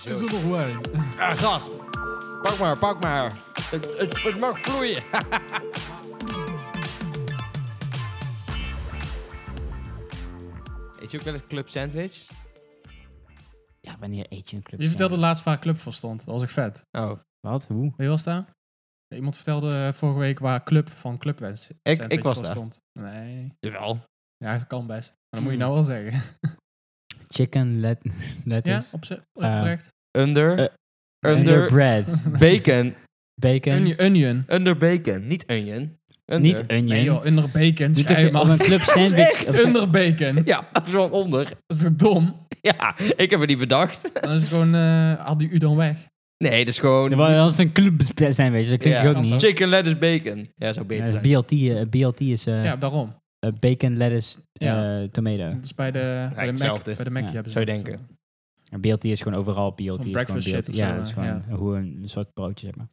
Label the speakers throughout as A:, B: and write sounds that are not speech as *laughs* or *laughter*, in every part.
A: Zo. Is er nog *laughs* wijn?
B: Ah, gast. Pak maar, pak maar. Het, het, het mag vloeien. *laughs* Eet je ook wel eens club sandwich?
C: Ja, wanneer eet je een club?
A: Wie vertelde laatst waar club voor stond? Dat was ik vet.
B: Oh.
C: Wat? Hoe?
A: Wie was daar? Iemand vertelde eh, vorige week waar club van clubwens
B: Ik- ik was daar.
A: stond. Nee.
B: Jawel.
A: Ja, dat kan best. Maar dat moet je
B: Hmm.
A: nou wel
B: *laughs*
A: zeggen.
C: Chicken let *laughs*
A: Ja,
C: lettuce.
A: op zich.
C: Eh,
A: Oprecht.
B: Under.
C: Under
B: under.
A: *laughs*
C: bread.
B: Bacon.
C: Bacon.
A: Onion. onion.
B: Under bacon. Niet onion. Under.
C: Niet onion.
A: Nee joh, under bacon.
C: Niet dat
A: Schrijf
C: je op
A: maar. *laughs*
C: een club sandwich...
A: Echt under bacon.
B: *laughs* Ja, gewoon onder.
A: Dat is toch dom?
B: Ja, ik heb het niet bedacht.
A: Dan is het gewoon, eh haal die u dan weg.
B: Nee, dat is gewoon...
C: Als het een club sandwich, dat klinkt
B: Ja.
C: ook niet.
B: Chicken, lettuce, bacon. Ja, zou beter
C: Ja,
B: zijn.
C: BLT, eh, BLT is eh,
A: Ja, daarom.
C: eh, bacon, lettuce, eh,
A: Ja.
C: tomato.
A: Dat is bij de, bij de Mac,
B: hetzelfde.
A: bij de Mac
C: Ja,
A: hebben ze
B: zou je
A: dat
B: denken.
A: zo.
C: En BLT is gewoon overal BLT. is gewoon
A: breakfast
C: BLT.
A: shit of
C: Ja,
A: zo,
C: dat is
A: eh,
C: gewoon
A: ja.
C: een- hoe een soort broodje, zeg maar.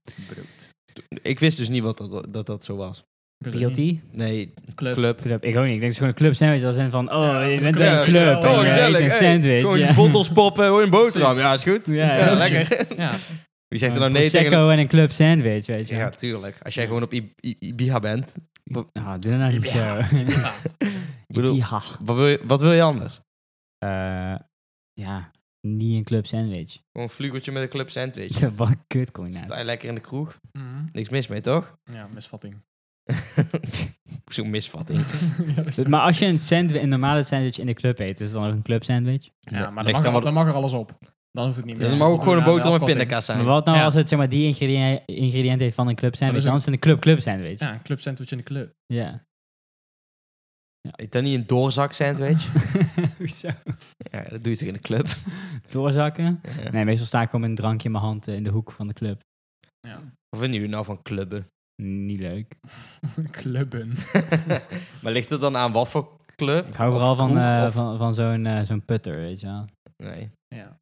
B: Ik wist dus niet wat dat, dat, dat zo was.
A: Ik weet het niet.
C: BLT?
B: Nee,
A: Club.
B: club.
C: Club. Ik ook niet. Ik denk dat het gewoon een club sandwich als in van, oh,
A: Ja,
C: je
A: een
C: bent
A: club.
C: bij een club.
A: Oh,
C: en je
A: gezellig,
C: eet eh, een
B: hey.
C: sandwich.
B: Gewoon
C: ja.
A: *laughs*
B: bottels poppen, gewoon een boterham.
A: Precies.
B: Ja, is goed.
C: Ja,
B: Ja,
C: ja.
B: lekker.
A: Ja,
B: Wie zegt er nou
C: Een
B: nee tegen...
C: Prosecco en een club sandwich, weet je wel.
B: Ja, tuurlijk. Als jij gewoon op I- I- Ibiza bent,
C: Ah, doe dat nou niet zo. *laughs*
B: bedoel-
C: Ja.
B: wat wil je, wat wil je anders?
C: Eh, ja, niet een club *laughs* sandwich.
B: Gewoon een vlugeltje met een club sandwich.
C: Wat een
B: Sta
C: kutcombinatie.
B: je lekker in de kroeg?
A: Mhm.
B: Niks mis mee, toch? *laughs*
A: ja misvatting.
B: Zo'n misvatting.
A: ja, dat is toch-
C: Dus, Maar als je een, sandwich, een normale sandwich in de club eet, is het dan ook een club sandwich?
A: ja, maar dan
B: Ligt
A: mag,
B: aan
A: er,
B: wat-
A: dan mag er alles op. Dan hoeft het niet meer.
B: Ja, dan mag ook gewoon een
A: Ja, de
B: boterham en
A: afkorting.
B: pindakaas
C: Maar
B: zijn.
C: wat nou
A: Ja.
C: als het zeg maar, die ingrediënt, ingrediënt heeft van een club sandwich?
A: is een-
C: Dan is het een club club sandwich. Ja.
A: Ja, een club sandwich in de club.
B: Eet dan niet een doorzak
C: *laughs*
B: sandwich?
C: Hoezo?
B: ja, dat doe je toch in de club?
C: Doorzakken?
B: Ja.
C: Nee, meestal sta ik gewoon met een drankje in mijn hand eh, in de hoek van de club.
A: Ja.
B: Wat vinden jullie nou van clubben? *laughs*
C: Niet leuk.
A: Clubben.
B: maar ligt het dan aan wat voor club?
C: Ik hou
B: Of
C: vooral van,
B: kroeg,
C: eh,
B: of-
C: van, van zo'n eh, zo'n putter, weet je wel.
B: Nee.
A: Ja.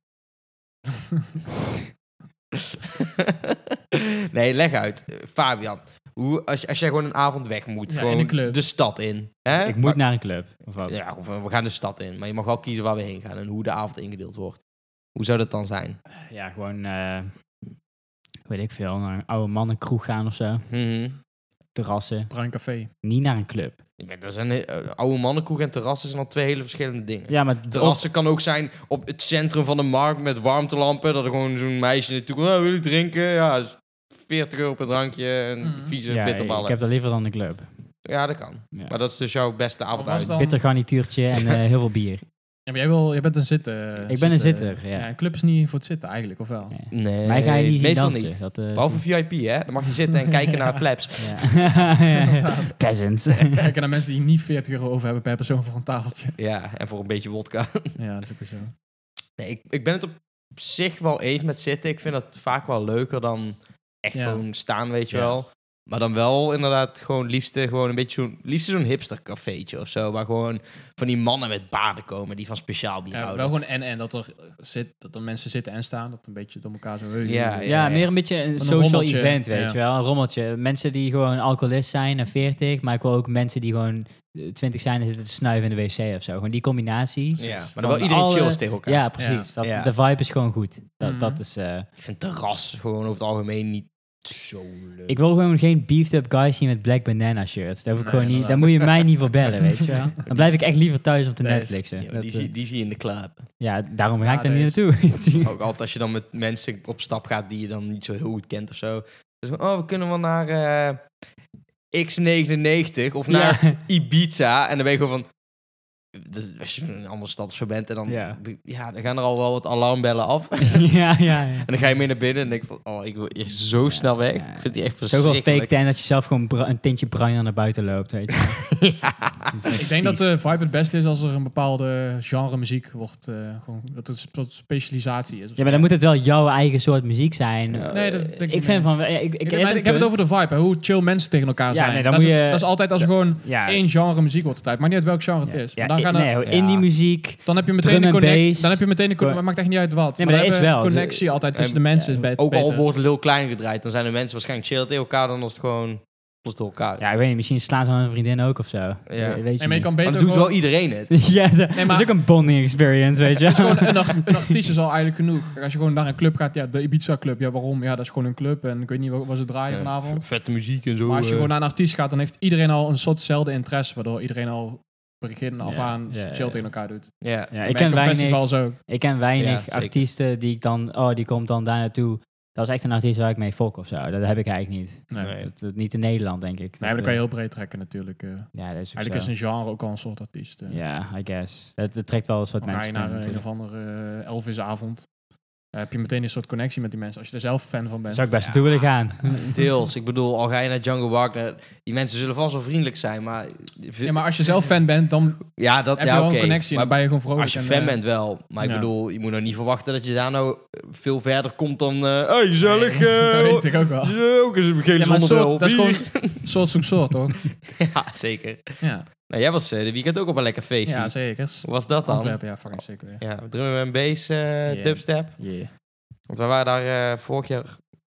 B: *laughs* nee, leg uit. Eh, Fabian, hoe, als, als jij gewoon een avond weg moet,
A: Ja, in
B: gewoon
A: een club.
B: de stad in. Hè?
C: Ik moet
B: Maar-
C: naar een club. Of wat?
B: ja, of eh, we gaan de stad in. Maar je mag wel kiezen waar we heen gaan en hoe de avond ingedeeld wordt. Hoe zou dat dan zijn?
C: Ja, gewoon, eh, weet ik veel, naar een oude mannenkroeg gaan of zo.
B: Mhm.
C: Terrassen.
A: Bruincafé.
C: Niet naar een club.
B: Ik ben- Dat zijn eh, oude mannenkoek en terrassen zijn al twee hele verschillende dingen.
C: Ja, maar
B: Terrassen kan ook zijn op het centrum van de markt met warmtelampen. Dat er gewoon zo'n meisje naartoe komt. Oh, wil je drinken? Ja, dat is 40 euro per drankje en
A: Mhm.
B: vieze
C: ja,
B: bitterballen.
C: ik heb dat liever dan een club.
B: Ja, dat kan.
C: Ja.
B: Maar dat is dus jouw beste avond
A: was
B: uit.
A: dan-
C: Bitter garnituurtje en eh, heel veel
B: *laughs*
C: bier.
A: Ja, maar jij, wil, jij bent een zitter.
C: Ik ben een zitter, ja.
A: een club is niet voor het zitten eigenlijk, of wel?
C: Nee.
B: Nee,
C: Mij ga je niet zien
B: meestal
C: dansen.
B: niet.
C: Dat, eh, *laughs*
B: Behalve VIP, hè? Dan mag je zitten en kijken naar het plebs.
C: Ja.
A: *laughs* Inderdaad.
C: *laughs* Peasants.
A: Kijken naar mensen die niet 40 euro over hebben per persoon voor een
B: *laughs*
A: tafeltje.
B: Ja, en voor een beetje wodka. *laughs*
A: Ja, dat is ook weer zo.
B: Nee, ik, ik ben het op zich wel eens met zitten. Ik vind dat vaak wel leuker dan echt
A: Ja.
B: gewoon staan, weet je
C: Ja.
B: wel. Maar dan wel inderdaad gewoon liefste gewoon een beetje zo'n... Liefste zo'n hipstercafeetje of zo. Waar gewoon van die mannen met baarden komen die van speciaal bier
A: Ja, wel
B: houden.
A: gewoon en en dat er, zit, dat er mensen zitten en staan, dat een beetje door elkaar zo.
B: Ja,
C: ja, meer een beetje een
A: Een
C: social
A: rommeltje.
C: event, weet
A: Ja.
C: je wel. Een rommeltje. Mensen die gewoon alcoholist zijn en 40, maar ik wil ook mensen die gewoon eh, 20 zijn en zitten te snuiven in de wc of zo. Gewoon die combinatie.
B: Ja, maar
C: Van
B: dan wel iedereen
C: alle-
B: chills tegen elkaar.
C: Ja, precies. Dat,
B: Ja.
C: De vibe is gewoon goed. Dat,
A: Mhm.
C: dat is... eh,
B: Ik vind terras gewoon over het algemeen niet zo leuk.
C: ik wil gewoon geen beefed up guys zien met black banana shirts. Daar, hoef ik
A: Nee,
C: gewoon niet, daar
A: inderdaad.
C: moet je mij niet voor bellen, weet je
A: *laughs*
C: wel. Dan blijf ik echt liever thuis op de
A: Thuis.
C: Netflixen.
B: Ja, maar
C: Dat,
B: die,
C: eh,
B: zie, die zie je in de club.
C: Ja, daarom ga
A: Ja,
C: ik daar
A: dat
C: niet naartoe.
B: *laughs* Ook altijd als je dan met mensen op stap gaat die je dan niet zo heel goed kent of zo. Dus van, oh, we kunnen wel naar eh, X99 of naar
C: Ja.
B: Ibiza. En dan ben je gewoon van... dus als je in een andere stad of zo bent, en dan,
C: Ja.
B: ja. dan gaan er al wel wat alarmbellen
C: *laughs*
B: af. en
C: *laughs*
A: Oh,
C: ja, ja, ja.
B: dan ga je mee naar binnen en denk van, oh, ik wil hier zo snel weg.
C: ja.
B: Ik vind die echt
C: Zoveel
B: verschrikkelijk.
C: fake tan dat je zelf gewoon bra- een tintje bruin aan naar buiten loopt, weet je.
B: *laughs* ja.
C: Dat is echt
A: Ik denk dat eh,
C: vies.
A: de vibe het beste is als er een bepaalde genre muziek wordt. eh, gewoon, dat het een soort specialisatie is. of zo.
C: Ja, maar dan moet het wel jouw eigen soort muziek zijn. Eh,
A: Nee, dat ben ik
C: ik
A: niet
C: vind
A: eens.
C: van... ja, Ik, ik,
A: ik, heb- ik heb het over de vibe, hè, hoe chill mensen tegen elkaar
C: Ja,
A: zijn.
C: nee, dan
A: dat,
C: moet
A: is,
C: je-
A: dat is altijd als er gewoon
C: Ja,
A: één genre muziek wordt tijd. Maakt niet uit welk genre
C: ja,
A: het is.
C: Ja,
A: Maar dan,
C: ik-
A: gaan er-
C: nee,
B: Ja.
C: indie muziek.
A: dan heb je meteen
C: drum
A: een
C: en
A: connectie.
C: bass.
A: Dan heb je meteen een connectie. Maar maakt echt niet uit wat.
C: Nee, maar
A: dan
C: dat is
A: hebben we
C: wel.
A: connectie altijd tussen
B: En-
A: de mensen. is bet-
B: Ook al
A: beter.
B: wordt Lil Klein gedraaid, dan zijn de mensen waarschijnlijk chill tegen elkaar dan als het gewoon... alles door elkaar.
C: Ja, ik weet niet, misschien slaan ze aan hun vriendin ook of zo. We- Weet je
A: Nee, maar je
C: niet.
A: kan
B: Maar
A: beter
B: dat doet wel
A: gewoon-
B: iedereen het.
C: *laughs* ja, dat,
A: maar-
C: dat is ook een bonding experience, weet *laughs* je.
A: Het is gewoon een, act- een artiest is al eigenlijk genoeg. Kijk, Als je gewoon naar een club gaat, ja, de Ibiza Club, ja, waarom? Ja, dat is gewoon een club en ik weet niet wat wat ze draaien
B: Ja,
A: vanavond.
B: v- Vette muziek en zo.
A: Maar als je
B: eh.
A: gewoon naar een artiest gaat, dan heeft iedereen al een soortzelfde interesse, waardoor iedereen al begin af
C: Ja,
A: aan
C: ja,
A: chill
C: ja.
A: tegen elkaar doet.
B: Ja.
C: ja,
A: Dat
C: ik
A: merk
C: ken
A: op
C: weinig...
A: festivals ook.
C: Ik ken
B: Ja,
C: weinig
B: zeker.
C: artiesten die ik dan, oh, die komt dan daar naartoe. Dat is echt een artiest waar ik mee fok of zo. Dat heb ik eigenlijk niet.
A: Nee.
B: Nee.
A: nee.
C: Dat, dat- niet in Nederland, denk
A: maar
C: ik.
A: dan
C: Dat,
A: kan je
C: eh,
A: heel breed trekken natuurlijk. eh.
C: Ja, dat is ook
A: eigenlijk is
C: zo.
A: een genre ook al een soort artiest. eh.
C: Ja, I guess. Dat, dat trekt wel een soort
A: Dan ga je
C: mensen
A: naar
C: binnen
A: eh, een
C: natuurlijk.
A: of andere eh, Elvis-avond. Dan heb je meteen een soort connectie met die mensen. Als je er zelf fan van bent.
C: Zou ik best naartoe willen
A: *laughs*
C: gaan.
B: Deels. Ik bedoel, al ga je naar Django Wagner, die mensen zullen vast wel vriendelijk zijn, maar...
A: Ja, maar als je zelf fan bent, dan
B: Ja, dat,
A: heb je
B: ja,
A: wel
B: oké.
A: een connectie. en
B: Maar
A: dan ben je gewoon vrolijk.
B: als je
A: en,
B: fan
A: eh,
B: bent wel. Maar ik
A: ja.
B: bedoel, je moet nou niet verwachten dat je daar nou eh, veel verder komt dan... eh hey, gezellig.
A: Nee,
B: eh,
A: *laughs* dat weet ik ook
B: *laughs*
A: wel.
B: eh, ook eens een gele
A: Ja, maar
B: zonnebril.
A: soort, dat is
B: bier.
A: gewoon soort zoekt soort, toch?
B: *laughs* Ja, zeker.
A: Ja,
B: Nou, jij was eh, de weekend ook op een lekker feestje.
A: ja zeker.
B: Hoe was dat dan?
A: Antwerpen, ja, fucking zeker weer.
B: Ja, drum en bass, eh, dubstep.
A: Yeah.
B: Want wij waren daar eh, vorig jaar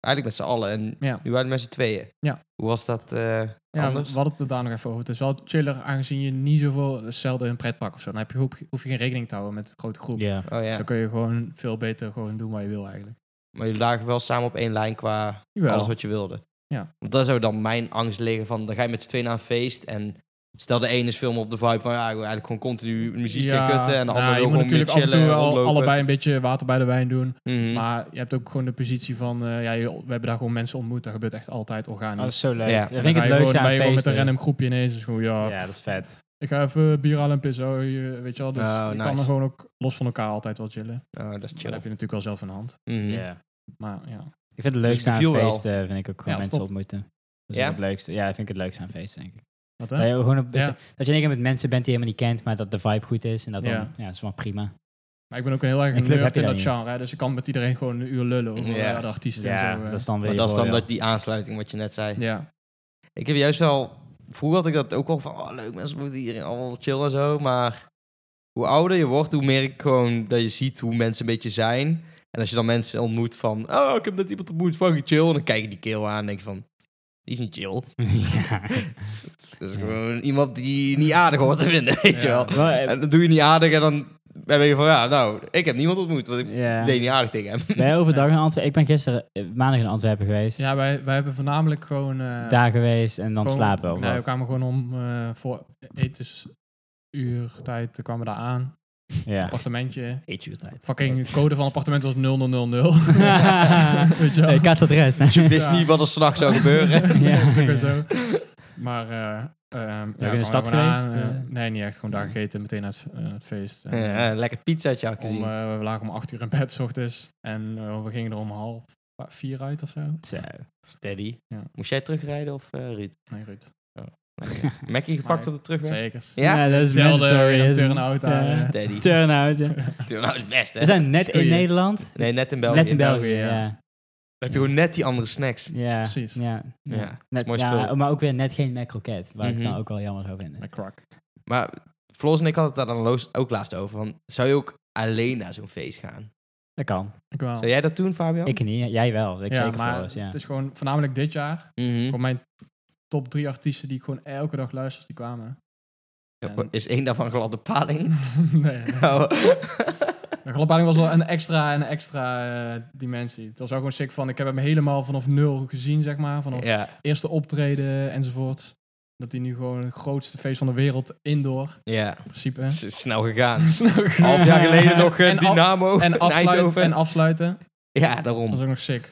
B: eigenlijk met z'n allen. En
A: Ja.
B: nu waren we met z'n tweeën.
A: Ja.
B: Hoe was dat eh,
A: Ja, we
B: anders?
A: hadden het er daar nog even over. Het is wel chiller, aangezien je niet zoveel... Hetzelfde een pretpark of zo. Dan heb je, hoef, hoef je geen rekening te houden met een grote groep.
C: Ja.
B: Oh ja.
A: Dus dan kun je gewoon veel beter gewoon doen wat je wil eigenlijk.
B: Maar jullie lagen wel samen op één lijn qua
A: Jawel.
B: alles wat je wilde.
A: Ja.
B: Want daar zou dan mijn angst liggen van, dan ga je met z'n tweeën naar een feest en stel de ene is veel meer op de vibe van, ja, ik wil eigenlijk gewoon continu muziek en kutten en de
A: nou,
B: andere
A: je
B: wil
A: moet
B: gewoon
A: natuurlijk
B: meer
A: af en toe
B: chillen en
A: wel
B: rondlopen.
A: allebei een beetje water bij de wijn doen.
B: Mhm.
A: Maar je hebt ook gewoon de positie van... eh, ja, je- we hebben daar gewoon mensen ontmoet. Dat gebeurt echt altijd organisch.
C: Oh, Dat is zo leuk.
B: Ja.
C: Dat
A: En
C: vind ik
A: dan
C: het
A: ga je
C: leukste
A: gewoon-
C: aan
A: ben je gewoon met een
C: feesten.
A: random groepje ineens. Dus gewoon, ja,
C: Ja, dat is vet.
A: ik ga even bier halen en pissen. oh, je- Weet je wel, dus
B: Oh,
A: je
B: nice.
A: kan er gewoon ook los van elkaar altijd wel chillen.
B: Oh, dat is
A: Dat
B: chill.
A: heb je natuurlijk wel zelf in de hand.
B: Mhm.
C: Ja.
A: Maar ja,
C: Ik vind het
B: Dus
C: leukste aan
B: beviel wel.
C: feesten, vind ik ook gewoon
A: Ja,
C: mensen
A: top.
C: ontmoeten. Dat is
B: Ja?
C: ook het leukste. Ja, vind ik het leukste aan feesten, denk ik.
A: wat
C: Dat
A: hè?
C: je, gewoon op-
A: Ja.
C: dat je in één keer met mensen bent die je helemaal niet kent, maar dat de vibe goed is. En dat dan, ja,
A: Ja.
C: dat is wel prima.
A: Maar ik ben ook een heel erg
C: Een club heb
A: nerd
C: je
A: in
C: dat
A: dat
C: niet.
A: genre. hè, Dus ik kan met iedereen gewoon een uur lullen over
B: Ja.
A: eh, de artiesten
C: Ja,
A: en zo. eh.
C: dat is dan weer
B: Maar dat is dan
C: voordeel.
B: dat die aansluiting wat je net zei.
A: ja.
B: Ik heb juist wel... Vroeger had ik dat ook wel van, oh, leuk, mensen moeten iedereen allemaal chill en zo. Maar hoe ouder je wordt, hoe meer ik gewoon dat je ziet hoe mensen een beetje zijn. En als je dan mensen ontmoet van, oh, ik heb net iemand ontmoet, fucking chill. En dan kijk je die keel aan en denk je van, die is niet chill.
C: *laughs*
B: Dat is
C: Ja.
B: gewoon iemand die niet aardig hoort te vinden, *laughs* weet je
A: Ja.
B: wel.
C: ja. Maar, eh,
B: En dat doe je niet aardig en dan ben je van, ja, nou, ik heb niemand ontmoet, want ik
C: ja.
B: deed niet aardig tegen hem.
C: Ben jij overdag in Antwerpen? Ik ben gisteren eh, maandag in Antwerpen geweest.
A: ja, wij, wij hebben voornamelijk gewoon... eh,
C: daar geweest en dan
A: gewoon-
C: slapen. Of
A: Nee, we
C: wat?
A: kwamen gewoon om eh, voor etensuur tijd eh, kwamen we daar
C: Ah.
A: aan.
C: Ja.
A: Appartementje.
B: Eet je
C: *laughs*
B: tijd.
A: Fucking code van appartement was 0000. *laughs* Weet je wel?
C: ik had het
B: *laughs*
C: rest.
B: Dus je wist
A: Ja.
B: niet wat er s'nachts zou gebeuren.
A: *laughs* ja, dat is ook weer
C: ja. *laughs*
A: zo. Maar... eh ehm
C: in de
A: kwamen
C: stad
A: gewoon
C: geweest,
A: aan, eh,
C: eh?
A: nee, niet echt. Gewoon daar gegeten, meteen naar het, eh, het feest. En, eh,
B: *laughs* Ja, lekker pizzaatje had ik
A: Om,
B: gezien.
A: eh, we lagen om acht uur in bed, s ochtends. En eh, we gingen er om half vier uit of zo.
C: *laughs* Zo.
B: Steady.
A: Ja.
B: Moest jij terugrijden of eh Ruud?
A: Nee, Ruud. *laughs*
B: Mackie gepakt op de terugweg?
A: Zeker.
B: Ja?
C: dat is
A: Hetzelfde
C: mandatory.
A: in een
C: is-
A: turn-out
C: ja.
A: aan, eh.
B: Steady.
C: Turn-out, ja.
B: Doe nou het best, hè?
C: We zijn net in
A: Goeie.
C: Nederland.
B: Nee, net in België.
C: Net in België,
A: België, ja.
C: ja.
B: Dan heb je gewoon net die andere snacks.
C: Ja,
A: Precies.
C: Ja,
B: Ja, dat is
C: net,
B: mooi
C: ja,
B: spul.
C: maar ook weer net geen macroket, waar ik
B: Mhm.
C: dan ook wel jammer zou vinden.
A: Met crack.
B: Maar Floors en ik hadden het daar dan loos- ook laatst over. Van, zou je ook alleen naar zo'n feest gaan?
A: Oh.
C: Dat kan.
A: Ik wel.
B: Zou jij dat doen, Fabian?
C: Ik niet, jij wel. Ik
A: ja,
C: zeker
A: maar
C: voor ons, ja.
A: het is gewoon voornamelijk dit jaar.
B: Mhm.
A: Voor mijn top drie artiesten die ik gewoon elke dag luister, als die kwamen. *laughs* En-
B: Is één daarvan gladde paling?
A: *laughs* nee.
B: Nou,
A: De Globbaling was wel een extra, een extra eh, dimensie. Het was ook gewoon sick van, ik heb hem helemaal vanaf nul gezien, zeg maar. Vanaf
B: ja,
A: eerste optreden enzovoort. Dat hij nu gewoon het grootste feest van de wereld indoor,
B: ja.
A: in principe. *laughs*
B: Is snel gegaan.
A: Snel gedaan.
B: Half jaar geleden nog eh,
A: *laughs* En af-
B: Dynamo *laughs* en
A: en, afsluiten,
B: Eindhoven.
A: en afsluiten.
B: ja,
A: Dat
B: daarom.
A: was ook nog sick.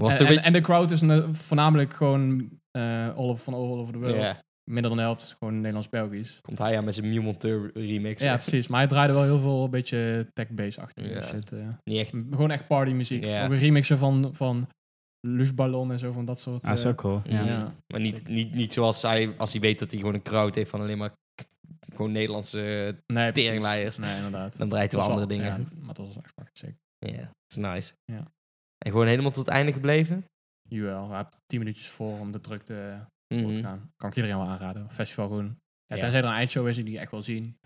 B: Was het
A: en,
B: een
A: en,
B: beetje...
A: en de crowd is ne- voornamelijk gewoon eh, all over, van all over the world.
B: Ja,
A: Minder dan de helft is gewoon Nederlands-Belgisch.
B: komt hij aan met zijn Mew Monteur remix.
A: Ja, precies. Maar hij draaide wel heel veel een beetje tech-bass-achtige
B: Ja.
A: shit. eh.
B: Niet echt.
A: Gewoon echt partymuziek.
B: Ja.
A: Ook een remixen van, van Lushballon en zo, van dat soort.
C: Ah, dat is
A: eh,
C: ook cool.
B: Ja.
C: Ja.
A: Ja.
B: Maar niet, niet, niet zoals hij, als hij weet dat hij gewoon een crowd heeft van alleen maar k- gewoon Nederlandse...
A: nee, precies.
B: Teringleiers.
A: Nee,
B: *laughs*
A: inderdaad.
B: Dan draait hij
A: Dat
B: wel
A: was
B: andere
A: wel-
B: dingen.
A: ja, maar dat was echt fucking sick.
B: Ja, dat is nice.
A: Ja.
B: En gewoon helemaal tot het einde gebleven?
A: Jawel, we hebben tien minuutjes voor om de drukte eh, voor
B: Mhm.
A: te gaan. Kan ik iedereen wel aanraden. Festival Groen. Ja,
B: Ja.
A: Tenzij er een eindshow is die je echt wil zien.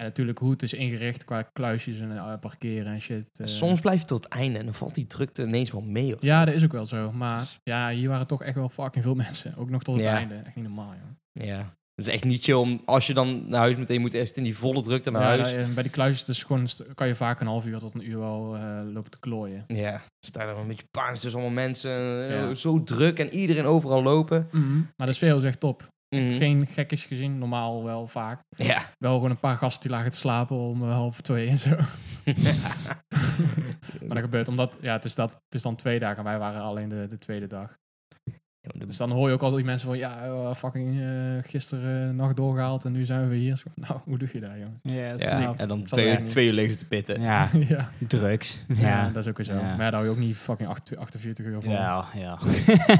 A: En natuurlijk hoe het is ingericht qua kluisjes en eh, parkeren en shit. eh.
B: Soms blijf je tot het einde en dan valt die drukte ineens wel mee. Of
A: Ja, dat is ook wel zo. Maar ja, hier waren toch echt wel fucking veel *laughs* mensen. Ook nog tot het
B: Ja.
A: einde. Echt niet normaal, joh.
B: Ja. Het is echt niet chill om, als je dan naar huis meteen moet, echt in die volle drukte naar
A: Ja,
B: huis.
A: en bij die kluisjes dus gewoon, st- kan je vaak een half uur tot een uur wel eh, lopen te klooien.
B: Ja, dus daar dan een beetje panisch tussen allemaal mensen.
A: Ja.
B: eh, Zo druk en iedereen overal lopen.
A: Maar de sfeer is echt top.
B: Mhm.
A: Geen gekjes gezien, normaal wel vaak.
B: Ja.
A: Wel gewoon een paar gasten die lagen te slapen om eh, half twee en zo. *laughs* maar dat gebeurt omdat, ja, het is, dat, het is dan twee dagen en wij waren alleen de, de tweede dag.
B: Ja, maar de-
A: Dus dan hoor je ook altijd die mensen van, ja, eh, fucking eh, gisteren eh, nacht doorgehaald en nu zijn we hier. Zo, nou, hoe doe je dat, jongen?
C: Ja, dat is
B: Ja,
C: knap.
B: en dan
A: Zal jij
B: twee,
A: niet.
B: twee uur links te pitten.
C: ja,
A: *laughs* ja.
C: drugs.
A: *laughs* Ja.
C: Ja,
A: dat is ook weer zo.
C: Ja.
A: Maar ja, daar hou je ook niet fucking acht- 48 uur van. Ja.
C: ja. *laughs* ja.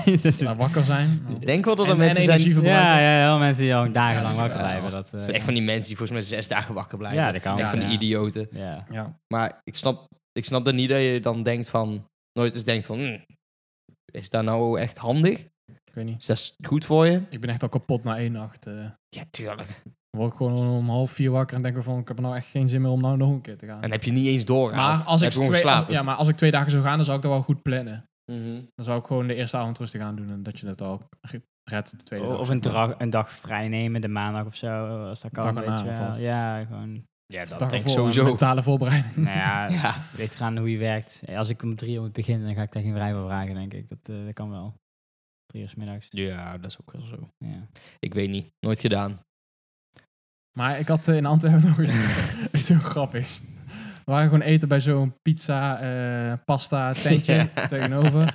C: Dat is-
A: wakker
C: *laughs*
A: zijn. Nou.
B: Ik denk wel dat er
A: En- en
B: mensen zijn...
A: energie
B: Het
A: verbruiken.
C: Ja, ja, ja, mensen die al
A: Ja,
C: dagenlang
A: dat is-
C: wakker
B: ja,
C: blijven.
B: ja.
C: Dat, eh,
B: zijn echt van die mensen die volgens mij zes dagen wakker blijven.
C: ja, dat kan.
B: echt
A: Ja,
B: van
A: ja.
B: die idioten.
C: Ja.
A: Ja.
B: Maar ik snap, ik snap dan niet dat je dan denkt van... Nooit eens denkt van... "Hm, is dat nou echt handig?
A: Ik weet niet.
B: Is dat goed voor je?
A: Ik ben echt al kapot na één nacht. eh. Dan
B: Ja, tuurlijk.
A: word ik gewoon om half vier wakker en denk ik van, ik heb er nou echt geen zin meer om nou nog een keer te gaan.
B: En heb je niet eens doorgehaald.
A: Maar als ik,
B: heb je gewoon
A: twee, als-
B: geslapen.
A: ja, maar als ik twee dagen zou gaan, dan zou ik dat wel goed plannen.
B: Mhm.
A: Dan zou ik gewoon de eerste avond rustig aan doen en dat je dat al ge- redt de
B: Oh,
A: tweede dag.
C: Of een, dra- een dag vrij nemen, de maandag of zo, als dat kan.
A: Dag
C: weet
A: erna,
C: je wel.
A: bijvoorbeeld. *laughs*
C: Ja, gewoon.
B: Ja, dat
A: Dag
B: denk ik
A: ervoor, een *laughs*
B: sowieso.
A: Mentale voorbereiding.
C: Nou ja,
B: Ja.
C: weet eraan hoe je werkt. Als ik om drie uur moet beginnen, dan ga ik daar geen vrij voor vragen, denk ik. Dat, eh, dat kan wel. Drie uur 's middags.
B: ja, dat is ook wel zo.
C: Ja.
B: Ik weet niet. Nooit gedaan.
A: Maar ik had eh, in Antwerpen nog
B: *laughs*
A: iets- iets heel grappigs. We waren gewoon eten bij zo'n pizza, eh,
B: *laughs*
A: pasta tentje tegenover.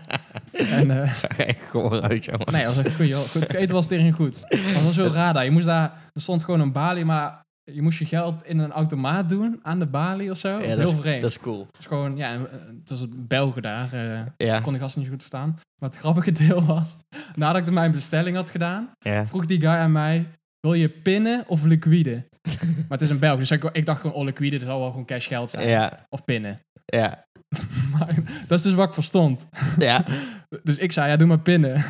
A: En, eh,
B: Dat *laughs* zag er echt gewoon uit, jongen.
A: Nee, dat was echt goed, joh. Goed, het eten was tegen goed. Maar dat was heel raar daar. Je moest daar... Er stond gewoon een balie, maar je moest je geld in een automaat doen aan de balie of zo. dat is heel
B: Dat
A: vreemd. Dat
B: is cool.
A: is gewoon... Ja, en, eh, het was een Belgen daar. eh
B: Ja.
A: kon de gasten niet zo goed verstaan. Maar het grappige *laughs* deel was... Nadat ik mijn bestelling had gedaan,
B: ja.
A: vroeg die guy aan mij... Wil je pinnen of liquide? maar het is een Belg, dus ik, ik dacht gewoon... Oh, liquide, dat zal wel gewoon cash geld zijn.
B: Ja.
A: Of pinnen. *laughs*
B: Ja.
A: maar dat is dus wat ik verstond.
B: Ja.
A: Dus ik zei, ja, doe maar pinnen. *laughs*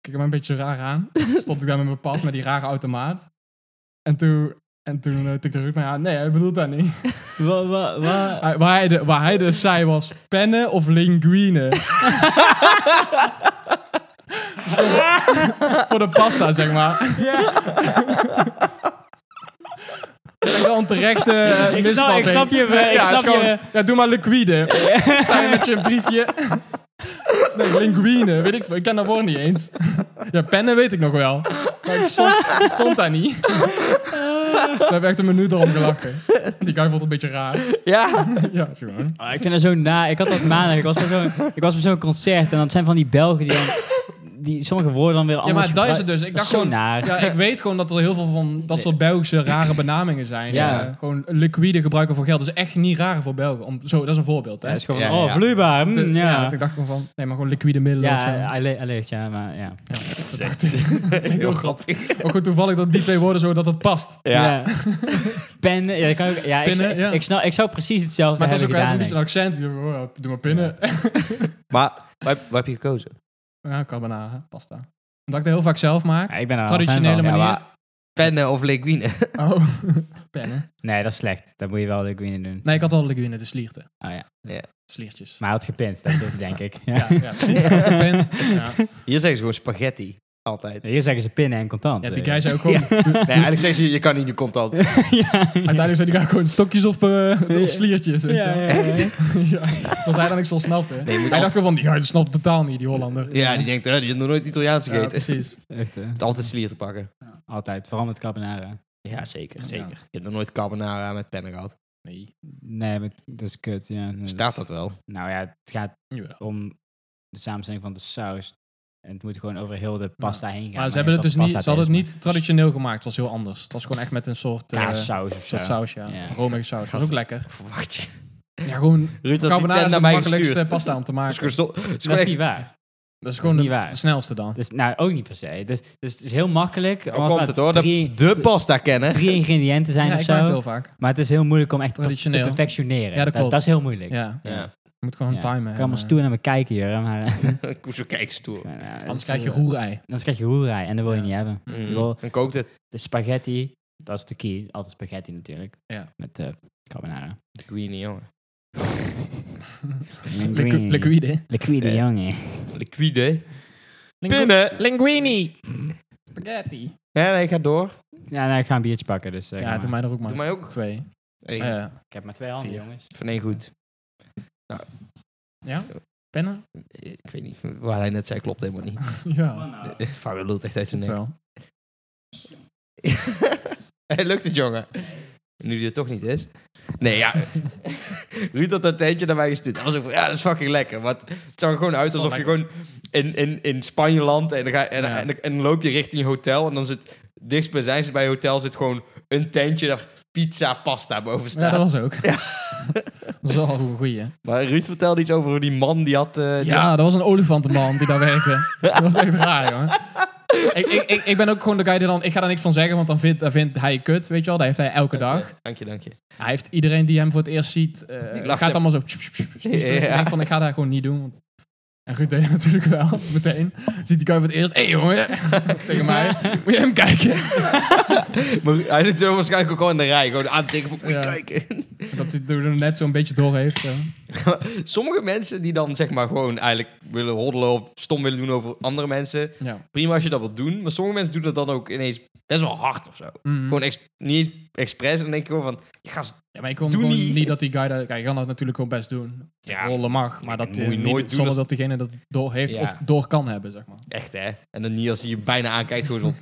A: Kijk hem een beetje raar aan. Stond ik daar met mijn pad met die rare automaat. En toen, en toen eh, tikte Ruud mij aan. Nee, hij bedoelt dat niet.
C: Wat,
A: Hij- waar, hij de- waar hij dus zei was, pennen of
C: *laughs*
A: linguine. Dus voor- voor de pasta, zeg maar. Echt wel een terechte eh,
C: ik, snap,
A: misvatting.
C: ik snap je. eh, Ik
A: ja, het
C: snap
A: is gewoon,
C: je.
A: ja, doe maar liquide. Zijn met je een briefje. Nee, linguine, weet ik veel. Ik ken dat woord niet eens. Ja, pennen weet ik nog wel. Maar ik stond, ik stond daar
C: *laughs*
A: niet. We hebben echt een minuut erom gelachen. Die guy vond het een beetje raar.
B: Ja.
A: Ja, zie je wel.
C: Ah, ik vind dat zo na. Ik had dat maandag. Ik was bij zo'n, ik was bij zo'n concert en dat zijn van die Belgen die, dan, die sommige woorden dan weer
A: Ja,
C: anders
A: maar dat is het
C: gebruiken.
A: dus. Ik dacht
C: Dat is zo
A: gewoon...
C: naar.
A: Ja, ik weet gewoon dat er heel veel van dat soort Belgische rare benamingen zijn.
C: Ja.
A: Eh, gewoon liquide gebruiken voor geld. Dat is echt niet raar voor Belgen. Om, zo, dat is een voorbeeld, hè?
C: Ja, het is gewoon,
B: Ja,
C: oh,
B: ja.
C: vloeibaar. mm,
A: De-
C: ja.
A: Ik dacht gewoon van... Nee, maar gewoon liquide middelen of zo.
C: Ja, hij le- hij leeft, ja, maar ja.
A: Ja, dat dacht ik. Dat
B: *laughs*
A: is heel grappig. Ook goed toevallig dat die twee woorden zo dat het past.
B: Ja.
C: *laughs* Pennen, ja, dat kan ook, ja,
A: Pinnen,
C: ik,
A: ja.
C: Ik, snap, ik zou precies hetzelfde
A: Maar het was
C: hebben
A: ook echt een
C: gedaan.
A: beetje een accent. Je- oh, Doe maar pinnen. *laughs*
B: Maar wat heb, wat heb je gekozen?
A: Ja, carbonara, pasta. Omdat ik dat heel vaak zelf maak.
C: denk ik. Ja, ik ben er wel fan
A: Traditionele
C: van.
A: manier.
B: Pennen of linguine? *laughs*
A: Oh, *laughs* pennen.
C: Nee, dat is slecht. Dat moet je wel de Queen doen.
A: Nee, ik had al liquide in de slierten.
C: Oh ja.
A: Sliertjes.
C: Maar hij had gepint, dat is het, denk ik. *laughs* Ja.
A: Ja, ja, precies.
C: *laughs*
A: Gepend. ja.
B: Hier zeggen ze gewoon spaghetti. Altijd.
C: Hier zeggen ze pinnen en contant.
A: ja, die
C: eh.
A: guy zei ook gewoon...
B: Nee, eigenlijk zeggen ze je kan niet de contant.
C: ja,
A: Uiteindelijk zei die guy gewoon stokjes of, eh, of sliertjes. Weet je.
C: ja,
A: wel.
C: ja, ja.
A: Ja, dat hij dan niks van snapt, hè.
B: je moet
A: hij
B: al-
A: dacht gewoon van, die guy snapt totaal niet, die Hollander.
B: Ja, die denkt, eh, die heeft nog nooit Italiaans
A: *laughs* Ja,
B: gegeten.
A: precies.
C: Echt, eh,
B: Altijd slier te pakken.
C: Altijd, vooral met carbonara.
B: Ja, zeker.
A: zeker.
B: zeker. Je hebt nog nooit carbonara met pennen gehad.
A: Nee.
C: Nee, maar dat is kut, ja. Nee,
B: Staat
C: dat
B: dat wel?
C: is- Nou ja, het gaat
A: Jawel.
C: om de samenstelling van de saus. En het moet gewoon over heel de pasta heen gaan.
A: maar ze
C: je
A: hebben het
C: hebt
A: dus
C: wel
A: niet, ze
C: pasta
A: hadden het
C: tijdens,
A: niet traditioneel gemaakt. Het was heel anders. Het was gewoon echt met een soort, eh
C: maar Kaassaus of zo.
A: soort saus, ja.
C: Ja.
A: Romige saus. was ook lekker.
B: Verwacht je.
A: Ja, gewoon
B: Ruud had die
A: carbonara
B: tent
A: is
B: naar
A: de
B: mij
A: makkelijkste
B: gestuurd.
A: pasta om te
B: *laughs* Dat is gewoon
A: maken.
B: sto- dat is gewoon
C: Dat is
B: echt-
C: niet waar.
A: Dat is gewoon de,
C: niet waar.
A: de snelste dan.
C: Dus, nou, ook niet per se. Dus, dus het is heel makkelijk.
B: Nou
C: omdat
B: komt
C: maar
B: het hoor. De,
C: Drie,
B: de pasta kennen.
C: drie ingrediënten zijn
A: Ja,
C: of
A: ik maak het
C: zo.
A: heel vaak.
C: Maar het is heel moeilijk om echt te- te
A: Traditioneel.
C: perfectioneren.
A: Ja, dat klopt.
C: is, dat is heel moeilijk.
A: Ja.
B: Ja.
A: Je moet gewoon
C: Ja.
A: timen.
C: Ik
A: en,
C: kan maar
A: eh,
C: stoer naar me kijken hier. Maar, eh, het
B: *laughs* Ik moest zo kijken
C: is
B: stoer.
C: gewoon, eh, het
A: Anders
C: is,
A: krijg je
C: eh,
A: roerei.
C: Anders krijg je roerij en dat wil je
A: Ja.
C: niet hebben.
B: Mm. Dan kookt het.
C: De spaghetti, Dat is de key. Altijd spaghetti natuurlijk.
A: Ja.
C: Met eh
A: *laughs*
C: carbonara.
B: Queenie, jongen.
A: Liqu- Liquide.
C: Liquide,
B: Eh.
C: jongen.
B: Liquide. Binnen.
A: Linguini. Spaghetti.
B: Ja, nee, ga door.
C: Ja, nou, ik ga een biertje pakken, dus eh, ga
A: Ja,
C: maar.
A: doe mij er ook Eh. maar.
B: Doe mij ook.
A: Twee.
B: Hey,
A: Ja, ja.
C: Ik heb maar twee handen,
A: Vier.
C: jongens.
B: Van één goed.
A: ja? Pennen?
B: Ik weet niet, waar hij net zei klopt helemaal
A: *laughs*
B: niet.
C: Oh,
A: ja.
C: nou.
B: Fabio lult echt uit zijn
A: Klopt
B: nek.
A: wel.
B: *laughs* Hey, lukt het, jongen? Nu die er toch niet is. Nee,
A: *laughs*
B: ja. Ruud had dat tentje naar mij gestuurd. Dat was ook van, ja, dat is fucking lekker. Want het zag er gewoon uit alsof je gewoon in, in, in Spanje landt en dan, ga, en,
A: Ja.
B: en, en, dan loop je richting je hotel. En dan zit dichtstbijzijns bij je hotel zit gewoon een tentje daar pizza pasta boven
A: Ja,
B: staat.
A: dat was ook. *laughs* dat was wel een goeie. hè?
B: Maar Ruud vertelde iets over hoe die man die had... eh, die had-
A: Ja, dat was een olifantenman die daar werkte. Dat was echt raar, jongen. Ik, ik, ik, ik ben ook gewoon de guy die dan... Ik ga daar niks van zeggen, want dan vindt, dan vindt hij kut, weet je wel. Dat heeft hij elke dag.
B: Dank je, dank je.
A: Hij heeft iedereen die hem voor het eerst ziet... eh,
B: lacht
A: gaat
B: hem.
A: allemaal zo... tjoep, tjoep, tjoep, tjoep.
B: Ja.
A: Ik denk van, ik ga dat gewoon niet doen. want- En Ruud deed het natuurlijk wel, *laughs* meteen. Ziet die guy voor het eerst... Hé, hey, jongen! *laughs* Tegen mij. Moet je hem kijken?
B: Maar hij zit zo waarschijnlijk ook al in de rij. Gewoon aan het denken van, moet je
A: Ja.
B: kijken. *laughs*
A: Dat hij er net zo'n beetje door heeft. eh.
B: Sommige mensen die dan zeg maar gewoon eigenlijk willen hoddelen of stom willen doen over andere mensen.
A: Ja.
B: Prima als je dat wilt doen. Maar sommige mensen doen dat dan ook ineens best wel hard of zo.
A: Mhm.
B: Gewoon ex- niet eens expres. En dan denk ik gewoon van, je gast,
A: Ja, maar ik kon
B: Doe
A: gewoon
B: niet.
A: niet. dat die guy... Dat, kijk, hij kan dat natuurlijk gewoon best doen.
B: Ja.
A: Rollen mag, maar dat
B: Moet
A: eh,
B: je
A: niet-
B: nooit doen
A: Zonder
B: als-
A: dat degene dat door heeft
B: Ja.
A: of door kan hebben, zeg maar.
B: echt hè. En dan niet als hij je bijna aankijkt gewoon van,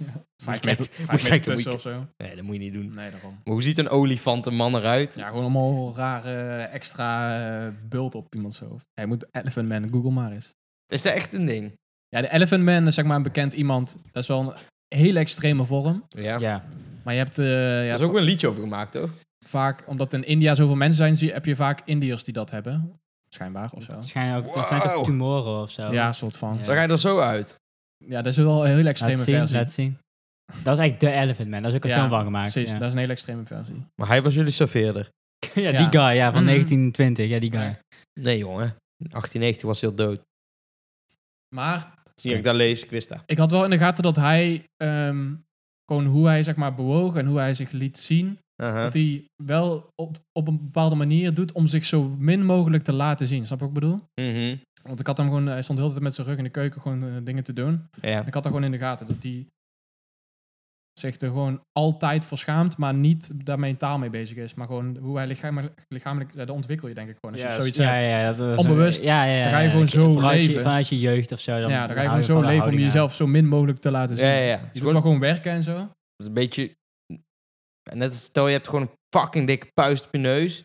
A: Vijf
B: Moet je
A: meter,
B: kijken,
A: vijf
B: moet je
A: meter
B: kijken,
A: tussen
B: moet
A: of zo.
B: nee dat moet je niet doen.
A: Nee, daarom.
B: Maar hoe ziet een olifant een man eruit?
A: Ja, gewoon allemaal rare extra eh, bult op iemands hoofd. Hij moet Elephant Man, Google maar eens.
B: Is dat echt een ding?
A: Ja, de Elephant Man is zeg maar een bekend iemand. Dat is wel een hele extreme vorm.
B: Ja.
C: Ja.
A: Maar je hebt eh,
B: Er
A: ja,
B: is ook wel een liedje over gemaakt hoor.
A: vaak, omdat in India zoveel mensen zijn, zie, heb je vaak Indiërs die dat hebben. Schijnbaar of zo.
C: Waarschijnlijk ook, dat
B: Wow.
C: zijn toch tumoren of zo?
A: Ja, soort van.
C: Ja.
A: Ja,
B: Zag hij er zo uit?
A: dat is wel een hele
C: laat
A: extreme
C: zien,
A: versie.
C: laat zien. Dat is eigenlijk de Elephant Man. Daar is ook een
A: Ja,
C: film van gemaakt.
A: Precies,
C: ja.
A: dat is een hele extreme versie.
B: Maar hij was jullie serveerder.
C: *laughs* ja,
A: Ja.
C: die guy, ja, van
A: Mhm.
C: 1920. Ja, die guy.
A: Ja.
B: Nee jongen. In 1890 was hij al dood.
A: Maar
B: Zie je, ik daar lees, ik wist dat.
A: ik had wel in de gaten dat hij, ehm, gewoon hoe hij zeg maar bewoog en hoe hij zich liet zien,
B: Aha.
A: dat hij wel op, op een bepaalde manier doet om zich zo min mogelijk te laten zien. Snap je wat ik bedoel?
B: Mhm.
A: Want ik had hem gewoon, hij stond heel de tijd met zijn rug in de keuken gewoon eh, dingen te doen.
B: Ja.
A: Ik had dat gewoon in de gaten dat hij zich er gewoon altijd voor schaamt, maar niet daar mentaal mee bezig is. Maar gewoon hoe hij lichamelijk, lichamelijk ja, dat ontwikkel je denk ik gewoon. Als je zoiets
C: ja,
A: hebt.
C: ja, ja, dat was- eh,
A: Onbewust.
C: Ja, ja, ja,
A: Dan ga je
C: ja.
A: gewoon zo
C: vanuit Je,
A: leven.
C: vanuit je jeugd of zo. Dan
A: Ja, dan ga je
C: hou
A: gewoon zo
C: een
A: leven om
C: houding aan.
A: jezelf zo min mogelijk te laten zien.
B: Ja, ja, ja. Het
A: Je
B: is
A: moet
B: gewoon-
A: wel gewoon werken en zo.
B: Dat is een beetje... Net als stel, je hebt gewoon een fucking dikke puist op je neus.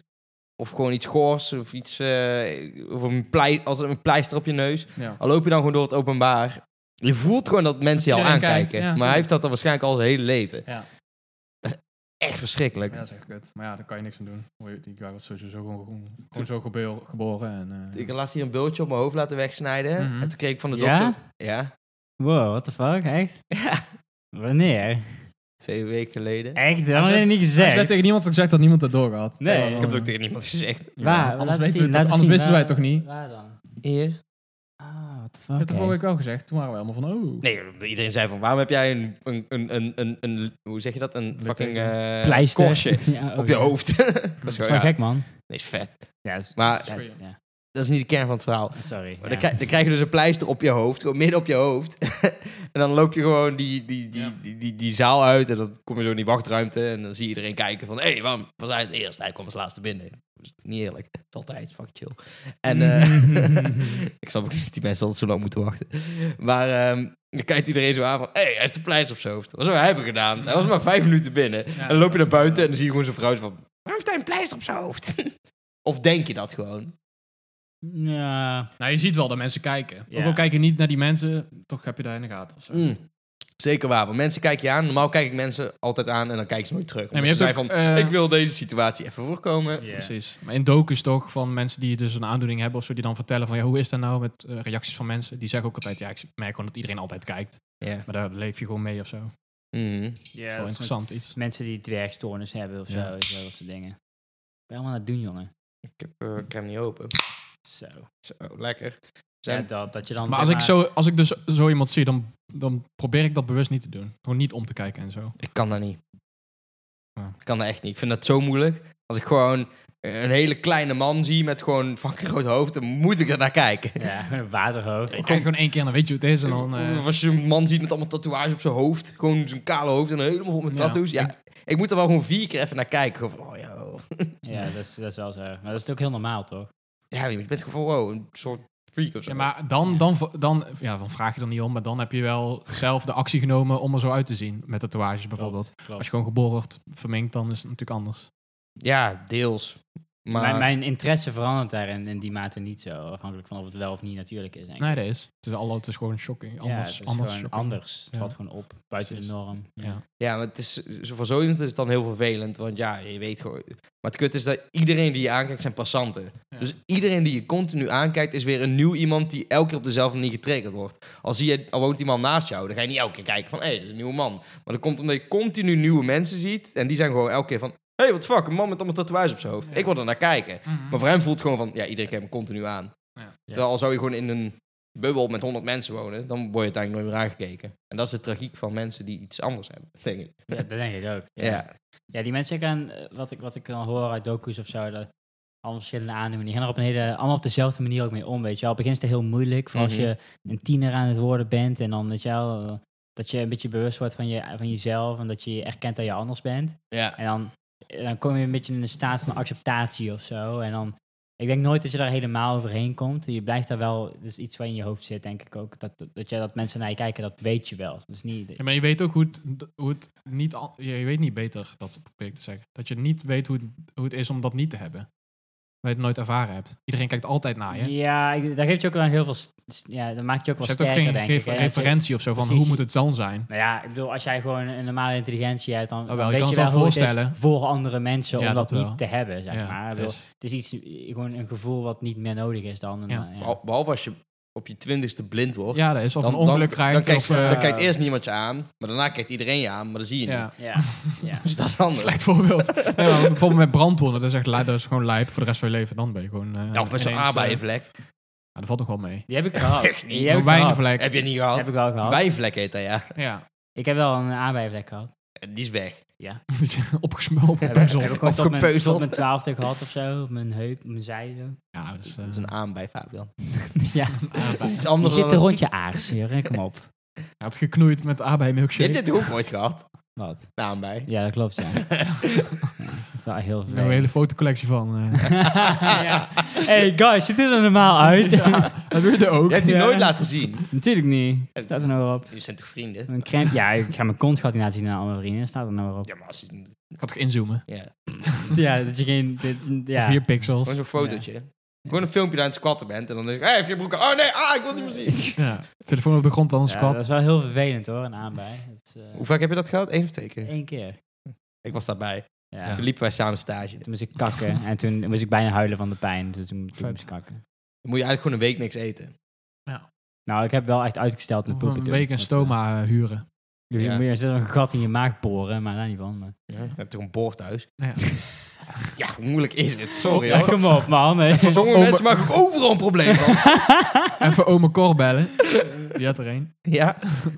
B: Of gewoon iets goors. Of iets... eh, of een, plei, als een pleister op je neus.
A: Ja.
B: Al loop je dan gewoon door het openbaar. Je voelt gewoon dat mensen je al
A: Iedereen
B: aankijken.
A: kijkt, ja,
B: maar hij
A: tuurlijk.
B: heeft dat dan waarschijnlijk al zijn hele leven.
A: Ja.
B: Echt verschrikkelijk.
A: Ja, dat is echt kut. Maar ja, daar kan je niks aan doen. Hoor je, Die guy was sowieso gewoon, gewoon zo gebeel- geboren. En, eh,
B: Ik had laatst hier een bultje op mijn hoofd laten wegsnijden.
A: Mhm.
B: En toen kreeg ik van de
C: Ja?
B: dokter... Ja?
C: Wow, what the fuck?
A: *laughs*
C: Echt?
B: Ja.
C: Wanneer?
B: Twee weken geleden.
C: Echt? Dat
A: Hij
C: had
A: zegt-
C: je niet
A: Hij heeft net
C: gezegd.
A: tegen niemand gezegd dat niemand het door had.
C: Nee,
A: Ja,
C: ik
B: Ik
A: dan,
B: heb het ook
A: eh,
B: tegen niemand gezegd.
A: ja,
C: Waar?
A: Anders,
C: Laat
A: weten
C: zien,
A: we het,
C: laat
A: anders
C: zien. eh,
A: wisten wij
C: Waar-
A: het toch niet? Ik
C: Waar dan?
B: Eer?
C: Ah, what the
A: heb
C: fuck?
A: het
C: hè?
A: vorige week wel gezegd. Toen waren we allemaal van, oh.
B: Nee, iedereen zei van... Waarom heb jij een... een, een, een, een, een- hoe zeg je dat? Een fucking... eh
C: Pleister.
B: korstje.
C: *laughs* Ja, oh,
B: op je
C: ja.
B: hoofd. *laughs* dat is
A: Dat
C: Dat is
B: gewoon,
C: wel
B: ja,
C: gek, man.
B: nee, is vet.
C: Ja, dat is-
B: Maar-
C: dat is vet, ja.
B: Dat is niet de kern van het verhaal. Maar
C: Sorry.
B: dan,
C: ja.
B: krijg, dan krijg je dus een pleister op je hoofd, gewoon midden op je hoofd. *laughs* en dan loop je gewoon die, die, die,
A: Ja.
B: die, die, die zaal uit en dan kom je zo in die wachtruimte en dan zie je iedereen kijken van... Hé, hey, waarom was hij het eerst? Hij kwam als laatste binnen. Dat is Niet eerlijk. Dat is altijd fucking chill.
C: *laughs*
B: En eh, *laughs* ik snap ook niet dat die mensen altijd zo lang moeten wachten. Maar ehm, dan kijkt iedereen zo aan van... Hé, hey, hij heeft een pleister op zijn hoofd. Wat zou hij hebben gedaan? Hij was maar vijf minuten binnen. en dan loop je naar buiten en dan zie je gewoon zo'n vrouw zo van... Waarom heeft hij een pleister op zijn hoofd? *laughs* of denk je dat gewoon?
C: Ja.
A: Nou, je ziet wel dat mensen kijken.
C: Ja.
A: Ook al kijken niet naar die mensen, toch heb je daar in de gaten of zo.
B: Mm. Zeker waar, want mensen kijken je aan. Normaal kijk ik mensen altijd aan en dan kijken ze nooit terug. Nee,
A: Nee, maar je
B: ze
A: hebt
B: zijn
A: ook,
B: van,
A: eh,
B: ik wil deze situatie even voorkomen.
C: Ja.
A: Precies. Maar in docus toch, van mensen die dus een aandoening hebben of zo, die dan vertellen van, ja, hoe is dat nou met eh, reacties van mensen? Die zeggen ook altijd, ja, ik merk gewoon dat iedereen altijd kijkt.
B: Ja.
A: Maar daar leef je gewoon mee of zo. Dat
B: Mhm.
A: is
C: ja
A: wel interessant iets.
C: Mensen die dwergstoornis hebben of zo.
A: Ja.
C: weet je wel, Dat soort dingen. Ben allemaal aan het doen, jongen.
B: Ik, heb, eh, ik heb hem niet open.
C: Zo.
B: Zo, lekker.
C: Ja,
B: Zijn,
C: dat, dat je dan...
A: Maar
C: zeg
A: als ik, zo, als ik dus zo iemand zie, dan, dan probeer ik dat bewust niet te doen. Gewoon niet om te kijken en zo.
B: Ik kan dat niet.
A: Ja.
B: Ik kan dat echt niet. Ik vind dat zo moeilijk. Als ik gewoon een hele kleine man zie met gewoon een fucking groot hoofd, dan moet ik er naar kijken.
C: Ja, *laughs* gewoon een waterhoofd.
A: Ik kijk gewoon één keer en dan weet je hoe het is. En dan, eh,
B: Of als je een man ziet met allemaal tatoeages op zijn hoofd, gewoon zijn kale hoofd en helemaal vol met
A: Ja.
B: tattoos. Ja, ik moet er wel gewoon vier keer even naar kijken. Gewoon van, oh ja, oh.
C: Ja, dat is, dat is wel zo. Maar dat is ook heel normaal, toch?
B: ja, je bent gewoon van, wow, een soort freak of zo.
A: ja, maar dan, dan, dan, ja, dan vraag je er niet om, maar dan heb je wel zelf de actie genomen om er zo uit te zien. Met tatoeages bijvoorbeeld.
C: Klopt, klopt.
A: Als je gewoon geboren wordt verminkt, dan is het natuurlijk anders.
B: Ja, deels. Maar
C: Mijn, mijn interesse verandert daar in, in die mate niet zo. Afhankelijk van of het wel of niet natuurlijk is. Denk ik.
A: Nee, dat is. Het is, alle, het is gewoon shocking. Anders,
C: ja, het is
A: anders
C: gewoon
A: shocking.
C: anders. Het
A: Ja.
C: valt gewoon op, buiten de
A: Precies.
C: norm.
A: Ja.
B: Ja, maar het is, zo- voor zo iemand is het dan heel vervelend. Want ja, je weet gewoon... Maar het kut is dat iedereen die je aankijkt zijn passanten.
A: Ja.
B: Dus iedereen die je continu aankijkt is weer een nieuw iemand die elke keer op dezelfde manier getriggerd wordt. Al, zie je, al woont iemand naast jou, dan ga je niet elke keer kijken van... Hé, dat is een nieuwe man. Maar dat komt omdat je continu nieuwe mensen ziet. En die zijn gewoon elke keer van... Hé, hey, wat fuck, een man met allemaal tatoeages op zijn hoofd.
A: Ja.
B: Ik wil er naar kijken. Maar voor hem voelt het gewoon van... Ja, iedereen kijkt hem continu aan.
A: Mhm. Ja.
B: Terwijl al zou je gewoon in een bubbel met 100 mensen wonen... dan word je uiteindelijk nooit meer aangekeken. En dat is de tragiek van mensen die iets anders hebben, *laughs* denk ik.
C: Ja, dat denk ik ook.
B: Ja,
C: Ja, die mensen gaan, eh, wat ik, wat ik kan horen uit docu's of zo, dat allemaal verschillende aandoeningen. Die gaan er op een hele, allemaal op dezelfde manier ook mee om, weet je wel. Op het begin is het heel moeilijk, voor
B: Mhm.
C: als je een tiener aan het worden bent en dan, weet je wel, eh, dat je een beetje bewust wordt van, je, van jezelf en dat je erkent dat je anders bent.
B: ja.
C: En dan, eh, dan kom je een beetje in een staat van acceptatie of zo. En dan, ik denk nooit dat je daar helemaal overheen komt. Je blijft daar wel, dus iets wat in je hoofd zit, denk ik ook. Dat, dat, dat, je, dat mensen naar je kijken, dat weet je wel. Dus niet,
A: Ja, maar je weet ook hoe het, hoe het niet... al- Je je weet niet beter, dat probeer ik te zeggen. Dat je niet weet hoe het, hoe het is om dat niet te hebben. Dat je het nooit ervaren hebt. Iedereen kijkt altijd naar je.
C: Ja, ik- dat geeft je ook wel heel veel. st- st- Ja, dat maakt je ook
A: Dus
C: wel
A: je hebt ook
C: sterker,
A: geen
C: denk
A: geen
C: ik. hè.
A: referentie of zo van
C: precies,
A: hoe
C: je-
A: moet het dan zijn.
C: Nou ja, ik bedoel, als jij gewoon een normale intelligentie hebt, dan,
A: Oh, wel,
C: dan
A: je
C: weet
A: kan
C: je
A: het
C: wel
A: wel
C: hoe het is
A: voorstellen.
C: voor andere mensen
A: Ja,
C: om dat,
A: dat wel.
C: niet te hebben, zeg
A: Ja,
C: maar. Ik bedoel,
A: dus-
C: het is iets, eh, gewoon een gevoel wat niet meer nodig is dan. En,
A: Ja. Oh.
C: eh,
B: Behal- Behalve als je op je twintigste blind wordt.
A: ja, dat is. Of
B: dan,
A: een ongeluk
B: dan,
A: krijgt.
B: Dan kijkt,
A: of, eh,
B: dan kijkt eerst niemand je aan, maar daarna kijkt iedereen je aan, maar dan zie je niet. *laughs*
A: ja. *laughs*
C: ja, ja.
B: Dus dat is anders.
A: Slecht voorbeeld. nee, maar bijvoorbeeld met brandwonden, dat is echt li- dat is gewoon lijp voor de rest van je leven. Dan ben je gewoon... eh,
B: Ja, of met zo'n
A: ineens, eh,
B: aardbeienvlek.
A: ja, dat valt nog wel mee.
C: Die heb ik gehad.
B: Echt niet.
C: Die heb ik gehad.
A: Wijnvlek.
B: Heb je niet
C: Die
B: gehad?
C: heb ik wel gehad.
B: Bijenvlek heet dat, ja.
A: Ja. *laughs*
C: Ik heb wel een aanbijvlek gehad.
B: Die is weg.
A: Opgesmolten.
C: Heb ik, heb ik gewoon tot mijn,
B: Opgepeuzeld.
C: tot mijn twaalfde gehad of zo. Op mijn heup, op mijn zij. Zo.
A: Ja, dus,
B: Dat is een aanbij, Fabian.
C: Ja,
B: Dat is *laughs* iets
C: *laughs* je
B: anders
C: zit
B: dan...
C: een rondje aars hier. Kom op.
A: Hij had geknoeid met aardbei
B: Je
A: milkshake.
B: hebt dit toch ook ooit gehad?
C: Wat?
B: Een
A: *laughs*
B: aanbij.
C: Ja, dat klopt, ja. ja dat is wel heel
A: Ik heb
C: veel.
A: Nou, een hele fotocollectie van. eh.
C: *laughs* ja. Hey guys, ziet dit er normaal uit?
A: *laughs* dat doe je er ook.
B: Je hebt die
C: Ja.
B: nooit laten zien.
C: *laughs* Natuurlijk niet. Staat er nou op.
B: Jullie zijn toch vrienden?
C: Een cramp. Ja, ik ga mijn kont gaat niet laten zien aan alle vrienden. Staat er nou op.
B: Ja, maar als...
A: Ik had toch inzoomen.
B: Ja.
C: *laughs* Ja, dat je geen. Dit, ja.
A: Vier pixels.
B: Gewoon zo'n fotootje. Gewoon een filmpje dat je aan het squatten bent. En dan denk ik, hé, heb je broek aan? Oh nee, ah, ik wil het niet meer zien.
A: Ja. Telefoon op de grond, dan een
C: *laughs* Ja,
A: squat.
C: dat is wel heel vervelend hoor, een aanbij. Dat is, eh,
B: *laughs* Hoe vaak heb je dat gehad? Eén of twee keer?
C: één keer.
B: Ik was daarbij.
C: Ja.
B: Toen liepen wij samen stage.
C: Toen moest ik kakken
A: *laughs*
C: en toen moest ik bijna huilen van de pijn. Dus toen, toen
A: Vet.
C: moest ik kakken.
B: Dan moet je eigenlijk gewoon een week niks eten.
C: Nou, ik heb wel echt uitgesteld met
A: Of een
C: poepen toen.
A: week een
C: Dat,
A: stoma eh, huren.
C: eh, dus
B: Ja.
C: je moet eerst een gat in je maag boren, maar daar niet van. Maar.
B: Ja, je hebt toch een boord thuis?
A: Ja.
B: Ja, hoe moeilijk is dit? Sorry
C: Ja,
B: hoor.
C: kom op man.
A: *laughs*
C: hè.
B: Voor sommige
A: Oma-
B: mensen maken ook overal een probleem van.
A: *laughs* Even ome Cor *laughs* bellen. Die had er een.
B: *laughs* ja,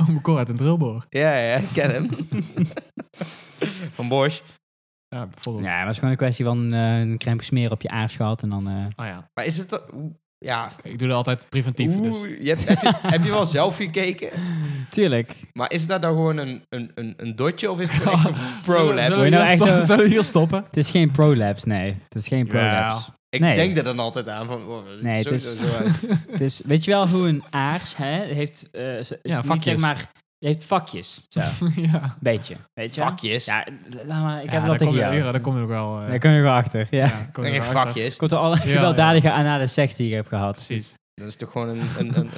A: Ome Cor uit een drillboor.
B: ja, ja, ik ken *laughs* hem. van Bosch.
A: Ja, bijvoorbeeld.
C: Ja, maar het is gewoon een kwestie van eh, een crème smeren op je aars gehad en dan... eh,
A: Oh ja.
B: Maar is het... dat- hoe- Ja,
A: Ik doe dat altijd preventief. Dus.
B: hoe- je hebt, heb, je, heb je wel zelf gekeken?
C: Tuurlijk.
B: Maar is dat dan gewoon een, een, een, een dotje of is
A: *laughs*
B: het *laughs* echt een prolab?
A: Zullen
C: Wil
A: we
C: je
A: hier
C: nou echt,
A: sto- *laughs*
C: eh,
A: Zullen we hier stoppen?
C: Het is geen prolapse, nee. Het is geen prolapse.
B: Ik
C: Nee.
B: denk er dan altijd aan van... Oh,
C: Nee,
B: nee,
C: het is-
B: sowieso zo
A: *laughs*
B: uit.
C: Het is, *laughs* weet je wel hoe een aars hè, heeft... eh, is- is niet,
A: vakjes.
C: zeg maar, heeft vakjes. Zo,
A: *laughs* ja.
C: beetje. Weet je wel?
B: Vakjes.
C: Ja, d- laat maar, ik
A: Ja,
C: heb het wel
A: daar kom
C: tegen
A: je-
C: jou.
A: ja, Daar kom je ook wel... eh,
C: Daar kom je wel achter,
A: ja,
C: ja.
A: kom je
B: Dan
A: wel
B: geen
A: achter.
B: vakjes.
C: Komt er alle
A: Ja,
C: gewelddadige anale seks die ik heb gehad.
A: Precies.
B: Dat is toch gewoon een... een, een,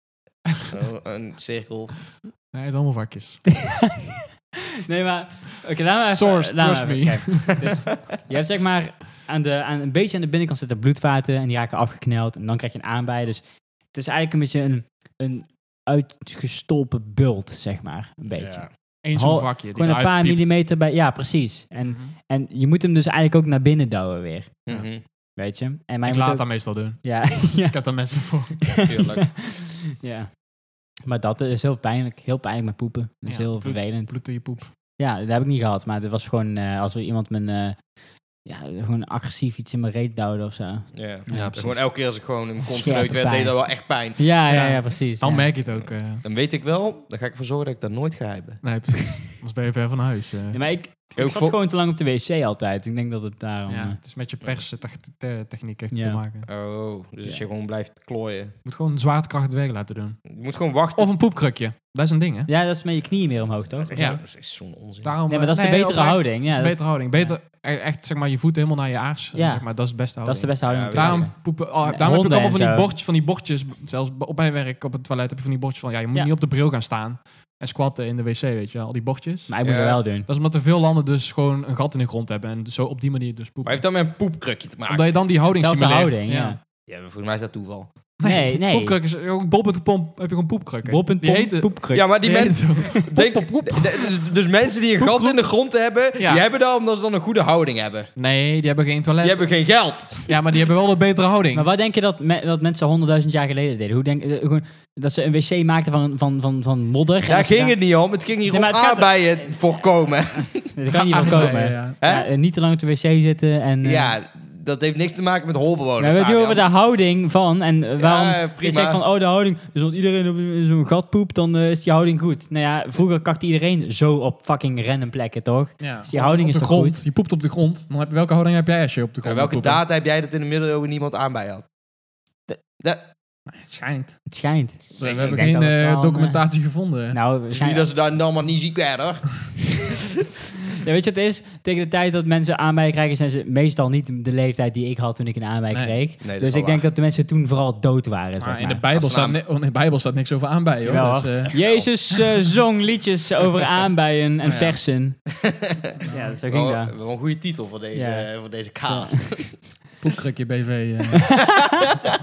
C: *laughs*
B: een, een cirkel.
A: Nee, het is allemaal vakjes.
C: Nee, maar... Oké, laat maar even-
A: Source,
C: laat
A: trust
C: maar
A: me.
C: even- kijk, dus je hebt zeg maar... Aan de, aan, een beetje aan de binnenkant zitten bloedvaten en die raken afgekneld. En dan krijg je een aanbij. Dus het is eigenlijk een beetje een, een uitgestolpen bult, zeg maar. Een beetje.
A: Ja. Eén
C: Hal-
A: zo'n vakje. die
C: Gewoon een paar
A: eruit piept.
C: millimeter bij. Ja, precies. En,
A: Mhm.
C: en je moet hem dus eigenlijk ook naar binnen douwen weer.
B: Mhm,
C: Weet je? En mij
A: ik
C: moet
A: laat
C: ook-
A: dat meestal doen.
C: Ja, *laughs* ja,
A: Ik heb daar mensen *laughs* voor.
B: Tuurlijk.
C: *laughs* ja. Maar dat is heel pijnlijk. Heel pijnlijk met poepen. Dat is
A: Ja,
C: heel
A: bloed-
C: vervelend.
A: Bloed door je poep.
C: Ja, dat heb ik niet gehad. Maar het was gewoon eh, als er iemand mijn... eh, ja, gewoon agressief iets in mijn reet duwde of zo.
B: Ja,
A: precies.
B: Gewoon elke keer als ik gewoon een kont
C: Scherpe
B: geneukt werd, deed
C: pijn.
B: dat wel echt pijn.
C: Ja, ja, ja,
A: Ja.
C: precies.
A: Dan
C: ja.
A: merk je het ook. eh.
B: Dan weet ik wel, dan ga ik ervoor zorgen dat ik dat nooit ga hebben.
A: nee, precies. Anders ben je ver van huis. eh.
C: Ja, maar ik, ik
B: Ook
C: zat
B: voor-
C: gewoon te lang op de wc altijd. Ik denk dat het daarom...
A: Ja,
C: eh,
A: het is met je perstechniek heeft
C: Ja.
A: te maken.
B: Oh, dus als
C: Ja.
B: je gewoon blijft klooien.
A: Je moet gewoon zwaartekracht werk laten doen.
B: Je moet gewoon wachten.
A: Of een poepkrukje. Dat is een ding, hè?
C: ja, dat is met je knieën meer omhoog, toch?
B: Dat is,
A: Ja.
B: dat is echt zo'n onzin.
A: Daarom,
C: Nee,
A: eh,
C: maar dat is de betere
A: oprecht,
C: houding,
A: dat
C: ja,
A: is de
C: dat is-
A: betere houding. Beter, e- echt zeg maar je voet helemaal naar je aars. eh,
C: Ja.
A: Zeg maar, dat is de beste
C: Dat
A: houding.
C: is de beste houding.
B: Ja,
C: om te
A: Daarom,
C: maken.
A: poepen, oh,
C: Nee,
A: daarom heb ik
C: honden
A: allemaal van die,
C: en zo.
A: bordjes, van die bordjes. Zelfs b- op mijn werk, op het toilet, heb je van die bordjes van... Ja, je moet
C: Ja.
A: niet op de bril gaan staan. En squatten in de wc, weet je wel. Al die bordjes.
C: Maar ik moet
B: Ja.
C: het wel doen.
A: Dat is omdat er veel landen dus gewoon een gat in de grond hebben. En zo op die manier dus
B: Maar
A: poepen.
B: heeft dat met een poepkrukje te maken?
A: Omdat je dan die houding
C: Zelfde
A: simuleert.
C: houding,
A: *laughs*
C: ja.
B: Ja, maar volgens mij is dat toeval.
C: Nee, nee.
A: Poepkruk is ook bol.com heb je eh, gewoon poepkrukken.
C: Bob
A: die heten-
C: en poepkruk.
B: Ja, maar die
A: die heten
B: mensen...
A: zo.
B: Denk, de- dus, dus mensen die een gat in de grond hebben,
A: Ja.
B: die hebben dat omdat ze dan een goede houding hebben.
A: Nee, die hebben geen toilet.
B: Die hebben geen geld.
A: Ja, maar die hebben wel een betere houding.
C: Maar wat denk je dat, me- dat mensen honderdduizend jaar geleden deden? Hoe denk, eh, gewoon, dat ze een wc maakten van, van, van, van modder. en
B: Daar
C: dat ze
B: ging het niet om. Het ging hier
C: Nee, maar
B: om
C: het gaat er-
B: aardbeien voorkomen.
C: Dat
A: *laughs*
C: kan niet wel
A: Aardbeien,
C: komen. Ja,
A: ja.
B: Hè?
C: eh, niet te lang op de wc zitten. En, eh,
B: Ja, dat heeft niks te maken met
C: we
B: holbewoners.
C: hebben het nu
B: Fabian.
C: over de houding van. En eh, waarom je
B: prima.
C: zegt van, oh de houding, dus als iedereen op in zo'n gat poept, dan eh, is die houding goed. Nou ja, vroeger kakte iedereen zo op fucking random plekken, toch?
A: Ja.
C: Dus die houding
A: op
C: is
A: de
C: toch
A: grond.
C: goed?
A: Je poept op de grond. Dan heb je, welke houding heb jij als je op
B: Ja,
A: de grond
B: welke
A: moet poepen?
B: daad heb jij dat in de middeleeuwen niemand aanbij had?
C: De-
B: Da-
A: Nee, Het schijnt.
C: Het schijnt.
A: We
C: Ik
A: hebben
C: denk
A: geen
C: dat het
A: eh,
C: wel een,
A: documentatie
C: eh,
A: gevonden.
C: nou,
B: Het is niet
C: waarschijnlijk-
B: dat ze daar allemaal niet ziek werden. hoor.
C: Ja, weet je wat het is? Tegen de tijd dat mensen aanbij krijgen, zijn ze meestal niet de leeftijd die ik had toen ik een aanbij
A: Nee.
C: kreeg.
B: dat is
C: dus
B: wel
C: ik denk dat de mensen toen vooral dood waren.
A: maar
C: zeg
A: in de,
C: maar.
A: Bijbel
B: Als
A: staat,
B: naam-
A: ni- oh, in de Bijbel staat niks over aanbijen.
C: Jawel,
A: Hoor. Dus, eh,
C: Jezus eh, zong liedjes over aanbijen en
A: *laughs* Ja.
C: persen. Ja, zo ging
B: Wel,
C: *laughs* dat.
B: wel een goede titel voor deze,
C: Ja.
B: voor deze cast. *laughs*
A: poepkrukje BV.
C: *laughs*
A: eh.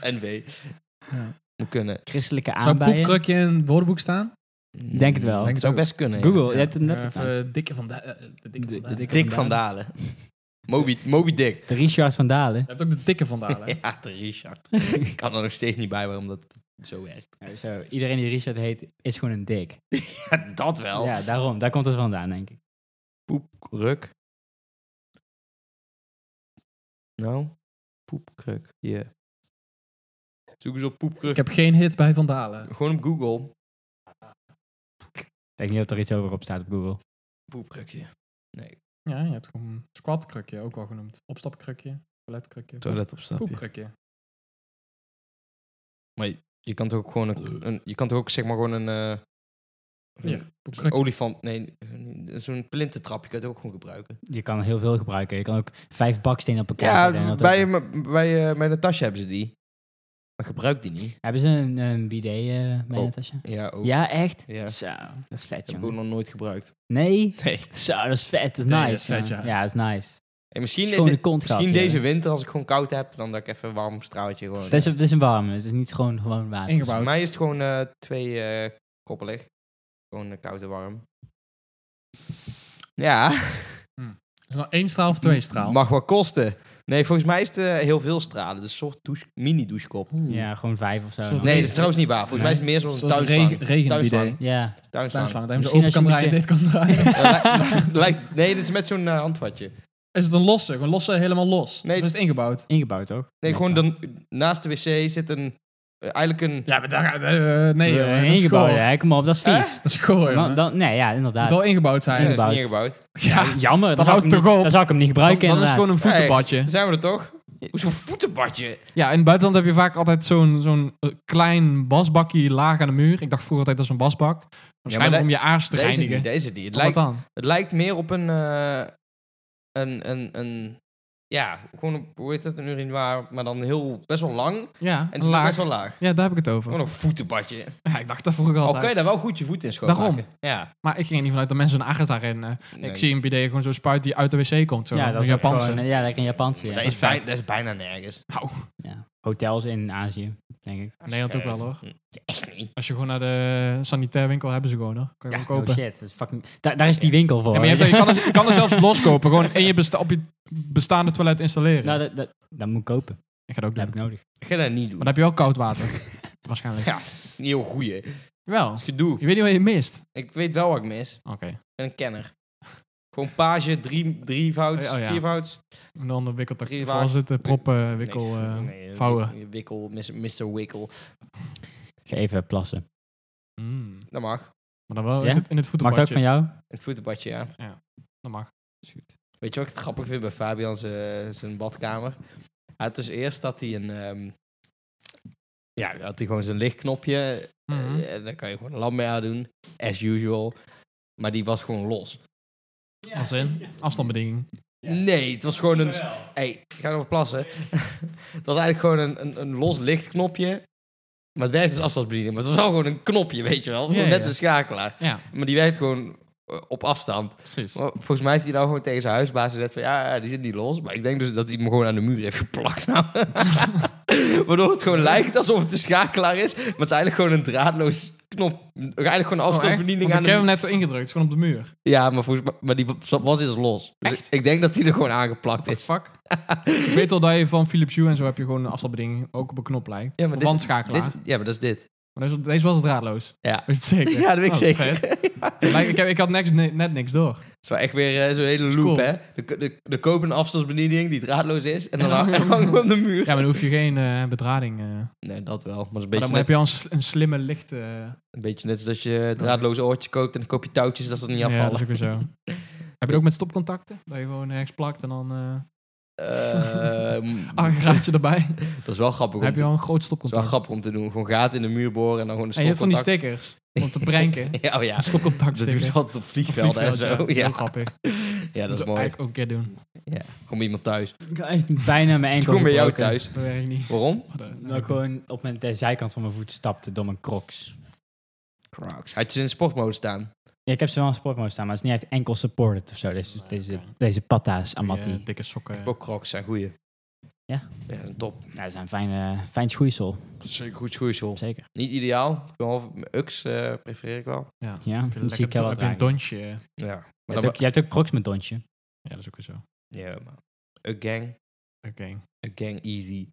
B: NW.
A: Ja.
B: Moet kunnen.
C: Christelijke
A: Zou
C: aanbijen.
A: poepkrukje in het woordenboek staan?
C: Denk het wel.
B: Denk
A: het
B: zou
A: ook.
B: best kunnen. ja.
C: Google, je hebt het net
A: Eh,
C: op
A: even
C: trouwens.
A: dikke van Da- eh, de dikke van
C: De- de
A: Dalen.
C: dikke-
B: Dick van Dalen.
C: *laughs*
B: Moby, Moby Dick.
C: De Richard van Dalen.
A: Je hebt ook de dikke van *laughs* Dalen. hè?
B: Ja, de Richard. Ik kan er nog steeds niet bij waarom dat zo werkt. *laughs*
C: Nou, Zo, iedereen die Richard heet, is gewoon een dik.
B: Ja, dat wel.
C: Ja, daarom. Daar komt het vandaan, denk ik.
B: Poepkruk. Nou, poepkruk. Ja. Zoek eens op poepkruk.
A: Ik heb geen hit bij Van Dalen.
B: Gewoon op Google.
C: Ik denk niet dat er iets over op staat op Google.
B: Poepkrukje.
A: Ja, je hebt gewoon squatkrukje, ook wel genoemd. Opstapkrukje, toiletkrukje,
B: Toiletopstapje.
A: poepkrukje.
B: Je kan toch ook gewoon een, een- je kan toch ook zeg maar gewoon een, eh,
A: Hier,
B: zo'n
A: poepkrukje.
B: olifant, nee, een- zo'n plintentrap, je kan het ook gewoon gebruiken.
C: Je kan heel veel gebruiken. Je kan ook vijf bakstenen op elkaar
B: Ja,
C: zetten en dat ook-
B: bij, m- bij, eh, bij Natasja hebben ze die. Maar gebruikt die niet.
C: Hebben ze een, een bidet eh bij
B: Oh.
C: Natasja?
B: Ja, ook.
C: Ja, echt?
B: Ja.
C: Zo, dat is vet,
B: Heb ik ook
C: jongen.
B: nog nooit gebruikt.
C: Nee?
B: Nee.
C: Zo, dat is vet. Dat is
A: Nee,
C: nice.
A: dat is vet,
C: jongen.
A: ja.
C: ja, dat is nice.
B: En misschien
C: Schone
B: de-
C: kont
B: misschien
C: gehad,
B: deze
C: ja.
B: winter, als ik gewoon koud heb, dan dat ik even een warm straaltje gewoon...
C: Het is, het is een warme. Het is niet gewoon, gewoon water.
A: Ingebouwd.
B: Voor mij is het gewoon eh, twee eh, koppelig. Gewoon eh, koud en warm. Ja,
A: Is het nou één straal of twee straal?
B: mag wat kosten. Nee, volgens mij is het eh, heel veel stralen. Dus een soort douche, mini-douchekop.
A: Oeh.
C: Ja, gewoon vijf of zo.
A: Soort
B: Nee, dat
A: regen-
B: is trouwens niet waar. Volgens mij is het meer
A: Een
B: zoals een
A: soort
B: tuinslang.
A: regen- regenbidet.
B: Tuinslang.
C: Ja.
B: Tuinslang.
A: Tuinslang, dat je hem
C: Misschien
A: zo open kan
C: als je
A: draaien en dit kan *laughs* draaien.
B: *laughs* Eh, lijkt- lijkt- Nee, dit is met zo'n eh, handvatje.
A: Is het een losse? Gewoon losse, helemaal los?
B: Nee.
A: Of is het ingebouwd?
C: Ingebouwd, toch?
B: Nee, gewoon dan, naast de wc zit een... eh, eigenlijk een...
A: Ja, maar daar gaat... eh, eh, nee,
C: Nee,
A: joh, dat is
C: ingebouwd,
A: goor.
C: hè? Kom op, dat is
B: Hè?
C: vies.
A: Dat is goor,
C: Dan,
A: jongen.
C: dan, nee, ja,
A: Het
C: inderdaad.
A: moet wel ingebouwd zijn.
B: Nee, dat eh, is
C: ingebouwd.
B: niet ingebouwd.
A: Ja,
C: Jammer,
A: Dat
C: dan zou
A: houdt
C: ik hem
A: toch
C: niet-
A: op?
C: Dan zou ik hem niet
A: dan,
C: gebruiken,
A: dan is het gewoon een voetenbadje.
B: Dan zijn we er toch? Hoezo voetenbadje?
A: Ja, in het buitenland heb je vaak altijd zo'n zo'n eh, klein wasbakje laag aan de muur. Ik dacht vroeger altijd dat is een wasbak. Waarschijnlijk
B: dat-
A: om je aars te
B: Dat is het
A: reinigen.
B: niet, dat is het niet. Het
A: Wat
B: lijkt,
A: dan?
B: Het lijkt meer op een, eh, een, een, een ja, gewoon op, hoe heet dat, een urinoir, maar dan heel, best wel lang en
A: Ja,
B: het is
A: laag.
B: best wel Oh. laag.
A: Ja, daar heb ik het over.
B: Gewoon een voetenbadje.
A: Ja, ik dacht dat vroeger
B: Al
A: altijd.
B: kan je daar wel goed je voet in schoonmaken.
A: Daarom.
B: Ja.
A: Maar ik ging er niet vanuit dat mensen hun aars daarin... eh,
B: Nee.
A: Ik zie een bidet gewoon zo'n spuit die uit de wc komt. Zo,
C: Ja, dat is ook
A: Japanse.
C: gewoon, ja, lekker in Japanse.
B: Maar
C: Ja.
B: dat, is bij, dat is bijna nergens.
A: Nou,
C: Ja. Hotels in Azië, denk
A: in
C: ik.
A: Nederland ook wel hoor.
B: Echt niet.
A: Als je gewoon naar de sanitair winkel hebben ze gewoon hoor. Kan je
C: Ja,
A: hem kopen.
C: oh shit. Dat is fucking, daar, daar is die winkel voor.
A: Ja, maar je, hebt- je kan er, je kan er
C: *laughs*
A: zelfs loskopen. Gewoon in je besta- op je bestaande toilet installeren.
C: nou, dat, dat, dat moet ik kopen.
A: ik ga dat ook
C: Dat
A: doen.
C: heb ik nodig.
B: Ik ga dat niet
A: Maar
B: doen.
C: *laughs*
A: dan heb je wel koud water. Waarschijnlijk.
B: Ja, niet heel goeie.
A: Wel.
B: Dat is gedoe.
A: Ik weet niet wat je mist.
B: Ik weet wel wat ik mis.
A: Oké.
B: Ik ben een kenner. Gewoon page, drie, drie vouds,
A: Oh, oh ja.
B: vier vouds.
A: En dan de wikkeltak.
B: Drie
A: Of
B: waars.
A: was het de prop eh, wikkel
B: Nee,
A: eh,
B: nee,
A: vouwen?
B: wik- Wikkel, mis- Mr. Wikkel.
C: Ik ga even plassen.
A: Mm.
B: Dat mag.
A: Maar dan wel
C: Ja?
A: in het, in het
C: Mag
A: voetbalbadje.
C: het ook van jou?
B: Het voetenbadje, ja.
A: Dat mag.
B: Weet je wat ik het grappig vind bij Fabian zijn zijn badkamer? Hij had dus eerst dat hij een... ehm, ja, dan had hij gewoon zijn lichtknopje.
A: Mhm.
B: eh, en dan kan je gewoon een lamp mee doen. As usual. Maar die was gewoon los.
A: Als in?
B: *laughs*
A: Afstandsbediening.
B: Nee, het was gewoon een... hey, ik ga nog plassen. *laughs* het was eigenlijk gewoon een, een, een los lichtknopje. Maar het werkte als afstandsbediening. Maar het was wel gewoon een knopje, weet je wel.
A: Ja, ja,
B: Net
A: ja.
B: een schakelaar.
A: Ja,
B: Maar die werkt gewoon eh, op afstand.
A: precies.
B: Maar volgens mij heeft hij nou gewoon tegen zijn huisbaas gezegd van... Ja, ja, die zit niet los. Maar ik denk dus dat hij hem gewoon aan de muur heeft geplakt.
A: *laughs*
B: Nou. Waardoor het gewoon lijkt alsof het een schakelaar is. Maar het is eigenlijk gewoon een draadloos knop. Eigenlijk
A: Oh,
B: gewoon een afstandsbediening
A: aan
B: aan
A: ik
B: de
A: heb hem
B: muur.
A: net zo ingedrukt. Het is gewoon op de muur.
B: Ja, maar, volgens mij, maar die was dus los. Dus ik, ik denk dat hij er gewoon aangeplakt
A: What the
B: is. *laughs*
A: fuck? ik weet al dat je van Philips Hue en zo heb je gewoon een afstandsbediening. Ook op een knop lijkt.
B: Ja, maar
A: Een
B: dit is-
A: wandschakelaar.
B: Dit is- ja, maar dat is dit.
A: Maar deze, deze was draadloos.
B: Ja.
A: Weet je het
B: *laughs*
A: zeker? Oh,
B: Ja, dat weet ik
A: is
B: zeker.
A: vet. Lijkt- ik, heb, ik had niks, ne- net niks door.
B: Het is wel echt weer eh, zo'n hele loop,
A: Cool.
B: hè? De, de, de koop een afstandsbediening die draadloos is
A: *laughs*
B: en dan
A: En dan
B: hang-
A: hang je-
B: hangen we op de muur.
A: Oh, Ja, maar dan hoef je geen eh, bedrading. eh. Maar
B: Nee, dat wel. Maar, dat is een,
A: dan
B: beetje net,
A: heb je al een, sl- een slimme licht. eh,
B: een beetje net als dat je draadloze oortjes koopt en dan koop je touwtjes dat ze er niet
A: Ja, dat
B: afvallen.
A: is ook weer zo.
B: *laughs*
A: Heb je ook met stopcontacten? Dat je gewoon ergens plakt en dan eh ah,
B: Ehm,
A: *laughs* aggregaatje erbij.
B: dat is wel grappig
A: Dan
B: om
A: heb
B: te,
A: je al een groot
B: dat is wel
A: stopcontact.
B: grappig om te doen. Gewoon gaten in de muur boren en dan gewoon een
A: en je hebt van die
B: stopcontact.
A: stickers om te pranken.
B: *laughs* Ja, oh ja.
A: Een stopcontact
B: Dat doen ze
A: sticker.
B: altijd op vliegvelden en
A: Vliegveld,
B: zo.
A: ja. Heel
B: Ja,
A: grappig.
B: *laughs* ja dat is
A: Zou
B: mooi.
A: eigenlijk ook een keer doen.
B: Ja. Kom iemand thuis.
C: Ik had echt bijna mijn enkel
B: Kom bij jou
C: gebroken.
B: thuis.
A: Dat werkt
B: *laughs*
A: niet.
B: Waarom?
A: Oh, dat-
C: Dat ik Nou, gewoon op mijn de zijkant van mijn voet stapte door mijn crocs.
B: Crocs. Had je ze in sportmode staan?
C: Ja, ik heb ze wel in sportmode staan, maar het is niet echt enkel supported of zo. Deze, deze, deze patta's, amati.
A: Die, eh, dikke sokken.
B: Ook Crocs zijn goeie.
C: Ja.
B: Ja, dat is top.
C: Nou, dat is een fijne, fijn schoeisel,
B: Zeker goed schoeisel.
C: zeker.
B: Niet ideaal. Behalve mijn UX eh, prefereer ik wel.
A: Ja.
C: Ja,
A: Heb je
C: die zie ik
A: lekker
C: heel wat
A: heb je een
C: dragen.
A: donsje. eh.
B: Ja.
C: Je
B: Maar
C: hebt,
B: dan
C: ook, je hebt ook crocs met donsje.
A: Ja, dat is ook weer zo.
B: Ja, maar... A gang.
A: Oké.
B: A gang easy.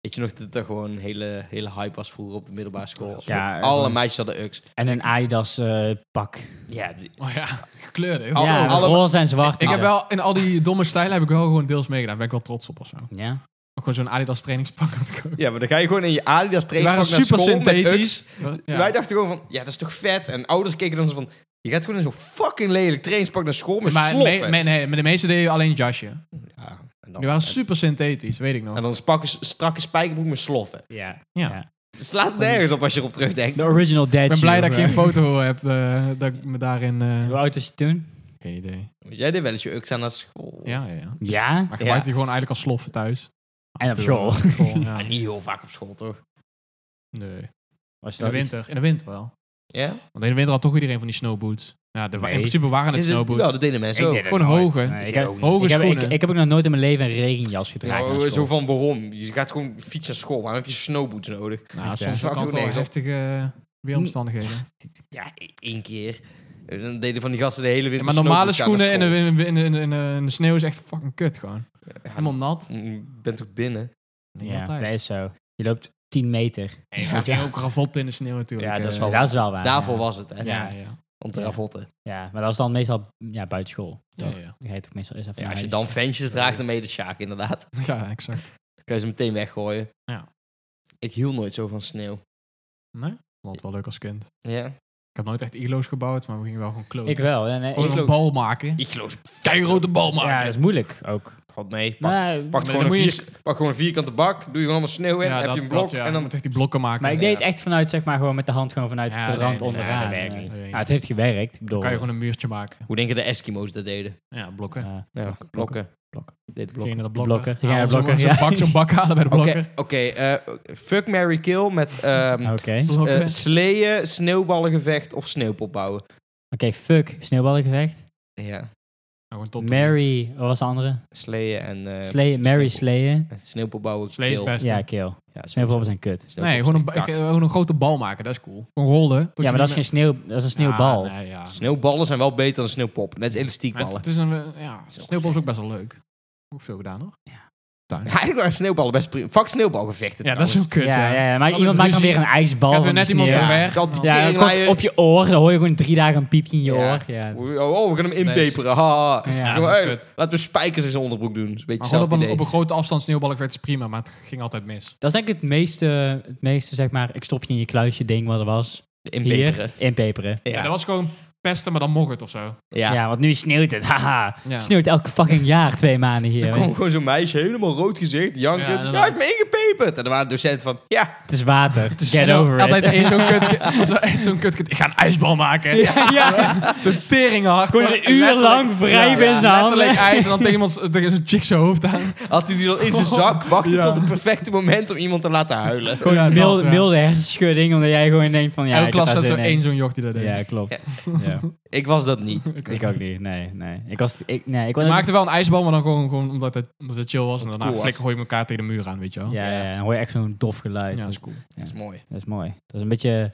B: Weet je nog dat dat gewoon een hele, hele hype was vroeger op de middelbare school?
C: Ja,
B: Met
C: eh,
B: alle
C: gewoon-
B: meisjes hadden UX.
C: En een Adidas eh, pak.
B: Ja, die-
A: Oh ja, *laughs* gekleurde.
B: Al-
C: ja,
B: alle-
C: roze en zwart.
A: Ik
C: en
A: heb
C: zo.
A: wel, in al die domme stijlen heb ik wel gewoon deels meegedaan. Daar ben ik wel trots op of zo.
C: Ja.
A: Ook Gewoon zo'n Adidas trainingspak had ik ook.
B: ja, maar dan ga je gewoon in je Adidas
A: Die waren
B: trainingspak naar
A: super
B: school met
A: synthetisch.
B: UX.
A: Ja.
B: Wij dachten gewoon van, ja, dat is toch vet? En ouders keken dan zo van, je gaat gewoon in zo'n fucking lelijk trainingspak naar school met
A: maar
B: sloffen.
A: me- me- nee, maar de meeste deden alleen een jasje.
B: Ja, Oh, en dan,
A: Die waren super synthetisch, weet ik nog.
B: en dan spakken- strakke spijkerbroek met sloffen.
C: ja.
A: Ja.
B: Het slaat nergens op als je erop terugdenkt.
C: De original dad
A: Ik ben blij dat ik geen
C: je
A: foto heb eh, dat ik me daarin... eh,
C: Hoe oud was je toen?
A: Geen idee.
B: Want Jij deed wel eens je UX aan naar school.
A: Ja, ja, ja.
C: Ja.
A: Maar ik
B: Ja.
A: gebruikte die gewoon eigenlijk als sloffen thuis.
C: En op
A: Toen-
C: school.
A: op school, ja.
B: *laughs* Maar Ah, niet heel vaak op school, toch?
A: Nee.
C: Was
A: In de winter. In de winter wel.
B: Ja?
A: Want in de winter had toch iedereen van die snowboots. Ja, de,
C: Nee.
A: in principe waren het
B: Is het-
A: snowboots.
B: Wel, dat deden mensen
C: Ik
B: ook.
C: deed dat
A: Gewoon
C: nooit.
A: hoge.
C: Nee,
B: Ik
C: ik,
B: deed
C: heb,
B: ook niet.
A: Hoge
C: ik, heb,
A: schoenen.
C: ik, ik heb ook nog nooit in mijn leven een regenjas gedragen.
B: Ja,
C: naar
B: zo
C: school.
B: van waarom? Je gaat gewoon fietsen naar school. Waarom heb je snowboots nodig?
A: nou,
C: echt, ja.
A: soms
B: Slaat
A: kan
B: ook
A: het wel
B: nergens op.
A: heftige eh, weeromstandigheden.
B: Ja, e- één keer. En Dan deden van die gasten de hele
A: Ja,
B: winter
A: maar normale
B: snowboots
A: schoenen
B: aan
A: in
B: naar
A: de, in, de- in, de- in, de- in de- in de sneeuw is echt fucking kut gewoon.
B: school. Ja, Mm,
A: Helemaal nat.
B: Je bent toch binnen?
A: Niet
C: Ja,
A: altijd.
C: dat is zo. Je loopt 10 meter.
A: En je gaat
C: Ja.
A: hier ook ravot in de sneeuw natuurlijk.
B: Ja, dat is
A: eh.
B: wel-
C: dat is wel waar.
B: Daarvoor
C: ja.
B: was het, hè?
A: Ja,
C: Ja.
A: ja.
B: Om te
C: Ja.
B: ravotten.
C: Ja, maar dat is dan meestal ja, buiten school.
A: Ja,
C: Ja,
A: ja.
C: Dan ga je toch meestal eens even
B: Ja,
C: naar
B: als je
C: huis.
B: dan ventjes draagt, dan ben je de Sjaak, inderdaad.
A: *laughs* Ja, exact.
B: Dan kan je ze meteen weggooien.
A: Ja.
B: Ik hield nooit zo van sneeuw.
A: Nee? Vond wel leuk als kind.
B: Ja?
A: Ik heb nooit echt ilo's gebouwd, maar we gingen wel gewoon kloten.
C: Ik wel. En, eh,
A: Gewoon
C: ik-
A: een bal maken.
B: Ik geloof
A: Keirote bal
C: ja,
A: maken.
C: dat is moeilijk ook.
B: Valt mee. Pak,
C: Maar,
B: pak,
A: dan
B: gewoon een
A: moet je
B: vierk- pak gewoon een vierkante bak. Doe je gewoon allemaal sneeuw in.
A: Ja,
B: heb
A: dat-
B: je een blok.
A: dat, ja.
B: En dan
A: moet echt die blokken maken.
C: maar ik
B: Ja.
C: deed het echt vanuit, zeg maar, gewoon met de hand gewoon vanuit
A: Ja,
C: de
A: nee,
C: rand
A: nee,
C: onderaan.
B: nee, dat
C: eh.
B: werkt niet.
A: Dat weet ik
C: Ja, het heeft gewerkt. Ik bedoel,
A: Dan kan je gewoon een muurtje maken.
B: Hoe denken de Eskimo's dat deden?
A: Ja, blokken.
C: eh,
B: Ja,
C: blokken, blokken.
B: Deed
A: Ging je
B: blokken.
A: naar de
C: De
A: blokker.
C: blokker. Ging
A: Haal
C: je naar de
A: zo'n-
C: blokker,
A: Zo'n
C: ja.
A: bak, zo'n bak halen bij de
B: Oké,
A: blokker.
B: oké, eh, fuck, Mary Kill met ehm,
C: Oké,
B: s- eh,
A: Blokken.
B: sleeën, sneeuwballengevecht of sneeuwpop bouwen.
C: Oké, fuck, sneeuwballengevecht.
B: Ja,
A: Nou, gewoon top drie.
C: Mary, wat was de andere?
B: sleeën en... eh,
C: Slayen, Mary
B: sneeuwpop-
C: Slayen.
B: Sneeuwpop bouwen,
A: Slee is
B: kill.
A: best.
C: Ja, kill.
B: Ja,
C: Sneeuwballen zijn kut.
B: sneeuwpop
A: Nee,
B: is
A: gewoon een,
B: echt
A: ba-
B: kak.
A: gewoon een grote bal maken. Dat is cool. Gewoon rollen. tot
C: Ja,
A: je
C: maar dat is
A: niet
C: geen sneeuw, dat is een sneeuwbal.
A: Ja, nee, ja.
B: Sneeuwballen zijn wel beter dan sneeuwpop. Net als
A: Maar het,
B: elastiekballen.
A: het is een... eh, Ja,
B: wel
A: sneeuwbal is
B: vet.
A: ook best wel leuk. Ook veel gedaan, hoor. tuin.
B: *laughs* Ja, eigenlijk waren sneeuwballen best prima. Fuck sneeuwbalgevechten
A: Ja, dat is ook kut.
C: ja,
A: Ja,
C: ja, ja, maar
A: Altijd
C: iemand maakt dan
A: ruzie.
C: weer een ijsbal.
A: Gaat
C: van
A: weer
C: de
A: net iemand
C: sneeuw.
A: te
B: Ja,
A: ver.
B: dat
A: Ja,
C: Ja,
B: ja,
C: dan komt op je oor, dan hoor je gewoon drie dagen een piepje in
B: Ja.
C: je oor. Ja, dat is-
B: Oh, oh, we gaan hem inpeperen. Ha, ha.
C: Ja,
B: Ja,
A: dat is
B: maar, hey,
A: kut.
B: laten we spijkers in zijn onderbroek doen. Dat is een beetje
A: Maar gewoon
B: hetzelfde
A: op een,
B: idee.
A: op een grote afstand sneeuwballengevecht is prima, maar het ging altijd mis.
C: dat is denk ik het meeste, het meeste, zeg maar, ik stop je in je kluisje ding wat er was.
B: Inpeperen.
C: Hier, inpeperen.
A: Ja.
B: Ja.
A: dat was gewoon pesten, maar dan mocht het of zo.
C: Ja.
B: Ja.
C: want nu sneeuwt het, haha.
A: Ja.
C: Het sneeuwt elke fucking jaar twee maanden hier.
B: Er kwam gewoon zo'n meisje, helemaal rood gezicht, jankend.
A: Ja,
B: Ja,
A: dat
B: hij heeft me ingepeperd. En er waren docenten van, ja.
C: Het is water, get
A: En dan
C: over
A: Altijd
C: it. *laughs*
A: één zo'n *laughs* kut, zo, echt zo'n kutkut. Ik ga een ijsbal maken.
C: ja,
A: Zo'n teringhard.
C: gewoon een uur lang wrijven in zijn
A: Letterlijk
C: handen.
A: ijs en dan tegen iemand tegen zo'n chick zijn hoofd aan.
B: Had hij die dan
A: *laughs*
B: in zijn zak, wachtte
A: Ja.
B: tot het perfecte moment om iemand te laten
A: *laughs*
B: huilen.
C: Gewoon
A: Ja,
C: milde,
A: dat, ja.
C: milde hersenschudding, omdat jij gewoon denkt van, ja,
A: Elke
C: ik heb
A: klas
C: daar
A: had zo
C: zin in.
A: één zo'n joch die dat deed.
C: Ja, klopt.
A: *laughs*
C: Ja.
B: Ik was dat niet.
C: Ik ook niet, nee, nee. Ik was, ik, nee, ik was
A: Ik maakte wel een ijsbal, maar dan gewoon, gewoon omdat, het, omdat het chill was. En daarna
B: Cool was.
A: flikker gooi je elkaar tegen de muur aan, weet je wel.
C: Ja, ja, ja, dan hoor je echt zo'n dof geluid.
A: Ja,
C: dat,
A: dat
C: is,
A: is cool.
B: Dat is mooi.
C: dat is mooi. Dat is een beetje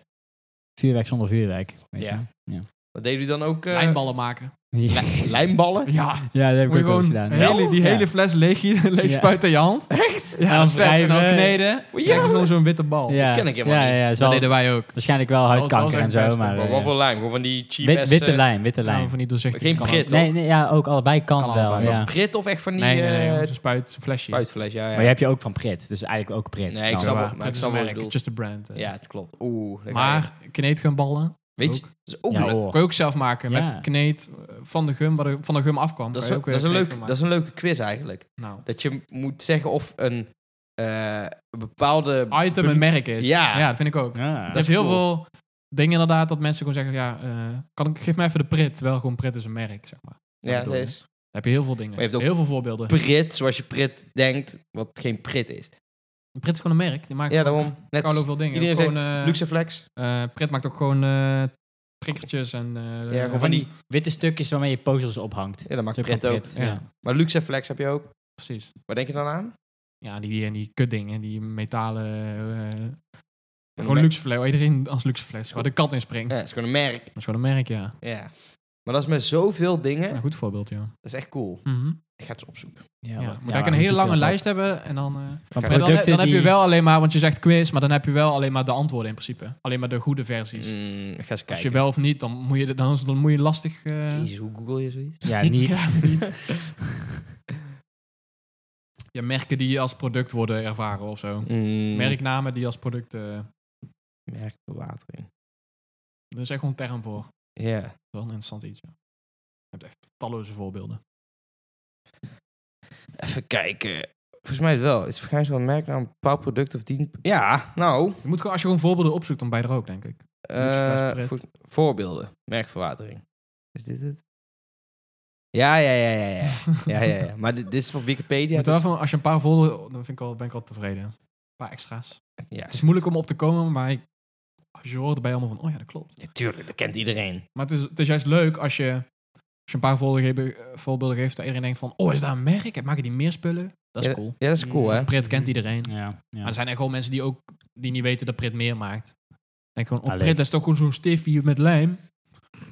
C: vuurwerk zonder vuurwerk. Weet
B: Ja.
C: Je? ja.
B: Wat deden jullie dan ook? eh,
A: Lijnballen maken.
B: li- lijnballen?
A: Ja,
C: Ja, dat heb ik
A: moet je
C: ook wel eens
A: gewoon
C: gedaan.
A: een hele, die
C: Ja.
A: hele fles leeg, *laughs* leeg
C: Ja.
A: spuiten in je hand. Echt? Ja,
C: dan
A: dat is vet. En dan
C: wrijven.
A: kneden.
B: Ja.
A: Ja. En gewoon zo'n witte bal.
C: Ja.
B: ken ik helemaal
C: ja,
B: niet.
C: Ja, ja,
A: Dat
C: is wel-
A: deden wij ook.
C: waarschijnlijk wel huidkanker
A: Dat
C: en
A: was echt
C: zo,
A: best,
C: maar...
B: Maar
C: eh,
B: wat voor lijm? Gewoon van die cheap
C: wit-
B: ass,
C: witte
B: eh,
C: lijn, witte
A: Ja,
C: lijn.
A: van die doorzichtige
B: Geen
A: kan
B: prit.
A: ook.
C: Nee, nee, ja, ook allebei kan,
A: Kan
C: wel.
A: allebei.
C: Ja.
B: Prit of echt van die
A: Nee, nee, nee.
B: eh,
A: gewoon Zo'n spuit, zo'n flesje.
B: spuitvlees? Ja, ja.
C: Maar je hebt je ook van Prit, dus eigenlijk ook Prit.
B: Nee, ik
C: dan.
B: snap wel,
A: Ja,
B: maar
A: dat
B: ik
A: is
B: snap
A: een
B: wat je
A: merk,
B: bedoelt.
A: Just a brand. eh.
B: Ja, het klopt. Oeh. daar ga je.
A: Maar kneed geen ballen.
B: Weet je,
A: ook.
B: dat is ook
C: Ja,
B: leuk.
C: hoor.
A: Kan je ook zelf maken
C: Ja.
A: met kneed eh, van de gum, waar de, van de gum afkwam.
B: Dat is,
A: Kan je
B: wel-
A: ook weer
B: dat, is een
A: kneed
B: leuk,
A: van
B: dat is een leuke quiz eigenlijk.
A: maken.
B: Dat je moet zeggen of een eh, bepaalde...
A: Nou, item een merk is.
B: Ja.
A: Ja, dat vind ik ook.
C: Ja. Dus
A: Er is
B: is
A: heel
B: cool.
A: veel dingen inderdaad dat mensen gewoon zeggen, ja, eh, kan ik, geef me even de prit. Wel gewoon prit is een merk, zeg maar.
B: ja,
A: bedoel
B: dat
A: je?
B: is
A: Dan heb je heel veel dingen.
B: Maar je hebt ook
A: heel veel voorbeelden.
B: prit, zoals je prit denkt, wat geen prit is.
A: Een prit is gewoon een merk. Die maakt
B: Ja, daarom. Net
A: Carlo veel dingen.
B: iedereen
A: gewoon,
B: zegt
A: eh,
B: Luxeflex.
A: eh, prit maakt ook gewoon eh prikkertjes en... eh,
B: Ja, gewoon
C: Van die witte stukjes waarmee je puzzels ophangt.
B: Ja, dat maakt
C: Zo
B: prit
C: van
B: ook.
C: Prit,
A: ja.
C: ja.
B: Maar Luxeflex heb je ook.
A: Precies.
B: Waar denk je dan aan?
A: Ja, die, die, die kutdingen, die metalen... eh,
B: Een
A: gewoon luxe fles. Iedereen als luxe fles. Waar de kat in springt.
B: Ja, het is gewoon een merk.
A: Dat is gewoon een merk, ja.
B: Ja. Maar dat is met zoveel dingen.
A: Een goed voorbeeld, ja.
B: Dat is echt cool.
A: Mhm.
B: Ik ga het eens opzoeken.
A: Ja,
C: maar-
A: moet
C: ja,
A: eigenlijk een
C: maar
A: hele
C: hoe
A: lange
C: zoek je dat
A: lijst hebben en dan... eh,
C: Van
B: Ja,
A: En dan,
C: producten
A: dan heb
C: die...
A: je wel alleen maar, want je zegt quiz, maar dan heb je wel alleen maar de antwoorden in principe. Alleen maar de goede versies.
B: Mm, ik ga eens
A: Als je
B: kijken.
A: wel of niet, dan moet je, dan, dan moet je lastig... eh,
B: Jezus, hoe google je zoiets?
C: Ja,
A: *laughs*
C: niet.
A: je merken die als product worden ervaren of zo.
B: Mm,
A: Merknamen die als product... eh
B: Merkbewatering.
A: er is echt gewoon een term voor.
B: Ja.
A: Wel een interessant iets, ja. Je hebt echt talloze voorbeelden.
B: Even kijken. Volgens mij is het wel. Het is waarschijnlijk wel een merknaam, een bepaald product of tien... Ja, nou...
A: Je moet gewoon, als je gewoon voorbeelden opzoekt, dan ben je er ook, denk ik.
B: Eh,
A: Luxeflex,
B: voor- voorbeelden. Merkverwatering. Is dit het? Ja, ja, ja, ja.
A: *laughs*
B: Ja, ja, ja, ja. Maar dit, dit is van Wikipedia.
A: Moet wel
B: dus-
A: van, als je een paar voorbeelden... Dan vind ik al, ben ik al tevreden. Een paar extra's.
B: ja,
A: Het is moeilijk om op te komen, maar ik, als je hoort, ben je allemaal van... Oh ja, dat klopt.
B: ja, tuurlijk. Dat kent iedereen.
A: Maar het is, het is juist leuk als je, als je een paar voorbeelden, ge- eh, voorbeelden geeft... dat iedereen denkt van... Oh, is dat een merk? Maken die meer spullen? Dat is
B: Ja,
A: cool.
B: Ja, dat is cool, hè?
C: Mm.
A: Prit kent iedereen.
C: Ja,
A: Maar
C: ja.
A: er zijn echt gewoon mensen die ook... die niet weten dat Prit meer maakt. Denk gewoon, oh,
C: Allee.
A: Prit dat is toch gewoon zo'n stiffie met lijm?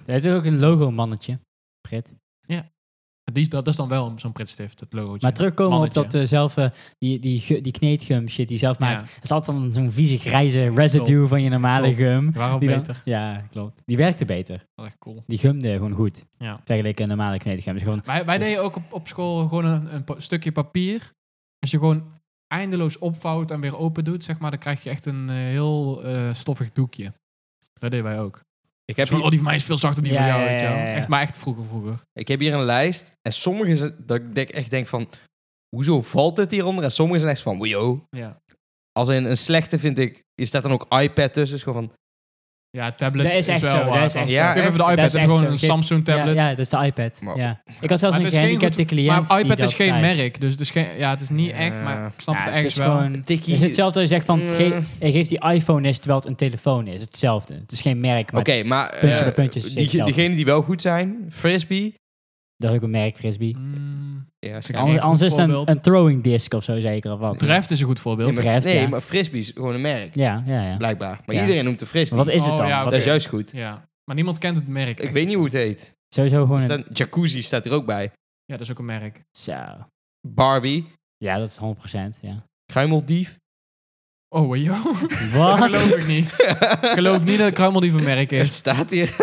C: Hij is ook een logo-mannetje. Prit.
A: Die, is- dat, dat is dan wel zo'n Pritstift, het logootje.
C: Maar terugkomen
A: Mannetje.
C: op dat eh, zelf, eh, die, die, gu- die kneedgum shit die je zelf maakt.
A: Ja.
C: Er zat dan zo'n vieze grijze residue van je normale
A: Top.
C: gum.
A: Waarom
C: Die dan-
A: beter?
C: ja, klopt. Die werkte beter.
A: Dat is echt cool.
C: Die gumde gewoon goed.
A: Ja.
C: Vergeleken een normale kneedgum. Dus gewoon,
A: Wij, wij
C: Dus-
A: deden ook op, op school gewoon een, een pa- stukje papier. Als je gewoon eindeloos opvouwt en weer open doet, zeg maar, dan krijg je echt een eh, heel eh, stoffig doekje. Dat deden wij ook.
B: Ik
A: Dus
B: heb,
A: van, oh,
B: hier,
A: die van mij is veel zachter, die
C: Ja,
A: van jou,
C: ja,
A: weet je wel.
C: ja, ja.
A: Echt, maar echt vroeger, vroeger.
B: ik heb hier een lijst. En sommige zijn... Dat ik denk, echt denk van... Hoezo valt dit hieronder? En sommige zijn echt van... Wow.
A: Ja,
B: Als een, een slechte vind ik... Is dat dan ook iPad tussen? Is gewoon van...
A: ja tablet
C: Dat is echt
A: wel
C: zo, dat
A: waar
C: is
A: van-
C: echt
B: zo. Ja,
A: Ik heb
B: echt,
A: even de
C: dat
A: iPad,
C: is
A: heb
C: echt
A: gewoon
C: zo.
A: een
C: Geef-
A: Samsung
C: ja,
A: tablet.
C: ja, dat is de iPad.
B: Maar-
C: Ja. Ik had zelfs
A: Maar
C: een
A: het is geen
C: gehandicapte
A: maar
C: cliënt. die
A: iPad
C: dat
A: is geen
C: zei.
A: merk, dus het is geen, ja, het is niet
B: Ja.
A: echt, maar ik snap
C: Ja,
A: het
C: het is
A: ergens wel.
C: gewoon...
B: Tikkie.
C: Het is hetzelfde als je zegt van,
B: Mm.
C: geef, eh, geef die iPhone is terwijl het een telefoon is. Hetzelfde. Het is geen merk,
B: Oké,
C: maar
B: maar...
C: puntjes
B: eh,
C: bij puntjes is
B: die,
C: hetzelfde.
B: diegenen die wel goed zijn... Frisbee.
C: dat is ook een merk, frisbee.
A: Mm,
B: Ja, als je
A: Ja,
B: kan-
A: geen
C: Anders,
A: goed
C: anders is het
A: voorbeeld.
C: een, een throwing disc of zo zeker, of wat.
A: Treft is een goed voorbeeld.
B: Nee, maar-
C: betreft,
B: nee,
C: ja.
B: maar Frisbee is gewoon een merk.
C: Ja, ja, ja.
B: Blijkbaar. Maar
C: Ja.
B: iedereen noemt de frisbee.
C: Wat is het
A: Oh,
C: dan?
A: ja,
C: Wat-
B: Dat is
A: Oké.
B: juist goed.
A: Ja, maar niemand kent het merk.
B: Ik weet niet hoe het heet.
C: Sowieso gewoon een...
B: Staan- jacuzzi staat er ook bij.
A: Ja, dat is ook een merk.
C: Zo.
B: Barbie.
C: Ja, dat is 100%.
A: *laughs*
C: Ja.
B: Kruimeldief.
A: Oh, joh. Dat
C: Wat?
A: geloof ik niet. Ik geloof niet dat Kruimel die van
B: *laughs*
A: merk
B: Er
A: is.
B: staat hier.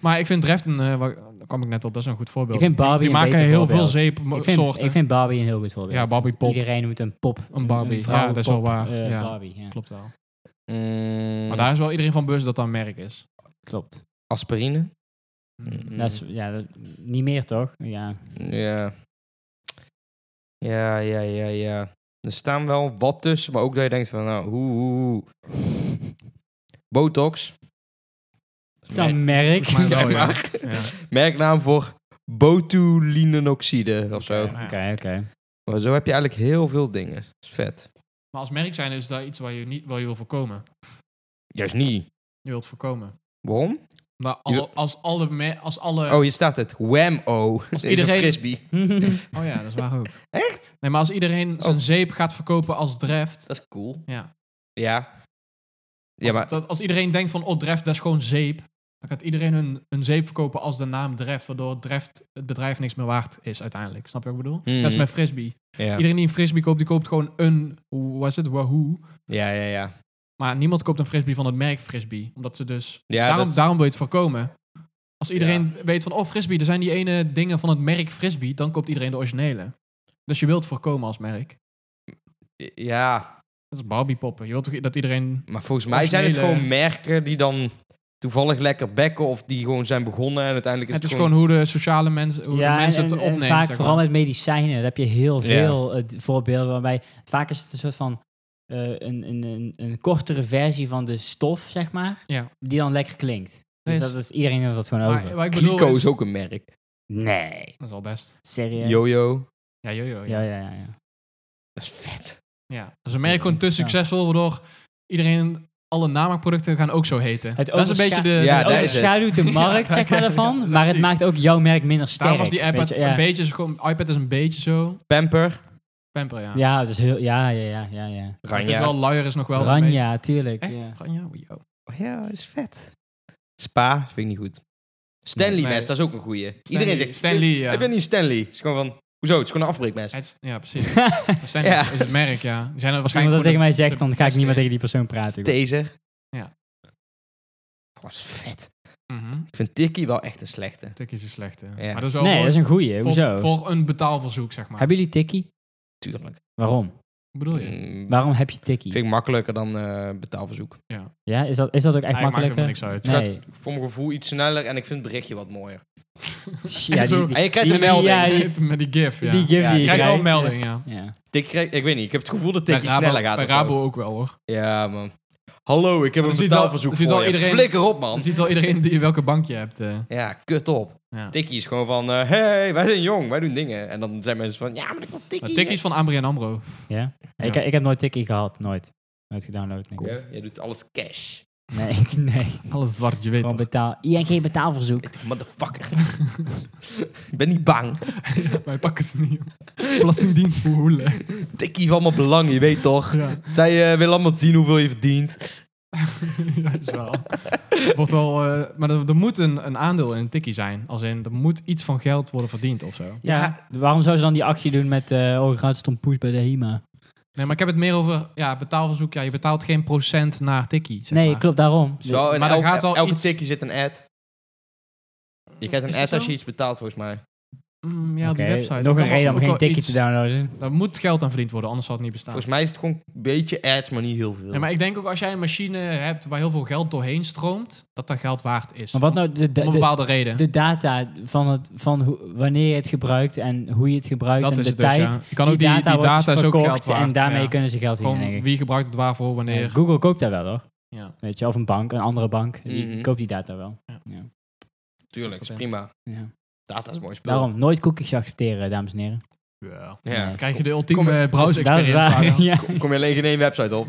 A: Maar ik vind Dreften, eh, wa- daar kwam ik net op, dat is een goed voorbeeld.
C: Ik vind
A: Die-
C: Barbie
A: die
C: een
A: maken
C: beter
A: heel veel
C: voorbeeld. ik, vind,
A: zeepsoorten.
C: ik vind Barbie een heel goed voorbeeld.
A: Ja, Barbie
C: Want
A: pop.
C: Iedereen moet een pop.
A: Barbie, ja,
C: vrouwen
A: dat is wel
C: pop,
A: waar,
C: eh,
A: ja.
C: Barbie, ja.
A: Klopt wel.
B: Mm,
A: Maar daar is wel iedereen van bewust dat dat een merk is.
C: Klopt.
B: Aspirine.
A: Mm.
C: Dat is, ja, dat- niet meer toch? Ja.
B: Ja. Ja, ja, ja, ja. Er staan wel wat tussen, maar ook dat je denkt van, nou, hoe, hoe, hoe. Botox. Mer-
C: Dan merk.
A: Volgens mij
B: Ja,
A: wel, ja.
B: maar.
A: Ja.
B: merknaam voor botulinenoxide of zo.
A: Ja.
C: *laughs* Oké, oké.
B: Maar zo heb je eigenlijk heel veel dingen. Dat is vet.
A: Maar als merk zijn is dat iets waar je niet waar je wil voorkomen.
B: Juist niet.
A: Je wilt voorkomen.
B: Waarom?
A: Nou,
B: Je-
A: al- als alle... me- als alle
B: Oh, hier staat het. *laughs* Wham-o. Is een
A: iedereen-
B: frisbee.
A: Oh ja, dat is waar ook. *laughs* Echt? Nee, maar als iedereen zijn
B: Oh.
A: zeep gaat verkopen als Dreft...
B: Dat is cool.
A: Ja.
B: Ja. Ja, maar...
A: Dat, als iedereen denkt van, oh, Dreft, dat is gewoon zeep... Dan gaat iedereen hun, hun zeep verkopen als de naam Dreft... waardoor Dreft het bedrijf niks meer waard is uiteindelijk. Snap je wat ik bedoel?
B: Mhm.
A: Dat is met frisbee.
B: Ja,
A: Iedereen die een frisbee koopt, die koopt gewoon een... Hoe was het? Wahoo.
B: ja, ja. ja.
A: Maar niemand koopt een frisbee van het merk frisbee. Omdat ze dus
B: ja
A: daarom,
B: dat-
A: daarom wil je het voorkomen. Als iedereen weet van, oh frisbee, er zijn die ene dingen van het merk frisbee, dan koopt iedereen de originele. Dus je wilt het voorkomen als merk.
B: Ja,
A: Dat is Barbie poppen. Je wilt toch dat iedereen...
B: maar volgens mij zijn het
A: Originele-
B: gewoon merken die dan toevallig lekker bekken of die gewoon zijn begonnen en uiteindelijk is
A: het
B: het,
A: is gewoon hoe de sociale mensen, hoe
C: Ja,
A: de
C: en,
A: mensen
C: en-
A: het
C: en
A: opnemen.
C: vaak
A: zeg
C: vooral
A: maar.
C: met medicijnen. Daar heb je heel
B: Ja.
C: veel eh, d- voorbeelden waarbij... Vaak is het een soort van... eh, een, een, een, een kortere versie van de stof, zeg maar.
A: Ja.
C: Die dan lekker klinkt.
A: Nee,
C: Dus
A: is-
C: dat is iedereen heeft dat gewoon
A: maar,
C: over.
A: wat ik bedoel
B: Clico
A: is,
B: is ook een merk.
C: Nee.
A: Dat is al best.
C: Serieus?
B: Jojo.
A: Ja, jojo. Ja.
C: Ja,
A: Ja,
C: ja, ja. ja.
B: Dat is vet.
A: Dus een merk gewoon te
C: Ja.
A: succesvol, waardoor iedereen... Alle namaakproducten gaan ook zo heten. dat
C: Het
A: is een
C: overscha-
A: beetje de...
B: Ja,
A: de
B: daar is het.
C: Overschaduwt de
A: *laughs*
C: markt,
A: Ja,
C: zeg maar,
A: ja,
C: ervan.
A: ja,
C: maar het
A: precies.
C: maakt ook jouw merk minder sterk.
A: Daarom was die iPad
C: weet je, ja.
A: een beetje... is gewoon- iPad is een beetje zo...
B: Pamper.
A: Pamper, ja.
C: Ja, het is heel... Ja, ja, ja, ja, ja.
A: Maar Het is
B: Ranja.
A: wel luier is nog wel... een beetje-
C: Ranja, tuurlijk.
A: Echt?
C: Ja.
A: Ranja? Oei, oh.
B: Ja, dat is vet. Spa, dat vind ik niet goed. Stanley
A: Nee.
B: mes, dat is ook een goeie.
A: Stanley-
B: Iedereen zegt...
A: Stanley, ja.
B: Heb je niet Stanley? Het is gewoon van... Hoezo? Het is gewoon een afbreekmes.
A: Het-
B: *laughs*
A: ja, precies. *laughs* Stanley
B: Ja.
A: is het merk, ja. Die zijn er
C: Als iemand
A: waarschijnlijk
C: dat tegen
A: gewoon
C: mij
A: de-
C: zegt,
A: de
C: dan ga ik niet meer
A: beste
C: tegen die persoon praten. joh.
B: Taser.
A: Ja.
B: Oh, dat is vet.
A: in. Mhm.
B: Ik vind Tikkie wel echt een slechte.
A: Tikkie is een slechte.
B: Ja.
A: Maar dat is wel
C: Nee,
A: voor,
C: dat is een goeie.
A: voor-
C: Hoezo?
A: voor een betaalverzoek, zeg maar.
C: Hebben jullie tikkie?
B: Tuurlijk. Mm.
C: Waarom?
A: Wat bedoel je?
C: Waarom heb je tikkie?
B: Vind ik makkelijker dan eh, betaalverzoek.
C: Ja, is dat, is dat ook
A: Eigenlijk
C: echt
A: maakt
C: makkelijker?
A: helemaal niks uit.
C: Nee.
B: Voor mijn gevoel iets sneller en ik vind het berichtje wat mooier.
C: *laughs* Ja,
A: Zo.
C: die, die,
B: En je krijgt
C: Die-
B: een melding.
C: ja, die-
A: Met- Met die gif, *laughs* ja.
C: die
A: je
C: give
B: Ja,
C: die je
A: krijgt wel een
C: krijgt,
A: melding, ja.
C: Ja.
B: Tik krijg- ik weet niet, ik heb het gevoel dat
A: Bij
B: Tikkie sneller gaat.
A: bij
B: of zo.
A: Rabo ook wel, hoor.
B: Ja, man. Hallo, ik heb
A: Maar
B: een
A: dan ziet wel-
B: betaalverzoek
A: dan ziet
B: voor
A: wel
B: je.
A: iedereen-
B: Flikker op,
A: Dan
B: man.
A: ziet wel iedereen die, welke bank je hebt. eh.
B: Ja, kut op.
A: ja.
B: Tikkie is gewoon van, eh, hey, wij zijn jong, wij doen dingen. En dan zijn mensen van, ja, maar ik wil
A: Maar
B: Tikkie.
A: Tikkie is van Ambri en Ambro. Ja.
C: Ik, ik heb nooit tikkie gehad. Nooit. Nooit gedownload. niks.
B: Ja, je doet alles cash.
C: Nee, *laughs* nee.
A: Alles wat je weet.
C: Gewoon
A: toch?
C: betaal. ING betaalverzoek.
B: Ik denk, Motherfucker. *laughs* ik ben niet bang.
A: *laughs* Wij pakken het niet. Belastingdienst voor hoelen.
B: Tikkie heeft allemaal belang, je weet toch.
A: *laughs* Ja.
B: Zij eh, willen allemaal zien hoeveel je verdient.
A: *laughs* ja, dat is wel. Wordt wel eh, maar er, er moet een, een aandeel in een tikkie zijn. Als in, er moet iets van geld worden verdiend of zo.
B: Ja.
C: Waarom zou ze dan die actie doen met... eh oh, gratis tompoes bij de HEMA?
A: Nee, maar ik heb het meer over ja, betaalverzoek. Ja, je betaalt geen procent naar tikkie. Zeg
C: Nee,
A: maar.
C: klopt, daarom.
B: Dus wel in
A: Maar daar
B: elk-
A: gaat wel
B: elke
A: iets-
B: tikkie zit een ad. Je krijgt
A: Is
B: een
A: dat
B: ad als
A: zo?
B: je iets betaalt, volgens mij.
A: Mm, ja,
C: Oké,
A: die website.
C: Nog een
A: Dat was
C: reden om
A: ook
C: geen
A: wel
C: tikkie
A: iets-
C: te downloaden.
A: Daar moet geld aan verdiend worden, anders zal het niet bestaan.
B: Volgens mij is het gewoon een beetje ads, maar niet heel veel.
A: Ja, maar ik denk ook als jij een machine hebt waar heel veel geld doorheen stroomt, dat dat geld waard is.
C: Maar wat nou de,
A: Om
C: de,
A: een
C: de,
A: bepaalde reden.
C: de data van, het, van hoe- wanneer je het gebruikt en hoe je het gebruikt
A: dat
C: en
A: is
C: de
A: het dus,
C: tijd.
A: ja. Je kan ook die, die
C: wordt
A: data
C: dus
A: is ook geld
C: verkocht
A: waard.
C: En daarmee
A: ja.
C: kunnen ze geld verdienen,
A: Gewoon
C: denk ik.
A: wie gebruikt het waarvoor,
C: Ja,
A: wanneer.
C: Google koopt daar wel, hoor.
A: Ja.
C: Weet je, of een bank, een andere bank. Die
B: Mhm.
C: koopt die data wel. Ja.
B: Tuurlijk, is prima.
C: Ja.
B: Data is een mooi spul.
C: Daarom, nooit cookies accepteren, dames en heren.
A: Ja.
B: Ja.
A: Dan krijg je de
B: Kom-
A: ultieme browser
C: Dat is
A: experience.
C: waar. *laughs*
A: Daniel.
C: Ja.
B: Kom je alleen geen één website op.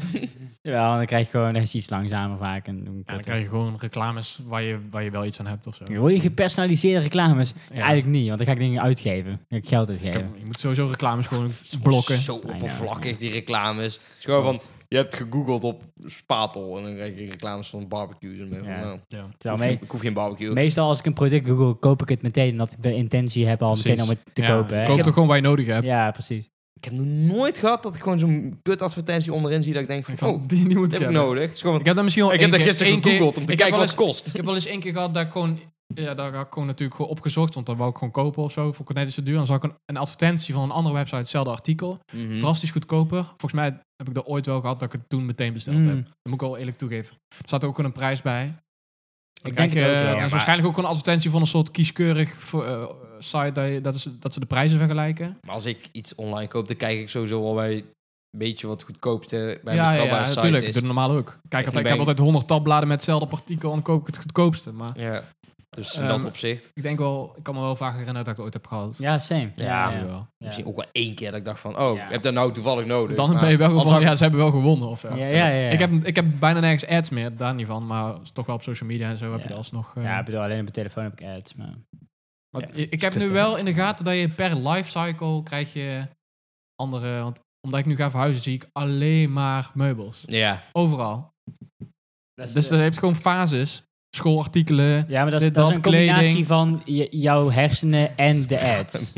C: Ja, dan krijg je gewoon dan is het iets langzamer vaak. En dan
A: Ja, dan krijg je gewoon reclames waar je, waar je wel iets aan hebt of zo.
C: Wil je gepersonaliseerde reclames?
A: Ja.
C: Eigenlijk niet, want dan ga ik dingen uitgeven. Dan ga ik
A: Ik
C: geld uitgeven.
A: heb- je moet sowieso reclames gewoon blokken.
B: Zo
C: ja,
B: oppervlakkig,
C: ja.
B: die reclames. Het is gewoon van, je hebt gegoogeld op spatel en dan krijg je reclames van barbecues. En dan
C: Ja.
B: van, nou,
A: Ja.
B: ik, hoef
C: Terwijl mee-
B: geen, ik hoef geen barbecue.
C: meestal als ik een product google, koop ik het meteen. Omdat ik de intentie heb al
A: Precies.
C: meteen om het te
A: Ja,
C: kopen. Hè?
A: Koop toch gewoon waar je nodig hebt.
C: Ja, precies.
B: Ik heb nog nooit gehad dat ik gewoon zo'n kut advertentie onderin zie dat ik denk van,
A: Ik
B: oh,
A: had- die, die moet
B: dat
A: ik
B: heb ik
A: hebben.
B: nodig. Is gewoon-
A: Ik heb dat misschien al
B: ik heb
A: één
B: dat
A: keer-
B: gisteren
A: Nou, één keer-
B: gegoogeld om te
A: ik heb
B: kijken wat
A: wel
B: het
A: eens-
B: kost.
A: Ik heb wel eens één keer gehad dat ik gewoon... Ja, daar had ik gewoon natuurlijk gewoon opgezocht, want dat wou ik gewoon kopen of zo. Voor net is het duur. Dan zag ik een, een advertentie van een andere website, hetzelfde artikel.
B: Mhm.
A: Drastisch goedkoper. Volgens mij heb ik dat ooit wel gehad dat ik het toen meteen besteld
C: Mm.
A: heb. Dat moet ik wel eerlijk toegeven. Er zat ook gewoon een prijs bij. Dan
C: Ik
A: krijg
C: denk het
A: je, eh,
C: ook wel.
A: dat is
C: maar-
A: waarschijnlijk ook een advertentie van een soort kieskeurig voor, eh, site dat, je- dat, is, dat ze de prijzen vergelijken.
B: Maar als ik iets online koop, dan kijk ik sowieso wel bij een beetje wat goedkoopste, bij een
A: ja, ja,
B: betrouwbare
A: ja,
B: site
A: natuurlijk. Ik
B: is.
A: doe het normaal ook. Kijk, altijd, ik
B: ben
A: heb
B: ik-
A: altijd 100 tabbladen met hetzelfde artikel en dan koop ik het goedkoopste. Maar
B: Ja. Dus in
A: Ehm,
B: dat opzicht.
A: ik denk wel, ik kan me wel vaak herinneren dat ik het ooit heb gehad.
C: Ja, same.
B: Ja.
C: ja.
A: Jawel.
C: ja.
B: Misschien ook wel één keer dat ik dacht van, oh,
C: Ja.
B: ik heb dat nou toevallig nodig.
A: Dan
B: Maar
A: ben je wel gewoon
B: anders
A: van,
B: had-
A: ja, ze hebben wel gewonnen of zo.
C: Ja, ja, ja, ja.
A: Ik, heb, ik heb bijna nergens ads meer, daar niet van. Maar het is toch wel op social media en zo heb je
C: Ja.
A: dat alsnog. eh,
C: Ja, ik bedoel, alleen op mijn telefoon heb ik ads,
A: Dus
C: maar...
A: want
C: ja.
A: ik- Ik heb nu
B: Kut,
A: wel in de gaten dat je per lifecycle krijg je andere... Want omdat ik nu ga verhuizen zie ik alleen maar meubels.
B: Ja.
A: Overal. Dus dat heeft gewoon fases.
C: *laughs*
A: Schoolartikelen.
C: Ja, maar dat is,
A: Dit,
C: dat is een
A: dat,
C: combinatie
A: kleding.
C: van j- jouw hersenen en de
A: *laughs*
C: ads.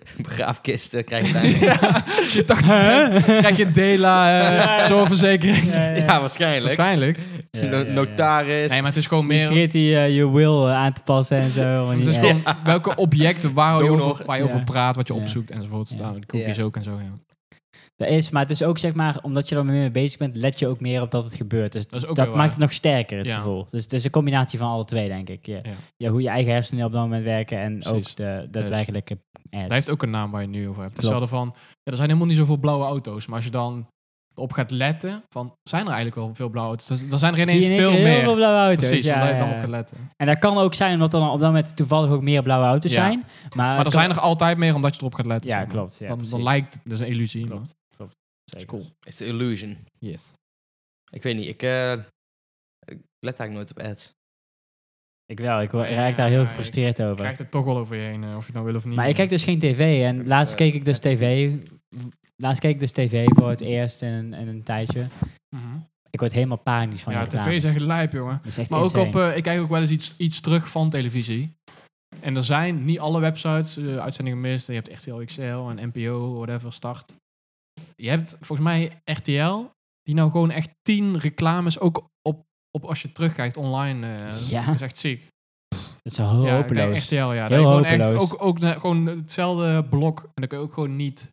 B: *laughs* Begraafkisten krijg je uiteindelijk.
A: Als je 80 bent, krijg je DELA, eh,
C: *laughs* Ja, ja.
A: zorgverzekering.
C: ja,
B: ja, waarschijnlijk.
A: Waarschijnlijk.
C: Ja, ja,
B: No-
C: ja.
B: Notaris.
A: Nee, maar het is gewoon
C: Niet
A: meer...
C: vergeet die, eh, je will eh, aan te passen en
A: *laughs*
C: zo. want
A: Het is
C: die ads.
A: gewoon welke objecten waar je,
B: Donor.
A: over, waar je
C: Ja.
A: over praat, wat je
C: Ja.
A: opzoekt enzovoort.
C: Ja.
A: Nou, de cookies
B: Ja.
A: ook en zo. Ja.
C: Dat is, maar het is ook zeg maar, omdat je er meer mee bezig bent, let je ook meer op dat het gebeurt. Dus
A: Dat is ook
C: dat,
A: weer waar.
C: maakt het nog sterker, het
A: Ja.
C: gevoel. Dus het is een combinatie van alle twee, denk ik. Ja.
A: Ja.
C: Ja. hoe je eigen hersenen op dat moment werken en
A: Precies.
C: ook de daadwerkelijke ads.
A: Dat heeft ook een naam waar je het nu over hebt.
C: Klopt.
A: Hetzelfde van, ja, er zijn helemaal niet zoveel blauwe auto's. Maar als je dan op gaat letten, van, zijn er eigenlijk wel veel blauwe auto's? Dan- Dan zijn er
C: Zie je
A: ineens
C: in één
A: veel
C: keer
A: meer.
C: heel veel blauwe auto's.
A: Precies,
C: ja,
A: omdat je
C: ja,
A: dan op
C: ja.
A: gaat letten.
C: En dat kan ook zijn omdat er dan op dat moment toevallig ook meer blauwe auto's
A: Ja.
C: zijn. Maar,
A: Maar er zijn er altijd meer omdat je erop gaat letten.
C: dus Ja,
A: zeg maar.
C: klopt. Ja,
A: dan, dan
C: precies.
A: lijkt het, dat is een illusie.
C: Klopt.
A: maar-
C: Zeker.
A: cool.
B: Het is een illusion.
A: Yes.
B: Ik weet niet, ik, eh, ik let eigenlijk nooit op ads.
C: Ik wel, ik word-
A: Ja,
C: raak daar heel
A: ja,
C: gefrustreerd
A: Je
C: over.
A: krijgt het toch wel over je heen, eh, of je nou wil of niet.
C: Maar ik kijk dus geen tv. En
B: Ik,
C: laatst
B: eh,
C: keek ik dus
B: heb-
C: tv. Laatst keek ik dus tv voor het eerst in, een- in een tijdje.
A: Mhm.
C: Ik word helemaal panisch dus van
A: Ja,
C: die
A: tv
C: reclame.
A: is echt lijp, jongen.
C: Dat is echt
A: Maar ook
C: insane.
A: op, eh, ik kijk ook wel eens iets, iets terug van televisie. En er zijn niet alle websites, eh, uitzendingen gemist. Je hebt RTL XL en NPO, whatever, start. Je hebt volgens mij RTL, die nou gewoon echt tien reclames ook op, op als je terugkijkt online. eh,
C: Ja.
A: Dat is echt ziek.
C: Dat is heel
A: Ja, ik denk
C: hopeloos.
A: RTL, ja.
C: Heel
A: Heel gewoon echt,
C: hopeloos.
A: ook ook na- gewoon hetzelfde blok. En dan kun je ook gewoon niet...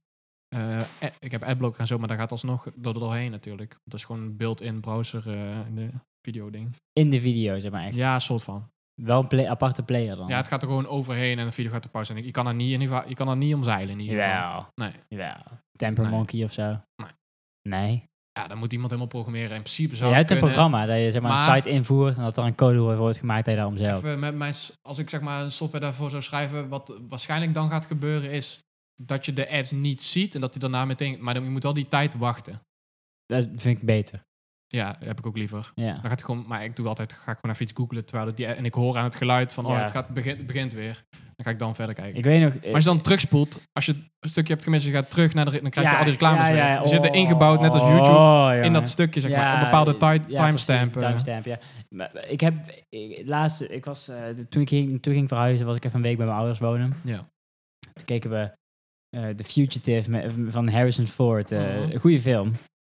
A: eh, ad- ik heb adblock en zo, maar daar gaat alsnog door doorheen natuurlijk. Dat is gewoon een built-in browser eh video ding.
C: In de video, zeg maar echt.
A: Ja, soort van.
C: Wel een play- aparte player dan.
A: Ja, het gaat er gewoon overheen en de video gaat op pauze. En je kan er niet, in ieder geval, je kan er niet omzeilen in ieder geval.
C: Jawel.
A: Nee.
C: Jawel. Temper
A: Nee.
C: Monkey of zo.
A: Nee.
C: Nee.
A: Ja, dan moet iemand helemaal programmeren. In principe
C: Je
A: zou
C: hebt een
A: kunnen-
C: programma dat je zeg maar,
A: maar-
C: een site invoert en dat er een code voor wordt gemaakt dat je daarom zelf.
A: Even met mijn, s- als ik zeg maar een software daarvoor zou schrijven, wat waarschijnlijk dan gaat gebeuren is dat je de ads niet ziet en dat die daarna meteen... Maar dan, je moet al die tijd wachten.
C: Dat vind ik beter.
A: Ja, heb ik ook liever.
C: Ja.
A: Dan gaat het gewoon, maar ik doe altijd, ga ik gewoon even iets googlen terwijl het die, en ik hoor aan het geluid van, oh,
C: Ja.
A: het, gaat, begint, het begint weer. Dan ga ik dan verder kijken.
C: Ik weet nog...
A: maar als je dan terugspoelt, als je een stukje hebt gemist, je gaat terug naar de, re- dan krijg je
C: Ja,
A: al die reclames
C: ja, ja,
A: weer. Die zitten
C: oh,
A: ingebouwd, net als YouTube. in
C: jongen.
A: dat stukje, zeg maar.
C: Ja,
A: Een bepaalde
C: ja,
A: ti-
C: precies,
A: timestamp. eh.
C: timestamp, ja. Maar Ik heb ik- laatst, ik was, eh, toen, ik ging, toen ik ging verhuizen, was ik even een week bij mijn ouders wonen.
A: Ja.
C: Toen keken we eh The Fugitive met- van Harrison Ford. eh,
A: Mhm.
C: Een goede film.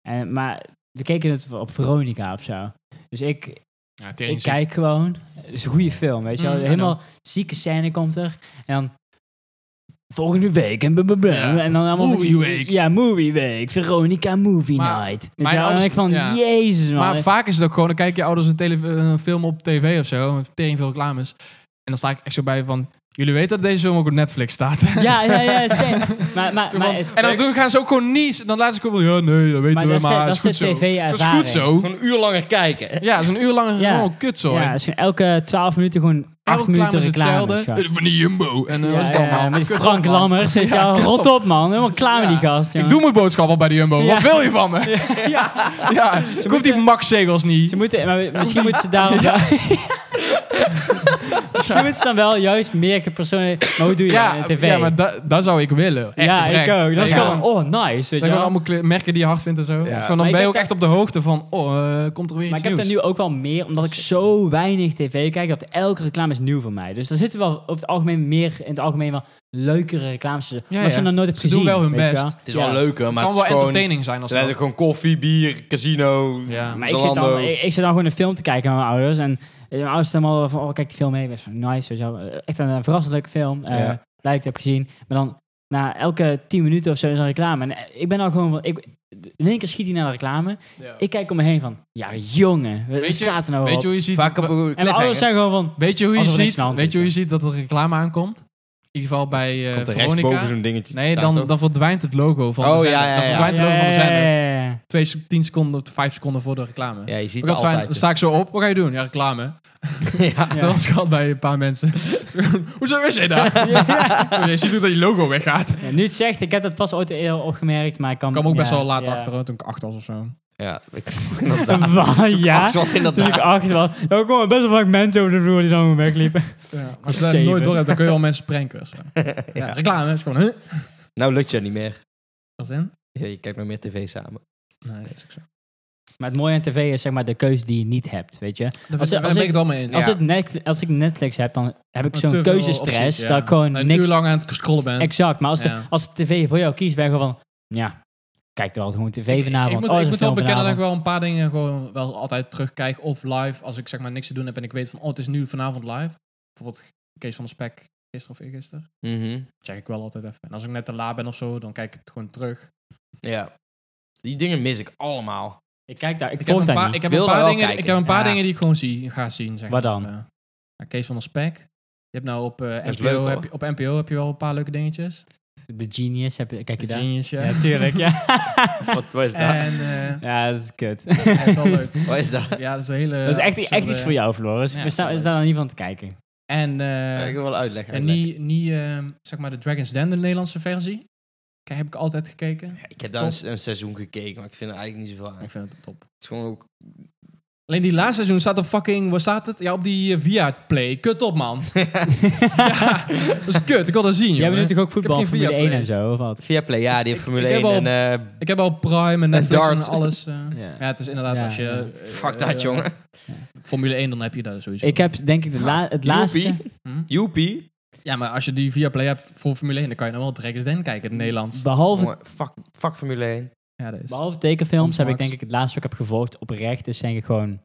C: En, maar we keken het op Veronica of zo. Dus ik,
A: Ja,
C: ik
A: tering ziek.
C: kijk gewoon. Het is een goede film, weet je wel.
A: Mm, I
C: Helemaal zieke scène komt er. En dan... Volgende week en blablabla.
A: Ja.
C: En dan allemaal... van die-
A: Movie week.
C: Ja, movie week. Veronica movie
A: Maar
C: night. Weet je
A: mijn
C: wel? En dan
A: ouders-
C: denk ik van,
A: ja.
C: jezus man.
A: Maar vaak is het ook gewoon, dan kijk je ouders een, tele- een film op tv of zo, met tering veel reclames. En dan sta ik echt zo bij van, jullie weten dat deze film ook op Netflix staat. *laughs*
C: Ja, ja, ja, same. Maar, maar,
A: Van-
C: maar, het-
A: en dan doen, gaan ze ook gewoon niet. Dan laten ze gewoon, ja nee, dat weten
C: maar
A: we,
C: dat is de,
A: maar
C: dat
A: is goed
C: is de
A: zo. Dat is
C: tv-ervaring.
A: goed zo.
B: Gewoon een uur langer kijken.
A: Ja, dat is een uur lang
C: Ja.
A: gewoon kut zo.
C: Ja,
A: Ja,
C: dus gewoon elke twaalf minuten gewoon acht minuten
A: is
C: reclame.
A: hetzelfde.
C: is gewoon.
A: Van die Jumbo. En eh,
C: Ja,
A: wat is dat
C: ja,
A: nou?
C: met
A: Kut
C: Frank
A: man.
C: Lammers. Is
A: Ja,
C: jou,
A: kut
C: rot
A: op.
C: op man, helemaal klaar met
A: Ja.
C: die gast.
A: Ik
C: jongen.
A: doe mijn boodschap al bij de Jumbo.
C: Ja.
A: Wat wil je
C: *laughs*
A: van me? Ja, ik hoef die Max-zegels niet. *laughs*
C: Ze moeten, maar misschien moeten ze daarom... *laughs* Misschien is dan wel juist meer gepersonaliseerd. Maar hoe doe je dat in de tv?
A: ja, maar da- dat zou ik willen.
B: echt
C: ja,
B: oprecht.
C: ik ook. Dat is
B: Ja.
C: gewoon, oh, nice. Weet
A: Dat
C: je
A: gewoon
C: wel.
A: allemaal kle- merken die je hard vindt en zo.
B: Ja.
A: Zo, dan
C: Maar
A: ben
C: ik
A: je
C: heb
A: ook
C: dat-
A: echt op de hoogte van, oh, eh, komt er weer
C: Maar
A: iets
C: ik heb er
A: nieuws.
C: nu ook wel meer, omdat ik zo weinig tv kijk, dat elke reclame is nieuw voor mij. Dus daar zitten wel over het algemeen meer, in het algemeen wel leukere reclames. tussen.
A: Ja,
C: maar als je
A: ja.
C: dan nooit hebt
A: Ze
C: gezien.
A: doen wel hun
C: weet je
A: best.
B: Het is wel
C: Ja.
B: leuker,
A: het
B: maar
A: kan
B: het
A: wel
B: is gewoon...
A: entertaining zijn als
B: Ze hebben
A: wel.
B: gewoon koffie, bier, casino,
A: Ja.
C: Maar ik zit, dan, ik, ik zit dan gewoon een film te kijken met mijn ouders. En eh, mijn ouders zijn allemaal van, oh, kijk die film mee. Best wel nice, weet je wel. Eh, Echt een eh, verrassend leuke film. eh
B: Ja.
C: Lijkt, heb gezien. Maar dan na elke tien minuten of zo is een reclame. En eh, ik ben al gewoon van, ik, in één keer schiet hij naar de reclame.
A: Ja.
C: Ik kijk om me heen van, ja jongen,
A: Weet
C: weet
A: je-
C: staat er nou
A: Weet
C: op?
A: je hoe je ziet?
B: Vaak op een
C: en mijn ouders zijn gewoon van,
A: Weet je hoe je
C: Alsof er niks
A: ziet?
C: aan de hand
A: Weet je
C: is,
A: hoe je ziet dat er reclame aankomt? In ieder geval bij eh,
B: Komt er
A: Veronica.
B: rechtsboven zo'n dingetje te
A: Nee,
B: staan,
A: dan,
B: toch?
A: dan verdwijnt het logo van
B: Oh,
A: de
B: ja,
A: zender.
B: ja,
A: Dan
B: ja.
A: verdwijnt het logo van de
C: ja,
A: zender.
C: ja, ja.
A: Twee, sec- tien seconden, of vijf seconden voor de reclame.
B: Ja, je ziet
A: Ook
B: het
A: altijd fijn. Dan
B: altijd.
A: sta ik zo op. Wat ga je doen? Ja, reclame. *laughs*
B: ja.
A: Dat was ik al bij een paar mensen. *laughs* Hoezo is hij daar? *laughs* Je ziet ook dat je logo weggaat. Ik
C: Ja, nu het zegt, ik heb dat pas ooit eerder opgemerkt, maar ik kan...
A: kwam ook best
C: ja,
A: wel laat
C: ja.
A: achter, hoor, toen ik acht was of zo.
B: *laughs* Ja, ik
C: *laughs* Waar,
B: *laughs*
C: ja,
B: zoals
C: toen ik
B: inderdaad.
C: acht was. Ja, er kwamen best wel vaak mensen over de vloer die dan gewoon wegliepen.
A: Ja, als je dat
C: Zeven.
A: nooit door hebt, dan kun je wel mensen pranken. of zo. Ja, reclame is gewoon, huh?
B: Nou lukt je niet meer.
A: Wat is in?
B: Ja, je kijkt nog meer tv samen.
A: Nee, dat is ook zo.
C: Maar het mooie aan tv is zeg maar de keuze die je niet hebt, weet je.
A: Daar
C: Als-
A: ben- daar
C: als
A: ben
C: ik-
A: ik het wel mee eens.
C: Als,
B: Ja.
C: het Netflix, als ik Netflix heb, dan heb ik
A: Oh, Te
C: zo'n
A: veel
C: keuzestress.
A: opties, ja.
C: Dat ik gewoon
A: een
C: niks...
A: uur lang aan het scrollen bent.
C: Exact, maar als, de,
A: Ja.
C: als de tv voor jou kiest, ben je gewoon van... Ja, kijk er wel gewoon tv
A: Ik-
C: vanavond.
A: Ik, moet,
C: oh, is
A: ik
C: een
A: moet wel
C: film
A: bekennen dat ik
C: vanavond.
A: wel een paar dingen gewoon wel altijd terugkijk of live. Als ik zeg maar niks te doen heb en ik weet van, oh, het is nu vanavond live. Bijvoorbeeld Kees van de Spek gisteren of eergisteren.
B: Mhm.
A: Check ik wel altijd even. En als ik net te laat ben of zo, dan kijk ik het gewoon terug.
B: Ja. Die dingen mis ik allemaal.
C: Ik kijk daar, ik,
A: heb
C: volg
A: een
C: daar
A: paar,
C: niet.
A: ik heb
B: Wil
A: een
B: er
A: paar
B: wel
A: dingen,
B: kijken.
A: ik heb een paar
C: Ja.
A: dingen die ik gewoon zie, ga zien. Zeg
C: Wat
A: maar.
C: dan?
A: Eh, nou, Kees van der Spek. Je hebt nou op, eh,
B: is
A: NPO,
B: leuk, hoor.
A: heb je, op NPO heb je wel een paar leuke dingetjes.
C: The Genius, heb, je- kijk je
A: De
C: daar?
A: Genius, ja.
C: Ja, tuurlijk, ja.
B: *laughs* Wat,
A: *laughs*
B: wat is
A: en eh
C: Ja, dat is kut.
A: *laughs* ja, is wel leuk.
B: Wat is dat?
A: Ja, dat is een hele...
C: *laughs* dat is echt, echt
A: absurde-
C: iets voor jou, Floris.
A: Ja,
C: We staan-
A: sorry.
C: is daar dan niet van te kijken?
A: En eh,
B: ik wil wel uitleggen.
A: En
B: uitleggen.
A: niet, niet ehm, zeg maar de Dragon's Den, de Nederlandse versie. Kijk, heb ik altijd gekeken.
B: Ja, ik heb daar een, se- een seizoen gekeken, maar ik vind er eigenlijk niet zoveel aan.
A: Ik
B: Het
A: vind het top.
B: is gewoon *laughs* ook...
A: Alleen die laatste seizoen staat op fucking, waar staat het? Ja, op die eh, via play. Kut op, man. *laughs* ja, dat is kut. Ik wil dat zien,
C: Jij
A: jongen.
C: bent natuurlijk ook voetbal,
A: geen
C: Formule
A: Viaplay.
C: 1 en zo, of wat?
B: Viaplay, ja, die heeft Formule
A: ik heb
B: 1 en... eh,
A: Ik heb al Prime en Netflix en,
B: darts.
A: alles. eh.
C: Ja.
A: *laughs* Ja, het is inderdaad
C: Ja,
A: als je...
C: ja.
A: eh,
B: fuck dat,
A: eh,
B: jongen.
A: Formule 1, dan heb je dat sowieso.
C: Ik heb denk ik de la- het laatste...
B: Joepie.
A: Hm?
B: Joepie.
A: Ja, maar als je die via play hebt voor Formule 1, dan kan je dan wel Dragon's Den kijken in het Nederlands.
C: Behalve,
B: Jongen, fuck, fuck Formule 1.
A: Ja, dat is...
C: behalve tekenfilms heb ik
A: Max.
C: denk ik het laatste wat ik heb gevolgd oprecht. Dus denk ik gewoon...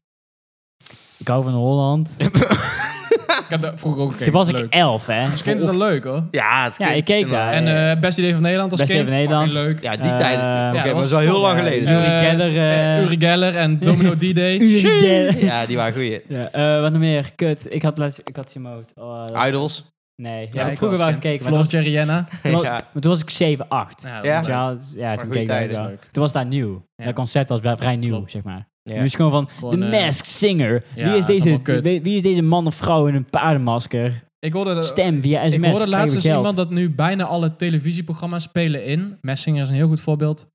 C: Ik hou van Holland.
A: Ik heb dat vroeger ook gekeken.
C: Toen was ik
A: Leuk.
C: elf, hè.
A: Als kind is dat leuk, hoor.
B: ja, het is
C: Ja,
B: kind-
C: ik keek daar.
A: En eh, Best Idee van Nederland als
C: Best Idee
A: kind.
C: van Nederland.
A: Fucking leuk.
B: Ja, die
C: Eh,
B: tijden.
C: ja,
B: Oké, maar
A: dat
B: dat
A: was
B: is wel heel
A: top,
B: lang
C: ja.
B: geleden.
C: *laughs* Uri
A: Eh,
C: Geller, eh,
A: Eh, Uri Geller
C: *laughs*
A: en Domino D-Day.
C: Uri Geller.
B: Ja, die waren goeie.
C: Ja, eh, wat nog meer? Kut. Ik had, laatst- ik had ze in mijn hoofd. Oh, dat-
B: Idols.
C: nee. Ja,
A: Ja,
C: heb
A: ik
C: ik vroeger
A: was
C: wel
A: kind.
C: gekeken. Maar
A: Floor
C: toen, was,
A: Jerriana.
C: toen was-
B: Ja.
C: maar toen was ik 7, 8.
B: Ja.
C: Weet je wel? Dus Ja, toen
B: goede
C: keek ik
B: tijden
C: dat
A: is
C: wel.
A: leuk.
C: Toen was dat nieuw.
A: Ja.
C: Dat concept was wel vrij nieuw,
A: Klopt.
C: zeg maar.
B: Ja.
C: Nu is het gewoon van,
A: Gewoon,
C: de
A: eh,
C: Masked Singer.
A: ja,
C: wie, is
A: dat is
C: deze,
A: allemaal kut.
C: wie, wie is deze man of vrouw in een paardenmasker?
A: Ik hoorde, dat-
C: Stem via
A: ik
C: sms.
A: hoorde laatst eens
C: krijgen we
A: iemand
C: geld.
A: dat nu bijna alle televisieprogramma's spelen in. Messinger is een heel goed voorbeeld.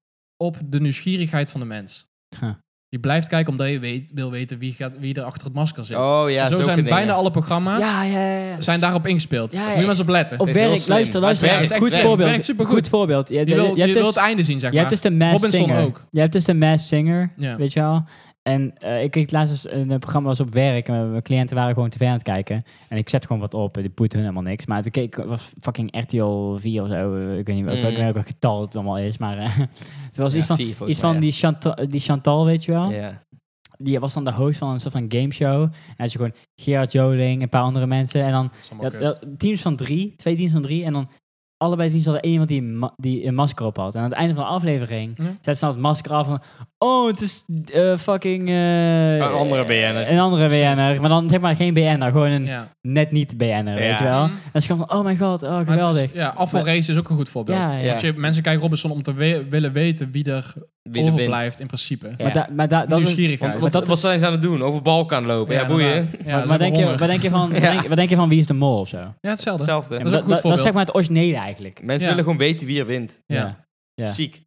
A: Op de nieuwsgierigheid van de mens.
C: Huh.
A: Je blijft kijken omdat je weet, wil weten wie, gaat, wie er achter het masker zit.
B: Oh ja,
A: zo, zijn
B: kunnen
A: bijna
B: dingen.
A: alle programma's
C: Ja, ja, ja.
A: zijn daarop ingespeeld.
C: Ja,
A: Ja,
C: ja.
A: Moet je maar eens op letten.
C: Op
B: Dit is heel
C: werk,
B: slim.
C: luister,
B: Maar het
C: luister.
A: werkt, het
C: goed
A: werkt.
C: voorbeeld.
A: Het werkt supergoed.
C: Goed voorbeeld. Je,
A: Je wil, je
C: hebt
A: wil
C: dus-
A: het einde zien, zeg
C: je hebt
A: maar.
C: dus de Masked
A: Robinson
C: Singer.
A: ook.
C: Je hebt dus de Masked Singer,
A: Ja.
C: weet je wel. En eh, ik keek laatst eens een eh, programma was op werk en mijn- mijn cliënten waren gewoon tv aan het kijken. En ik zet gewoon wat op, en die boeit hun helemaal niks. Maar toen keek was fucking RTL 4 of zo, eh, ik weet niet wel- ik weet
B: Mm.
C: niet welk getal het allemaal is. Maar eh, *laughs* het was
B: Ja,
C: iets van,
B: vier, volgens
C: iets
B: mij,
C: van die, Chantal, die Chantal, weet je wel.
B: ja. Ja.
C: Die was dan de host van een soort van gameshow. En had je gewoon Gerard Joling, een paar andere mensen. En dan
A: Dat is allemaal
C: ja,
A: kut.
C: ja, teams van drie, twee teams van drie. En dan allebei teams hadden één iemand die een, ma- die een masker op had. En aan het einde van de aflevering
A: Ja.
C: zetten ze dan het masker af van... Oh, het is eh, fucking... eh,
B: Een andere BN'er.
C: Een andere BN'er. Maar dan zeg maar geen BN'er, gewoon een
A: Ja.
C: net niet BN'er, weet
B: Ja.
C: je wel.
A: Mhm.
C: En ze gewoon van, oh mijn god, oh
A: Maar het is-
C: geweldig.
A: ja, afvalrace is ook een goed voorbeeld.
C: Ja, ja.
A: Als je, mensen kijken Robinson om te we- willen weten wie er
B: Wie de wint.
A: overblijft in principe.
C: Maar, da- maar da- dat is...
A: Nieuwsgierigheid.
B: Want, wat,
C: dat
B: wat
C: is-
B: zijn ze aan het doen? Over Balkan lopen? Ja, boeien.
A: inderdaad. Ja,
C: Maar,
A: ze
C: maar denk je,
A: hebben honger.
C: wat, denk je
A: *laughs*
C: van, wat, denk, wat denk je van wie is de mol of zo? Ja,
A: Ja, hetzelfde.
B: Hetzelfde.
A: Ja,
C: maar
A: is ook een
C: dat,
A: goed
C: dat is
A: voorbeeld.
C: zeg maar het originele eigenlijk.
B: Mensen
A: Ja.
B: willen gewoon weten wie er wint.
A: Ja.
C: Ja.
B: Ziek.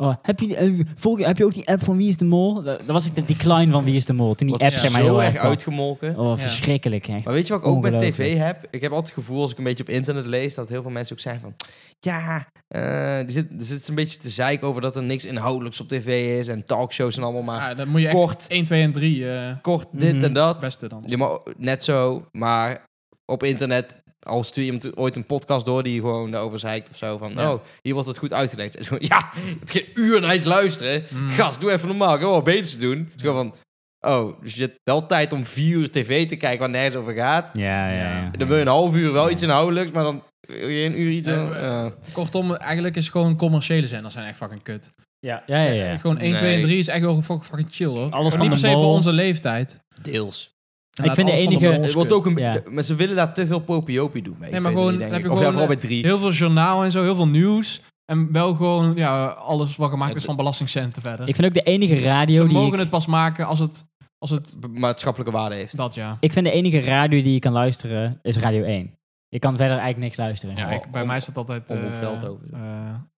C: Oh, heb, je, eh, volg, heb je ook die app van Wie is de Mol? Dat, dat was ik de decline van Wie is de Mol. Toen die
B: Wordt
C: app
A: ja,
C: zeg maar
B: zo
C: heel
B: erg
C: erg kwam.
B: uitgemolken.
C: Oh,
A: Ja.
C: verschrikkelijk echt.
B: Maar weet je wat ik ook met
C: Ongelooflijk.
B: tv heb? Ik heb altijd het gevoel als ik een beetje op internet lees dat heel veel mensen ook zeggen van ja, eh, er, zit, er zit een beetje te zeiken over dat er niks inhoudelijks op tv is en talkshows en allemaal maar
A: Ah, dan moet je echt
B: kort.
A: 1, 2 en 3 eh
B: kort dit
C: Mhm.
B: en dat.
A: het beste dan.
B: Ja, maar net zo, maar op internet, al stuur je hem to- ooit een podcast door die gewoon daarover zeikt of zo. Van,
A: Ja.
B: oh, hier wordt het goed uitgelegd. Het is gewoon, *laughs* ja, het geen uur naar iets luisteren.
A: Mm.
B: Gast, doe even normaal. Ik heb wel wat beters te doen. Het is gewoon van, oh, dus je hebt wel tijd om vier uur tv te kijken waar nergens over gaat.
C: Ja, ja, ja.
B: Dan wil je een half uur wel
C: Ja.
B: iets inhoudelijks, maar dan wil je een uur iets...
A: Nee,
B: in-
A: maar-
B: ja.
A: Kortom, eigenlijk is gewoon commerciële zenders zijn echt fucking kut.
C: Ja, ja, ja. ja.
A: Gewoon 1, 2 en
B: Nee.
A: 3 is echt wel fucking fucking chill hoor.
C: Alles
A: Maar
C: van
A: niet
C: de
A: per se
C: bol.
A: voor onze leeftijd.
B: Deels.
A: Inderdaad,
C: vind de
A: alles van
C: enige-
A: bol is
B: Het wordt
A: kut.
B: ook een,
C: Ja.
B: Maar ze willen daar te veel popiopie doen mee.
A: Nee,
B: Nee,
A: maar
B: maar
A: gewoon-
B: denk
A: heb je
B: ik. Of ja,
A: gewoon,
B: vooral bij
A: eh,
B: drie.
A: Heel veel journaal en zo, heel veel nieuws. En wel gewoon ja, alles wat gemaakt
B: Het-
A: is van belastingcenten verder.
C: Ik vind ook de enige
A: Ze
C: radio die
A: mogen
C: ik,
A: het pas maken als het, als het
B: Maatschappelijke waarde heeft.
A: dat ja.
C: ik vind de enige radio die je kan luisteren is Radio 1. Je kan verder eigenlijk niks luisteren.
A: ja
B: om-
A: ik- bij
B: Oh, om-
A: mij is dat altijd
B: om op
A: eh,
B: Veldhoven.
A: eh,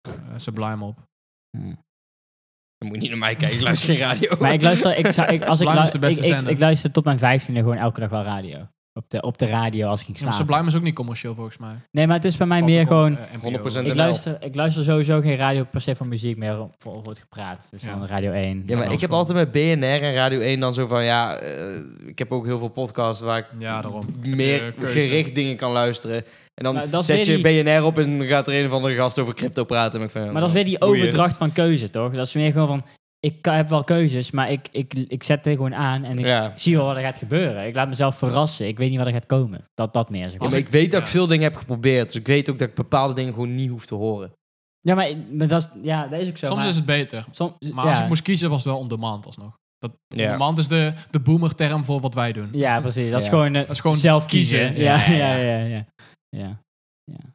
A: eh, Sublime op.
B: Dan moet je niet naar mij kijken, ik luister geen radio.
C: Maar ik luister, ik zou, ik, als ik,
A: Sublime is de
C: lu- ik,
A: beste
C: ik,
A: zender.
C: ik luister tot mijn vijftiende gewoon elke dag wel radio. Op de, op de radio als ik ging
A: Ja, maar
C: slapen.
A: Sublime is ook niet commercieel volgens mij.
C: Nee, maar het is bij mij
A: Valt
C: meer
A: ook op,
C: gewoon...
A: eh, NPO.
B: 100%
C: Ik luister, ik luister sowieso geen radio per se voor muziek meer om- voor wordt gepraat. Dus
A: Ja.
C: dan Radio 1.
B: Ja, maar ik heb altijd met BNR en Radio 1 dan zo van, ja, eh, ik heb ook heel veel podcasts waar ik
A: Ja, daarom.
B: meer
A: Heb je keuze.
B: gericht dingen kan luisteren. En dan
C: Maar dat is
B: zet je
C: weer
B: BNR op en gaat er een of andere gast over crypto praten. En ik vind,
C: Maar dat is weer die
B: boeien.
C: overdracht van keuze, toch? Dat is meer gewoon van... Ik ka- heb wel keuzes, maar ik, ik, ik zet het gewoon aan en ik
B: Ja.
C: zie wel wat er gaat gebeuren. Ik laat mezelf verrassen. Ik weet niet wat er gaat komen. Dat, dat meer. Zeg
B: Ja,
C: maar.
B: maar ik weet dat ik
A: Ja.
B: veel dingen heb geprobeerd. Dus ik weet ook dat ik bepaalde dingen gewoon niet hoef te horen.
C: Ja, maar, maar dat, is, ja, dat is ook zo.
A: Soms
C: maar,
A: is het beter.
C: soms,
A: Maar
C: ja.
A: als ik moest kiezen was het wel on demand alsnog. Dat,
B: Ja.
A: On demand is de, de boomer term voor wat wij doen.
C: Ja, precies. Dat is
B: Ja.
C: gewoon, eh,
A: is gewoon
C: zelf
A: kiezen.
C: kiezen. Ja,
B: Ja,
C: ja, ja. ja, ja, ja.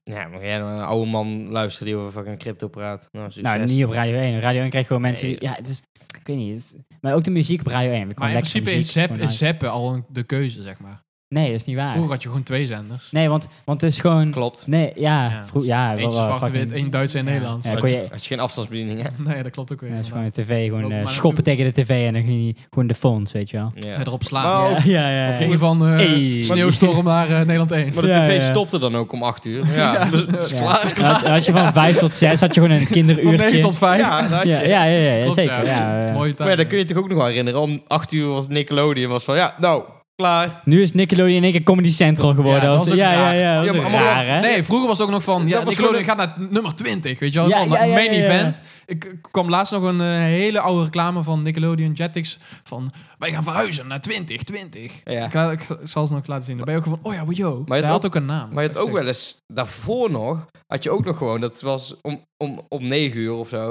B: Ja, maar jij dan een oude man luisteren die over fucking crypto praat. Nou, succes.
C: Nou, niet op Radio 1. Op Radio 1 krijg je gewoon mensen die...
B: Nee.
C: Ja, het is... Ik weet niet. het is- maar ook de muziek op Radio 1.
A: Maar in principe is, zap, is zappen al een- de keuze, zeg maar.
C: Nee, dat is niet waar.
A: Vroeger had je gewoon twee zenders.
C: Nee, want, want het is gewoon...
B: Klopt.
C: Nee, ja.
A: Ja.
C: vroeg, ja wel,
A: Eentje
C: wel
A: zwart en
C: fucking-
A: wit, één Duits en
C: Ja.
A: Nederlands.
C: Ja,
A: Ja,
B: Had
C: kon
B: je,
C: je-
B: had je geen afstandsbediening, hè?
A: *laughs* Nee, dat klopt ook weer.
C: Ja, het is
A: inderdaad.
C: gewoon de tv. Gewoon
A: Loop
C: eh,
A: maar
C: schoppen tegen de tv en dan ging hij gewoon de fonds, weet je wel.
B: Ja.
A: Ja, erop slaan.
B: Maar ook-
C: Ja, ja, ja.
A: Oh. Of ging je van eh,
C: Hey.
A: sneeuwstorm naar eh, Nederland 1.
B: Maar de
C: Ja,
B: tv
C: ja.
B: stopte dan ook om acht *laughs* uur. Ja,
A: Ja.
B: dus het is
C: Ja.
B: klaar.
C: Dan had, dan had je van 5 tot 6 had je gewoon
A: *laughs*
C: een
A: Van 9
C: kinderuurtje.
A: tot 5.
B: Ja, dat had je.
C: ja, ja, ja, ja, ja, zeker. Ja, eh.
A: Mooie tijd.
B: Maar ja, dat kun je je toch ook nog wel herinneren. Om acht uur was Nickelodeon was van, ja, nou, klaar.
C: Nu is Nickelodeon in één keer Comedy Central geworden.
A: Ja, dat
C: Dat was-
A: was ook
C: Ja, ja,
A: raar.
C: ja. Dat
B: Ja,
C: was
B: maar
C: ook
B: allemaal
C: raar, hè?
A: Nee, vroeger was het ook nog van, ja,
B: was
A: Nickelodeon
B: gewoon
A: gaat naar nummer 20, weet je wel.
C: Ja,
A: Ja,
C: ja, ja,
A: main
C: ja, ja.
A: event. Ik ik kwam laatst nog een eh, hele oude reclame van Nickelodeon Jetix van, wij gaan verhuizen naar 20, 20.
B: Ja.
A: Ik, la- ik zal ze nog laten zien. Dan ben je ook van, oh ja, wow, yo.
B: Maar je
A: Hij
B: had
A: had ook een naam.
B: Maar je had ook
A: Echt.
B: wel eens, daarvoor nog, had je ook nog gewoon, dat was om, om, om negen uur of zo,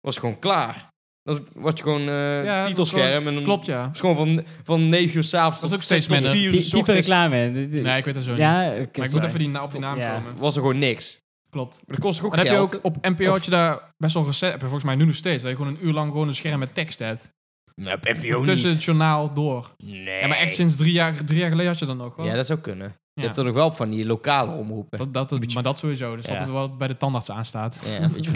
B: was het gewoon klaar. Dan was je gewoon eh,
A: Ja,
B: titelscherm. En dan,
A: Klopt, ja.
B: was gewoon van, van negen uur s'avonds tot,
A: Dat is ook steeds
B: tot
A: minder.
B: vier uur
C: Die-
B: s
C: Type
B: ochtends
C: reclame. Dit- dit-
A: Nee, ik weet het zo niet.
C: Ja,
A: Maar ik moet even die, na- op die naam
C: Ja.
A: komen.
B: was er gewoon niks.
A: Klopt.
B: Maar dat kost toch ook
A: En heb je
B: geld?
A: ook op NPO had je daar best wel recent, heb je volgens mij nu nog steeds, dat je gewoon een uur lang gewoon een scherm met tekst hebt.
B: Nou, PPO
A: Tussen het journaal door.
B: Nee.
A: Ja, maar echt sinds drie jaar, drie jaar geleden had je dat nog wel.
B: Ja, dat zou kunnen. Je
A: Ja.
B: hebt er nog wel op van die lokale omroepen.
A: Dat, dat, dat- maar dat sowieso. Dus
B: Ja.
A: dat is wat bij de tandarts aanstaat. *laughs*
B: Ja, een beetje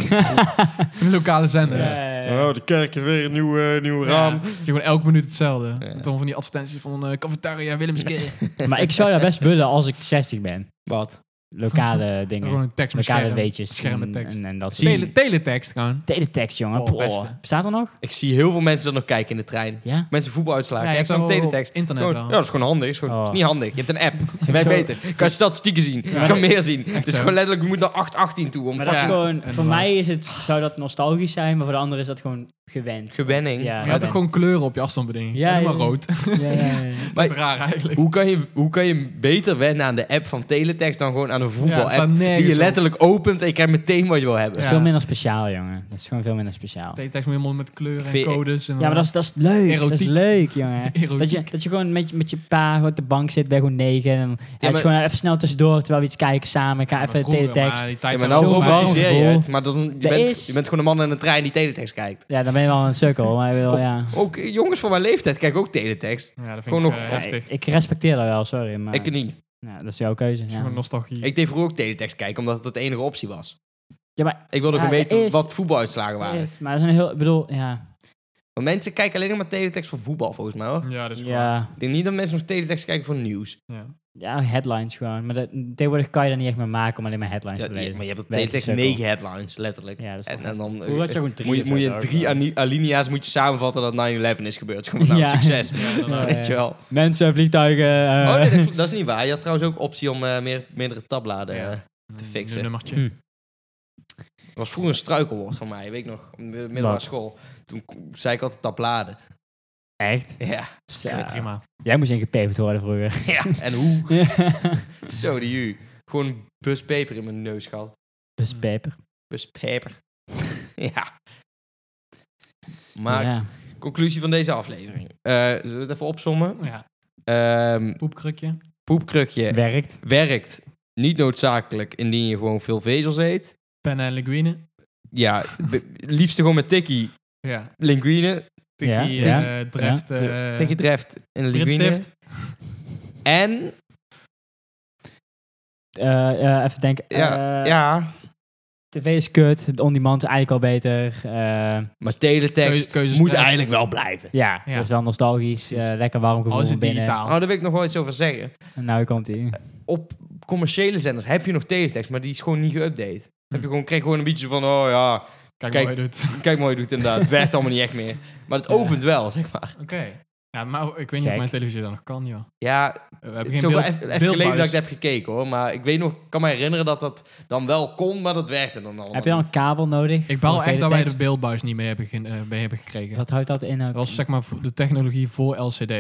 B: *laughs*
A: De lokale
C: Ja,
A: zenders.
C: ja, ja.
B: Oh, de kerk heeft weer een nieuw, eh, nieuw
A: Ja,
B: raam.
A: het is gewoon elke minuut hetzelfde.
B: Ja.
A: En dan van die advertenties van eh cafetaria, Willemske.
B: *laughs*
C: Maar ik zou daar best willen als ik 60 ben.
B: Wat?
A: *laughs*
C: Lokale
A: Gewoon
C: dingen.
A: een tekst met
C: Lokale
A: scherm.
C: weetjes.
A: Scherm met
C: en-
A: tekst.
C: En, en dat
B: Zie-
C: soort-
A: Tele- teletext gewoon.
C: Teletext, jongen.
A: Oh,
C: Poh.
A: beste.
C: Bestaat er nog?
B: Ik zie heel veel mensen dat nog kijken in de trein.
C: Ja?
B: Mensen voetbal uitslagen.
A: Ja, je
B: Kijk,
A: hebt
B: zo'n
A: wel
B: teletext.
A: op internet
B: Gewoon-
A: wel.
B: Ja, dat is gewoon handig. Is gewoon,
C: Oh.
B: is niet handig. Je hebt een app.
A: *laughs*
C: ik
B: Wij
C: zo-
B: beter. Kan je statistieken zien.
A: Ja.
B: Kan meer zien. Het is
A: zo.
B: gewoon letterlijk, je moet naar 818 toe. Om
C: Maar dat is
A: Ja,
C: gewoon...
A: en
C: Voor
A: waar.
C: mij is het, zou dat nostalgisch zijn, maar voor de ander is dat gewoon gewend.
B: gewenning.
C: Ja,
A: Je had ook gewoon kleuren op je afstandsbediening. *laughs*
C: Ja,
A: Ja, maar
C: ja.
A: rood.
C: Ja, ja, *laughs* ja.
A: Wat
B: Maar-
A: *laughs* raar eigenlijk.
B: Hoe kan, je, hoe kan je beter wennen aan de app van Teletext dan gewoon aan een
A: Ja, er staat
B: voetbal-app die
A: nergens
B: je
A: op.
B: letterlijk opent en je krijgt meteen wat je wil hebben?
A: Ja.
C: Veel minder speciaal, jongen. Dat is gewoon veel minder speciaal.
A: Teletext moet helemaal met kleuren en
B: Vind-
A: codes. En
C: Ja, maar dat is, dat is leuk. Dat is
A: Erotiek.
C: leuk, jongen.
A: *laughs* Erotiek.
C: Dat je, dat je gewoon met, je- met je pa gewoon op de bank zit bij gewoon negen. En dan hij
B: maar-
C: is gewoon even snel tussendoor terwijl we iets kijken samen. Ik ga even de teletext.
B: Ja,
A: teletext.
B: maar nou
C: Zo
B: romantiseer je
C: warm.
B: het. Maar dat is een- je,
C: Er
B: bent,
C: is-
B: je bent gewoon een man in een trein die teletext kijkt.
C: Ja, dan ben je wel een sukkel. Maar wel,
B: Of-
C: ja.
B: Ook eh, jongens van mijn leeftijd kijken ook teletext.
A: Ja, dat vind
B: Gewoon
A: ik
B: nog-
A: nog
B: Ja,
C: Ja,
A: heftig.
C: ik, ik respecteer dat wel, sorry. Maar
B: Ik niet.
C: ja, dat is jouw keuze. Ja.
A: Gewoon nostalgie.
B: Ik deed vroeger ook teletext kijken, omdat het de enige optie was.
C: Ja, maar,
B: Ik wilde ook
C: Ja,
B: weten
C: er is-
B: wat voetbaluitslagen waren.
C: is- maar er zijn heel... Ik bedoel, ja.
B: Want mensen kijken alleen nog maar teletext voor voetbal, volgens mij hoor.
A: Ja, dat is waar.
C: Ja,
B: Ik denk niet dat mensen nog teletext kijken voor nieuws.
A: Ja.
C: ja, headlines gewoon. Maar dat, tegenwoordig kan je daar niet echt meer maken om alleen maar headlines
B: Ja,
C: te
B: maar je
C: lezen.
B: hebt op
C: Weet je,
B: teletext
C: sukkel.
B: negen headlines, letterlijk.
C: Ja, dat is wel
B: en, en dan eh,
C: Vroeger had je ook een drie.
B: moet je,
C: of
B: moet je
C: zo,
B: in
C: ook
B: drie
C: wel.
B: ani- alinea's moet je samenvatten dat 9-11 is gebeurd. *laughs* Gewoon, nou,
C: Ja. *laughs* Oh,
B: succes. *laughs*
A: Ja, dat-
C: Ja.
B: Weet je wel.
C: Mensen, vliegtuigen... eh,
B: Oh nee, dat, klopt. Dat is niet waar. Je had trouwens ook optie om eh, meer, meerdere tabbladen.
A: Ja.
B: eh. Te fixen.
A: Een nummertje.
C: Hm.
B: Dat was vroeger een struikelwoord van mij, weet ik nog. op de middelbare
C: Wat?
B: school. Toen k- zei ik altijd tabbladen. *laughs*
C: Echt?
B: Ja.
C: *laughs* Zo.
A: Kijk, prima.
C: Jij moest ingepeperd worden vroeger. *laughs*
B: ja. En hoe? *laughs* Zo die u. Gewoon bus peper in mijn neus gehad.
C: Dus peper.
B: Bus peper. *laughs* ja. Maar
C: Ja.
B: conclusie van deze aflevering. Eh, zullen we het even opzommen?
A: Ja,
B: Ehm,
A: poepkrukje.
B: poepkrukje
C: Werkt.
B: werkt niet noodzakelijk indien je gewoon veel vezels eet.
A: Pennen en linguine.
B: Ja,
A: *laughs*
B: be- liefst gewoon met tikkie
A: Ja.
B: linguine.
A: Tikkie,
C: Ja,
A: eh
C: ja.
A: dreft. eh
B: tikkie dreft en linguine.
A: Britstift.
B: En
C: Eh, eh, even denken.
B: Ja,
C: Eh,
B: ja.
C: TV is kut. de On-demand is eigenlijk al beter. Eh,
B: Maar teletext
A: Keuze- keuzes
B: moet
A: thuis.
B: eigenlijk wel blijven.
C: ja,
A: Ja.
C: dat is wel nostalgisch. eh,
A: Precies.
C: lekker warm gevoel
A: Alles is
C: van binnen.
A: digitaal.
B: Oh, daar wil ik nog wel iets over zeggen.
C: En nou komt hij.
B: Op commerciële zenders heb je nog teletext, maar die is gewoon niet geüpdate. Heb
A: Hm.
B: je gewoon, kreeg gewoon een beetje van, oh ja,
A: Kijk,
B: Kijk.
A: wat hij doet. *laughs*
B: kijk maar hoe je doet inderdaad. Het werkt allemaal niet echt meer. Maar het opent wel, zeg maar.
A: Oké. Ja, maar ik weet niet of
C: Gek.
A: mijn televisie dan nog kan, joh. Eh,
B: Ja,
A: We hebben
B: het is
A: geen
B: ook wel
A: beeld,
B: even, even
A: beeldbuis.
B: geleden dat ik dat heb gekeken hoor. Maar ik weet nog, ik kan me herinneren dat dat dan wel kon, maar dat werkte dan allemaal
C: Heb je dan
B: niet.
C: een kabel nodig?
A: Ik baal
C: Voor
A: echt dat wij de
C: teletext?
A: beeldbuis niet mee hebben, ge- eh, mee hebben gekregen.
C: Wat houdt dat in? ook?
A: Dat was zeg maar vo- de technologie voor LCD.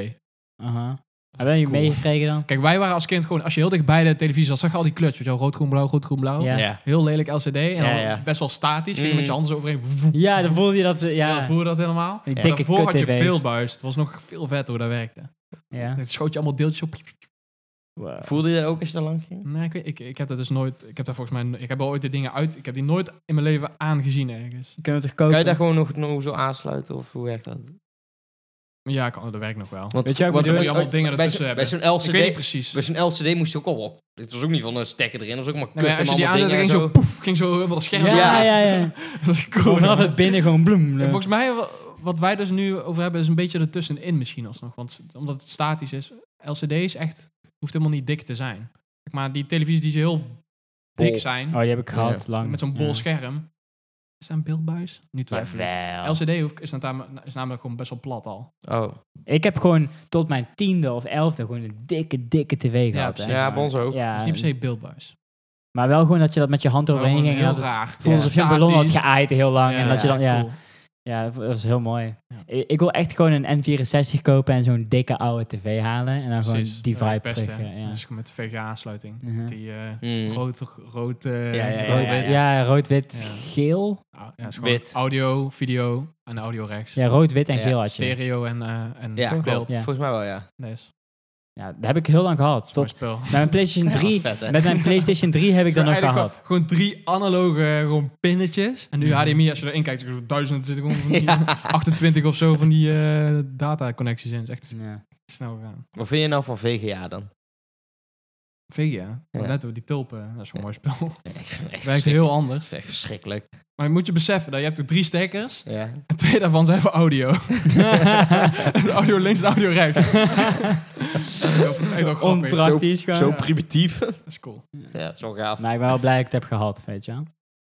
C: Aha. Hebben jullie
A: cool.
C: meegekregen dan?
A: Kijk, wij waren als kind gewoon, als je heel dicht bij de televisie zat, zag je al die kluts. Weet je wel, rood, groen, blauw, rood, groen, blauw.
C: Ja.
B: Ja.
A: Heel lelijk LCD. En
B: Ja,
A: dan
B: ja.
A: best wel statisch. Ging je
B: Mm.
A: met je handen zo overheen.
C: Ja, dan voelde je dat.
A: Ja.
C: Ja,
A: Voer dat helemaal.
C: die
B: Ja.
A: En
C: dikke
A: daarvoor had je
C: kut-tv's.
A: beeldbuis. Dat was nog veel vetter hoe dat werkte.
C: Ja.
A: Het schoot je allemaal deeltjes op.
C: Wow.
B: Voelde je dat ook als je er lang ging?
A: Nee, ik, weet- ik, ik heb dat dus nooit... Ik heb daar volgens mij... Ik heb wel ooit die dingen uit... Ik heb die nooit in mijn leven aangezien ergens.
C: Kunnen we toch kopen?
B: Kan je daar gewoon nog, nog zo aansluiten of hoe werkt dat?
A: Ja, kan, dat werkt nog wel.
B: Want,
C: Weet je wat ik bedoel?
A: Dan moet je allemaal dingen
B: Oh, bij,
A: ertussen
B: zo- bij
A: hebben.
B: zo'n LCD...
A: Ik weet niet precies.
B: Bij zo'n LCD moest je ook al wel... Het was ook niet van een stekker erin, dat was ook maar kut.
A: Nou, ja, als je die aanzet, ging zo poef, ging zo helemaal dat scherm.
B: Ja.
C: Ja, ja, ja.
A: *laughs* Dat is cool.
C: Gewoon vanaf het binnen gewoon bloem.
A: En volgens mij, wa- wat wij dus nu over hebben, is een beetje ertussenin misschien alsnog. Want omdat het statisch is, LCD is echt, hoeft helemaal niet dik te zijn. Zeg Maar die televisies die ze heel dik
B: Bol.
A: zijn,
C: Oh, die heb ik gehad lang.
A: met zo'n bol
C: Ja.
A: scherm. Is daar een beeldbuis? Nu twijfel ik.
C: Jawel.
A: LCD hoef- is, dan- is namelijk gewoon best wel plat al.
B: Oh,
C: Ik heb gewoon tot mijn tiende of elfde gewoon een dikke, dikke tv gehad.
A: precies.
C: hè.
B: Ja, bij ons ook.
A: Het
C: Ja,
A: is niet per se beeldbuis.
C: maar wel gewoon dat je dat met je hand overheen
A: Gewoon
C: ging. En
A: heel
C: dat het
A: raar.
C: voelde alsof je een ballon had geaaid heel lang. en dat je dan, ja,
A: cool.
C: ja, dat was heel mooi.
A: Ja.
C: Ik, ik wil echt gewoon een N64 kopen en zo'n dikke oude tv halen. En dan
A: Precies.
C: gewoon die
A: Dat werkt
C: vibe
A: best,
C: terug.
A: hè.
C: eh, Ja.
A: Dat is gewoon met VGA-aansluiting.
C: Mhm.
A: Die eh,
B: Hmm.
A: rood, rood, eh,
B: Ja, ja, ja,
A: rood-wit.
C: Ja, ja, rood, wit,
A: Ja.
C: geel.
A: Ah, ja, is gewoon
B: Wit.
A: Audio, video en audio rechts.
C: Ja, rood, wit en
B: Ja,
C: geel had je.
A: Stereo en, eh, en
B: Ja,
A: beeld.
B: klopt.
C: Ja.
B: Volgens mij wel, ja.
A: Nee, is
C: Ja, dat heb ik heel lang gehad.
A: mooi
C: Tot
A: spel.
C: met mijn PlayStation
B: Dat was
C: 3.
B: vet, hè?
C: Met mijn PlayStation 3 heb ik dat nog
A: Eigenlijk
C: gehad. Mhm.
A: Gewoon, gewoon drie analoge eh, gewoon pinnetjes. En nu HDMI, als je erin kijkt, zo duizend zitten
C: *laughs*
A: gewoon van die
B: *laughs* *laughs* Ja.
A: 28 of zo van die eh dataconnecties in. Dat is echt
C: *laughs* Ja.
A: snel gegaan.
B: Wat vind je nou van VGA dan? *laughs*
A: VGA,
B: Ja.
A: ja. net door die tulpen. Dat is gewoon een mooi spel.
B: Ik vind het echt
A: Werkt
B: verschrikkelijk.
A: heel anders.
B: Het is echt verschrikkelijk.
A: Maar je moet je beseffen dat je hebt er drie stekkers
B: Ja.
A: en twee daarvan zijn voor audio. *laughs* En *laughs* audio links en audio
C: *laughs*
A: rechts. dat is wel grappig.
B: Zo-
A: Dat
C: Onpraktisch gewoon.
B: Zo primitief.
A: is cool.
B: *laughs* Ja, dat is wel gaaf.
C: Maar ik ben wel blij dat ik het heb gehad, weet je wel.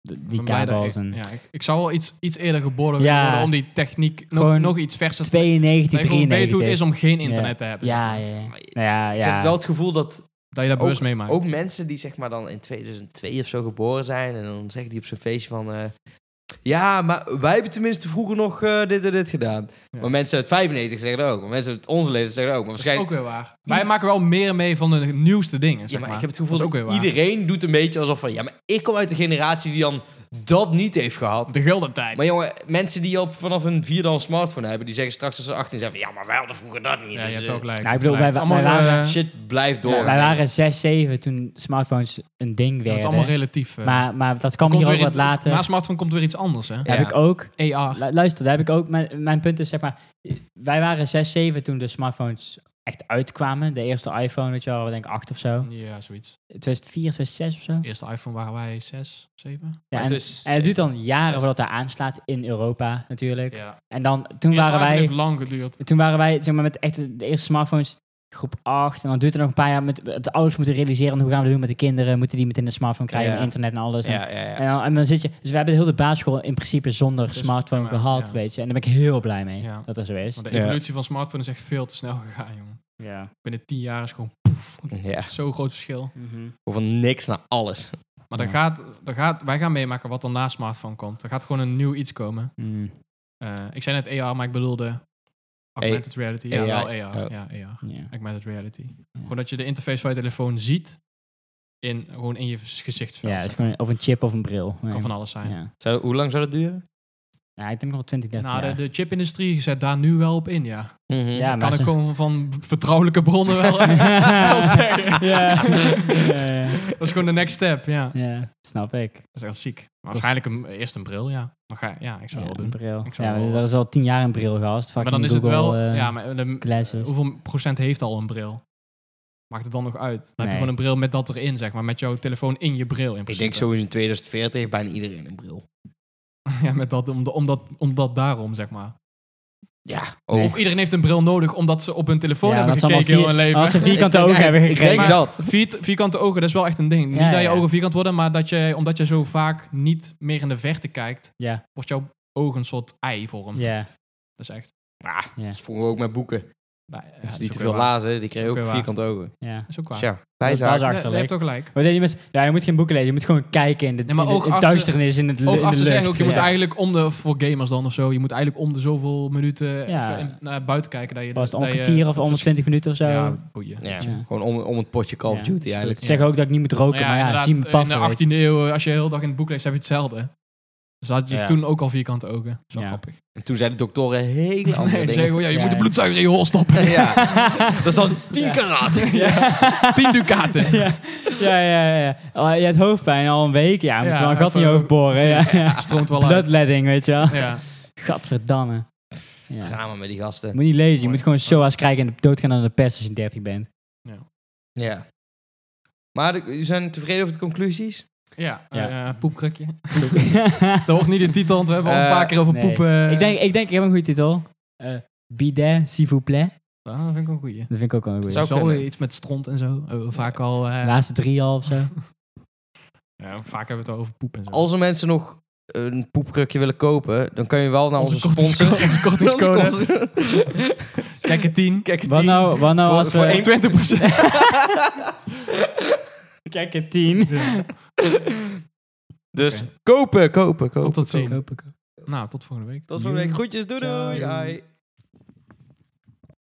C: De- Die
A: Ik ben blij dat
C: kabels
A: ik-
C: en...
A: Ja, ik, ik zou wel iets, iets eerder geboren
C: Ja.
A: worden om die techniek nog,
C: Gewoon
A: nog iets verser te
C: 92,
A: Dat je gewoon
C: 93.
A: weet hoe het is om geen internet te hebben.
C: Ja, ja, ja.
B: Maar
C: Nou ja,
B: Ik
C: ja.
B: heb wel het gevoel dat
A: Dat je daar
B: Ook-
A: bewust mee maakt.
B: ook mensen die zeg maar dan in 2002 of zo geboren zijn... en dan zeggen die op zo'n feestje van... eh, ja, maar wij hebben tenminste vroeger nog eh, dit en dit gedaan.
A: Ja.
B: Maar mensen uit 95 zeggen dat ook. Maar mensen uit onze leeftijd zeggen dat ook. Maar
A: dat is
B: waarschijnlijk
A: ook weer waar. Wij maken wel meer mee van de nieuwste dingen,
B: Ja,
A: zeg
B: maar
A: maar.
B: ik heb het gevoel
A: Dat
B: dat,
A: is ook weer waar.
B: iedereen doet een beetje alsof van... Ja, maar ik kom uit de generatie die dan dat niet heeft gehad.
A: De gulden tijd.
B: Maar jongen, mensen die op, vanaf hun vierde al een smartphone hebben... die zeggen straks als ze 18 zijn van... Ja, maar wij hadden vroeger dat niet.
A: ja, je
B: Dus,
A: hebt
B: eh,
A: ook gelijk.
C: Nou, ik bedoel, wij-
A: Het is allemaal,
C: wij waren-
A: eh,
B: Shit blijft door.
C: Wij waren 6, 7 toen smartphones een ding
A: ja, het is
C: werden.
A: allemaal relatief. eh.
C: maar, maar dat kwam
A: Komt
C: hier ook
A: weer
C: wat
A: in-
C: later.
A: Na smartphone komt weer iets anders, hè.
B: Ja.
C: Heb ik ook...
A: AR.
C: Lu- Luister, daar heb ik ook... Mijn, mijn punt is, zeg maar... Wij waren 6, 7 toen de smartphones echt uitkwamen. De eerste iPhone, weet je wel, denk ik acht of zo.
A: Ja, zoiets.
C: 2004, 2006 of zo.
A: De eerste iPhone waren wij zes, zeven.
C: Ja,
B: Het
C: en,
B: is-
C: en het duurt dan jaren voordat hij aanslaat in Europa natuurlijk.
A: Ja.
C: En dan, toen waren wij...
A: heeft lang geduurd.
C: toen waren wij zeg maar, met echt de eerste smartphones groep 8. En dan duurt het nog een paar jaar met de ouders moeten realiseren hoe gaan we dat doen met de kinderen. Moeten die meteen een smartphone krijgen,
B: Ja.
C: internet en alles. En,
B: Ja, ja, ja.
C: en, dan, en dan zit je... Dus we hebben de hele basisschool in principe zonder
A: Dus,
C: smartphone
A: ja,
C: gehad,
A: ja.
C: weet je. En daar ben ik heel blij mee
A: Ja.
C: dat dat zo is.
A: Want de
B: Ja.
A: evolutie van smartphones is echt veel te snel gegaan, jongen.
C: Ja.
A: Binnen tien jaar is gewoon poef.
B: ja.
A: Zo'n groot verschil.
C: Mhm.
B: Over niks naar alles.
A: Maar dan
C: Ja.
A: gaat, dan gaat, wij gaan meemaken wat er na smartphone komt. Er gaat gewoon een nieuw iets komen.
C: Mm.
A: Eh, ik zei net AR, maar ik bedoelde augmented reality. Ja,
B: AI.
A: wel AR.
B: Oh.
A: Ja, AR.
C: Ja.
A: Augmented reality. Gewoon dat je de interface van je telefoon ziet in, gewoon in je gezichtsveld.
C: Ja,
A: zeg
C: het is
A: maar.
C: gewoon, of een chip of een bril.
A: kan
C: Nee.
A: van alles zijn.
C: Ja.
B: Zou, hoe lang zou dat duren?
C: Ja, ik denk nog wel 20, 30
A: Nou,
C: jaar. *laughs*
A: de, de chipindustrie zet daar nu wel op in, ja.
B: Mhm.
C: Ja, maar
A: Kan ik
C: ze-
A: gewoon van vertrouwelijke bronnen
C: *laughs*
A: wel, wel zeggen. *laughs*
C: ja. ja, ja.
A: Dat is gewoon de next step, ja. Dat
C: Ja, snap ik.
A: is echt ziek. Maar waarschijnlijk een, eerst een bril, ja. Maar ga, ja, ik zou
C: Ja,
A: wel
C: een
A: doen.
C: bril.
A: Ik zou
C: Ja,
A: wel-
C: maar dat is al tien jaar een bril gast.
A: Maar dan is het wel... ja, maar de-
C: eh, Glasses.
A: hoeveel procent heeft al een bril? Maakt het dan nog uit? Dan heb je
C: Nee.
A: gewoon een bril met dat erin, zeg maar. Met jouw telefoon in je bril, in
B: Ik
A: principe.
B: denk sowieso in 2040 heeft bijna iedereen een bril.
A: *laughs* Ja, met dat, om, de- om, dat, om dat daarom, zeg maar.
B: Ja,
A: Of iedereen heeft een bril nodig omdat ze op hun telefoon
C: Ja,
A: hebben
C: dat ze
A: gekeken
C: allemaal
A: heel hun leven.
C: Als ze
B: Ik
C: vierkante
B: denk-
C: ogen hebben
B: ik
C: gekregen.
B: denk
A: Maar-
B: dat.
A: Viert- vierkante ogen, dat is wel echt een ding.
C: Ja,
A: niet dat je
C: ja.
A: ogen vierkant worden, maar dat je, omdat je zo vaak niet meer in de verte kijkt,
C: Ja,
A: wordt jouw oog een soort ei-vorm.
C: ja,
A: Dat is echt...
B: Ah,
C: Ja.
B: dat is vroeger ook met boeken.
A: Nou, ja,
B: dat is
A: dat
B: niet te
A: ook
B: veel
A: weer waar.
B: lazen, die kregen
A: ook
B: ook
A: weer
B: vierkante ogen.
C: ja.
A: Dat is ook waar.
B: Dus ja,
C: Dat
B: wij
C: is baas
B: zagen...
A: Nee, je
C: achterlijk.
A: hebt ook gelijk.
C: Maar je, moet, ja, je moet geen boeken lezen, je moet gewoon kijken in de,
A: Ja, maar
C: in de-
A: ook
C: in
A: af te-
C: duisternis, in, het, lu-
A: Ook
C: in de
A: af te
C: lucht.
A: zeggen, ook, je moet
C: ja.
A: eigenlijk om de, voor gamers dan of zo, je moet eigenlijk om de zoveel minuten
C: Ja.
A: even in- naar buiten kijken. Dat je,
C: Was het om een
A: dat je-
C: kwartier of
A: eh, dat
C: om
A: is-
C: 20 minuten of zo?
A: Ja, boeien.
B: Ja,
C: Ja.
B: gewoon om, om het potje Call
C: Ja.
B: of Duty eigenlijk.
C: Ze zeggen ook dat ik niet moet roken, maar ja,
A: inderdaad,
C: zie me
A: In
C: paffen.
A: de
C: weet je.
A: 18e eeuw, als je heel dag in het boek leest, heb je hetzelfde. Dus had je
B: Ja.
A: toen ook al vierkante ogen. Dat is wel
C: Ja. *laughs*
A: grappig.
B: En toen zeiden de doktoren hele andere
A: *laughs* Nee, die zeggen
B: dingen.
A: gewoon, ja, je
C: Ja.
A: moet de bloedzuiger in je hol
C: *laughs*
B: *laughs*
A: stoppen.
B: Ja, dat is dan 10 karaat.
A: Ja. 10 ducaten.
C: Ja, ja, ja. ja. Oh, je hebt hoofdpijn al een week, ja, moet
A: Ja,
C: je wel een gat in je
A: even-
C: hoofd boren. Ja.
A: *laughs* Stroomt wel
C: *laughs*
A: uit.
C: Bloodletting, weet je wel.
A: Ja.
C: Gadverdamme. Ja.
B: Drama met die gasten.
C: Moet niet lezen, je moet gewoon SOA's krijgen en doodgaan aan de pers als je 30 bent.
B: Ja. Maar de- jullie zijn tevreden over de conclusies?
A: Ja,
C: Ja.
A: eh, poepkrukje. Dat wordt niet de titel, want we hebben al een
B: Eh,
A: paar keer over
C: Nee.
A: poepen.
C: Ik denk, ik denk, ik heb een goede titel. Eh bidet, s'il vous plaît.
A: Ah, dat vind ik ook goed.
C: Dat vind ik ook wel een goede.
B: Zou
A: Zo
B: kunnen. Nou.
A: iets met stront en zo. Hebben we vaak al... eh,
C: Laatste drie al of zo.
A: ja, vaak hebben we het wel over poep en zo.
B: Als er mensen nog een poepkrukje willen kopen, dan kun je wel naar onze, sponsor.
A: Onze
B: *laughs* Onze
A: kortingscode.
B: sponsor.
A: Kijk, een 10.
B: Kijk, het
C: Wat nou, wat nou
B: Voor-
C: als
B: voor
C: we...
B: één-
A: 20
C: *laughs* Kijk, het tien.
B: Dus
A: Oké.
B: kopen, kopen, kopen.
A: Tot ziens.
C: Kopen, kopen.
A: Nou, tot volgende week.
B: Tot volgende week. Groetjes, doei doei.
C: Ciao.
B: Hai.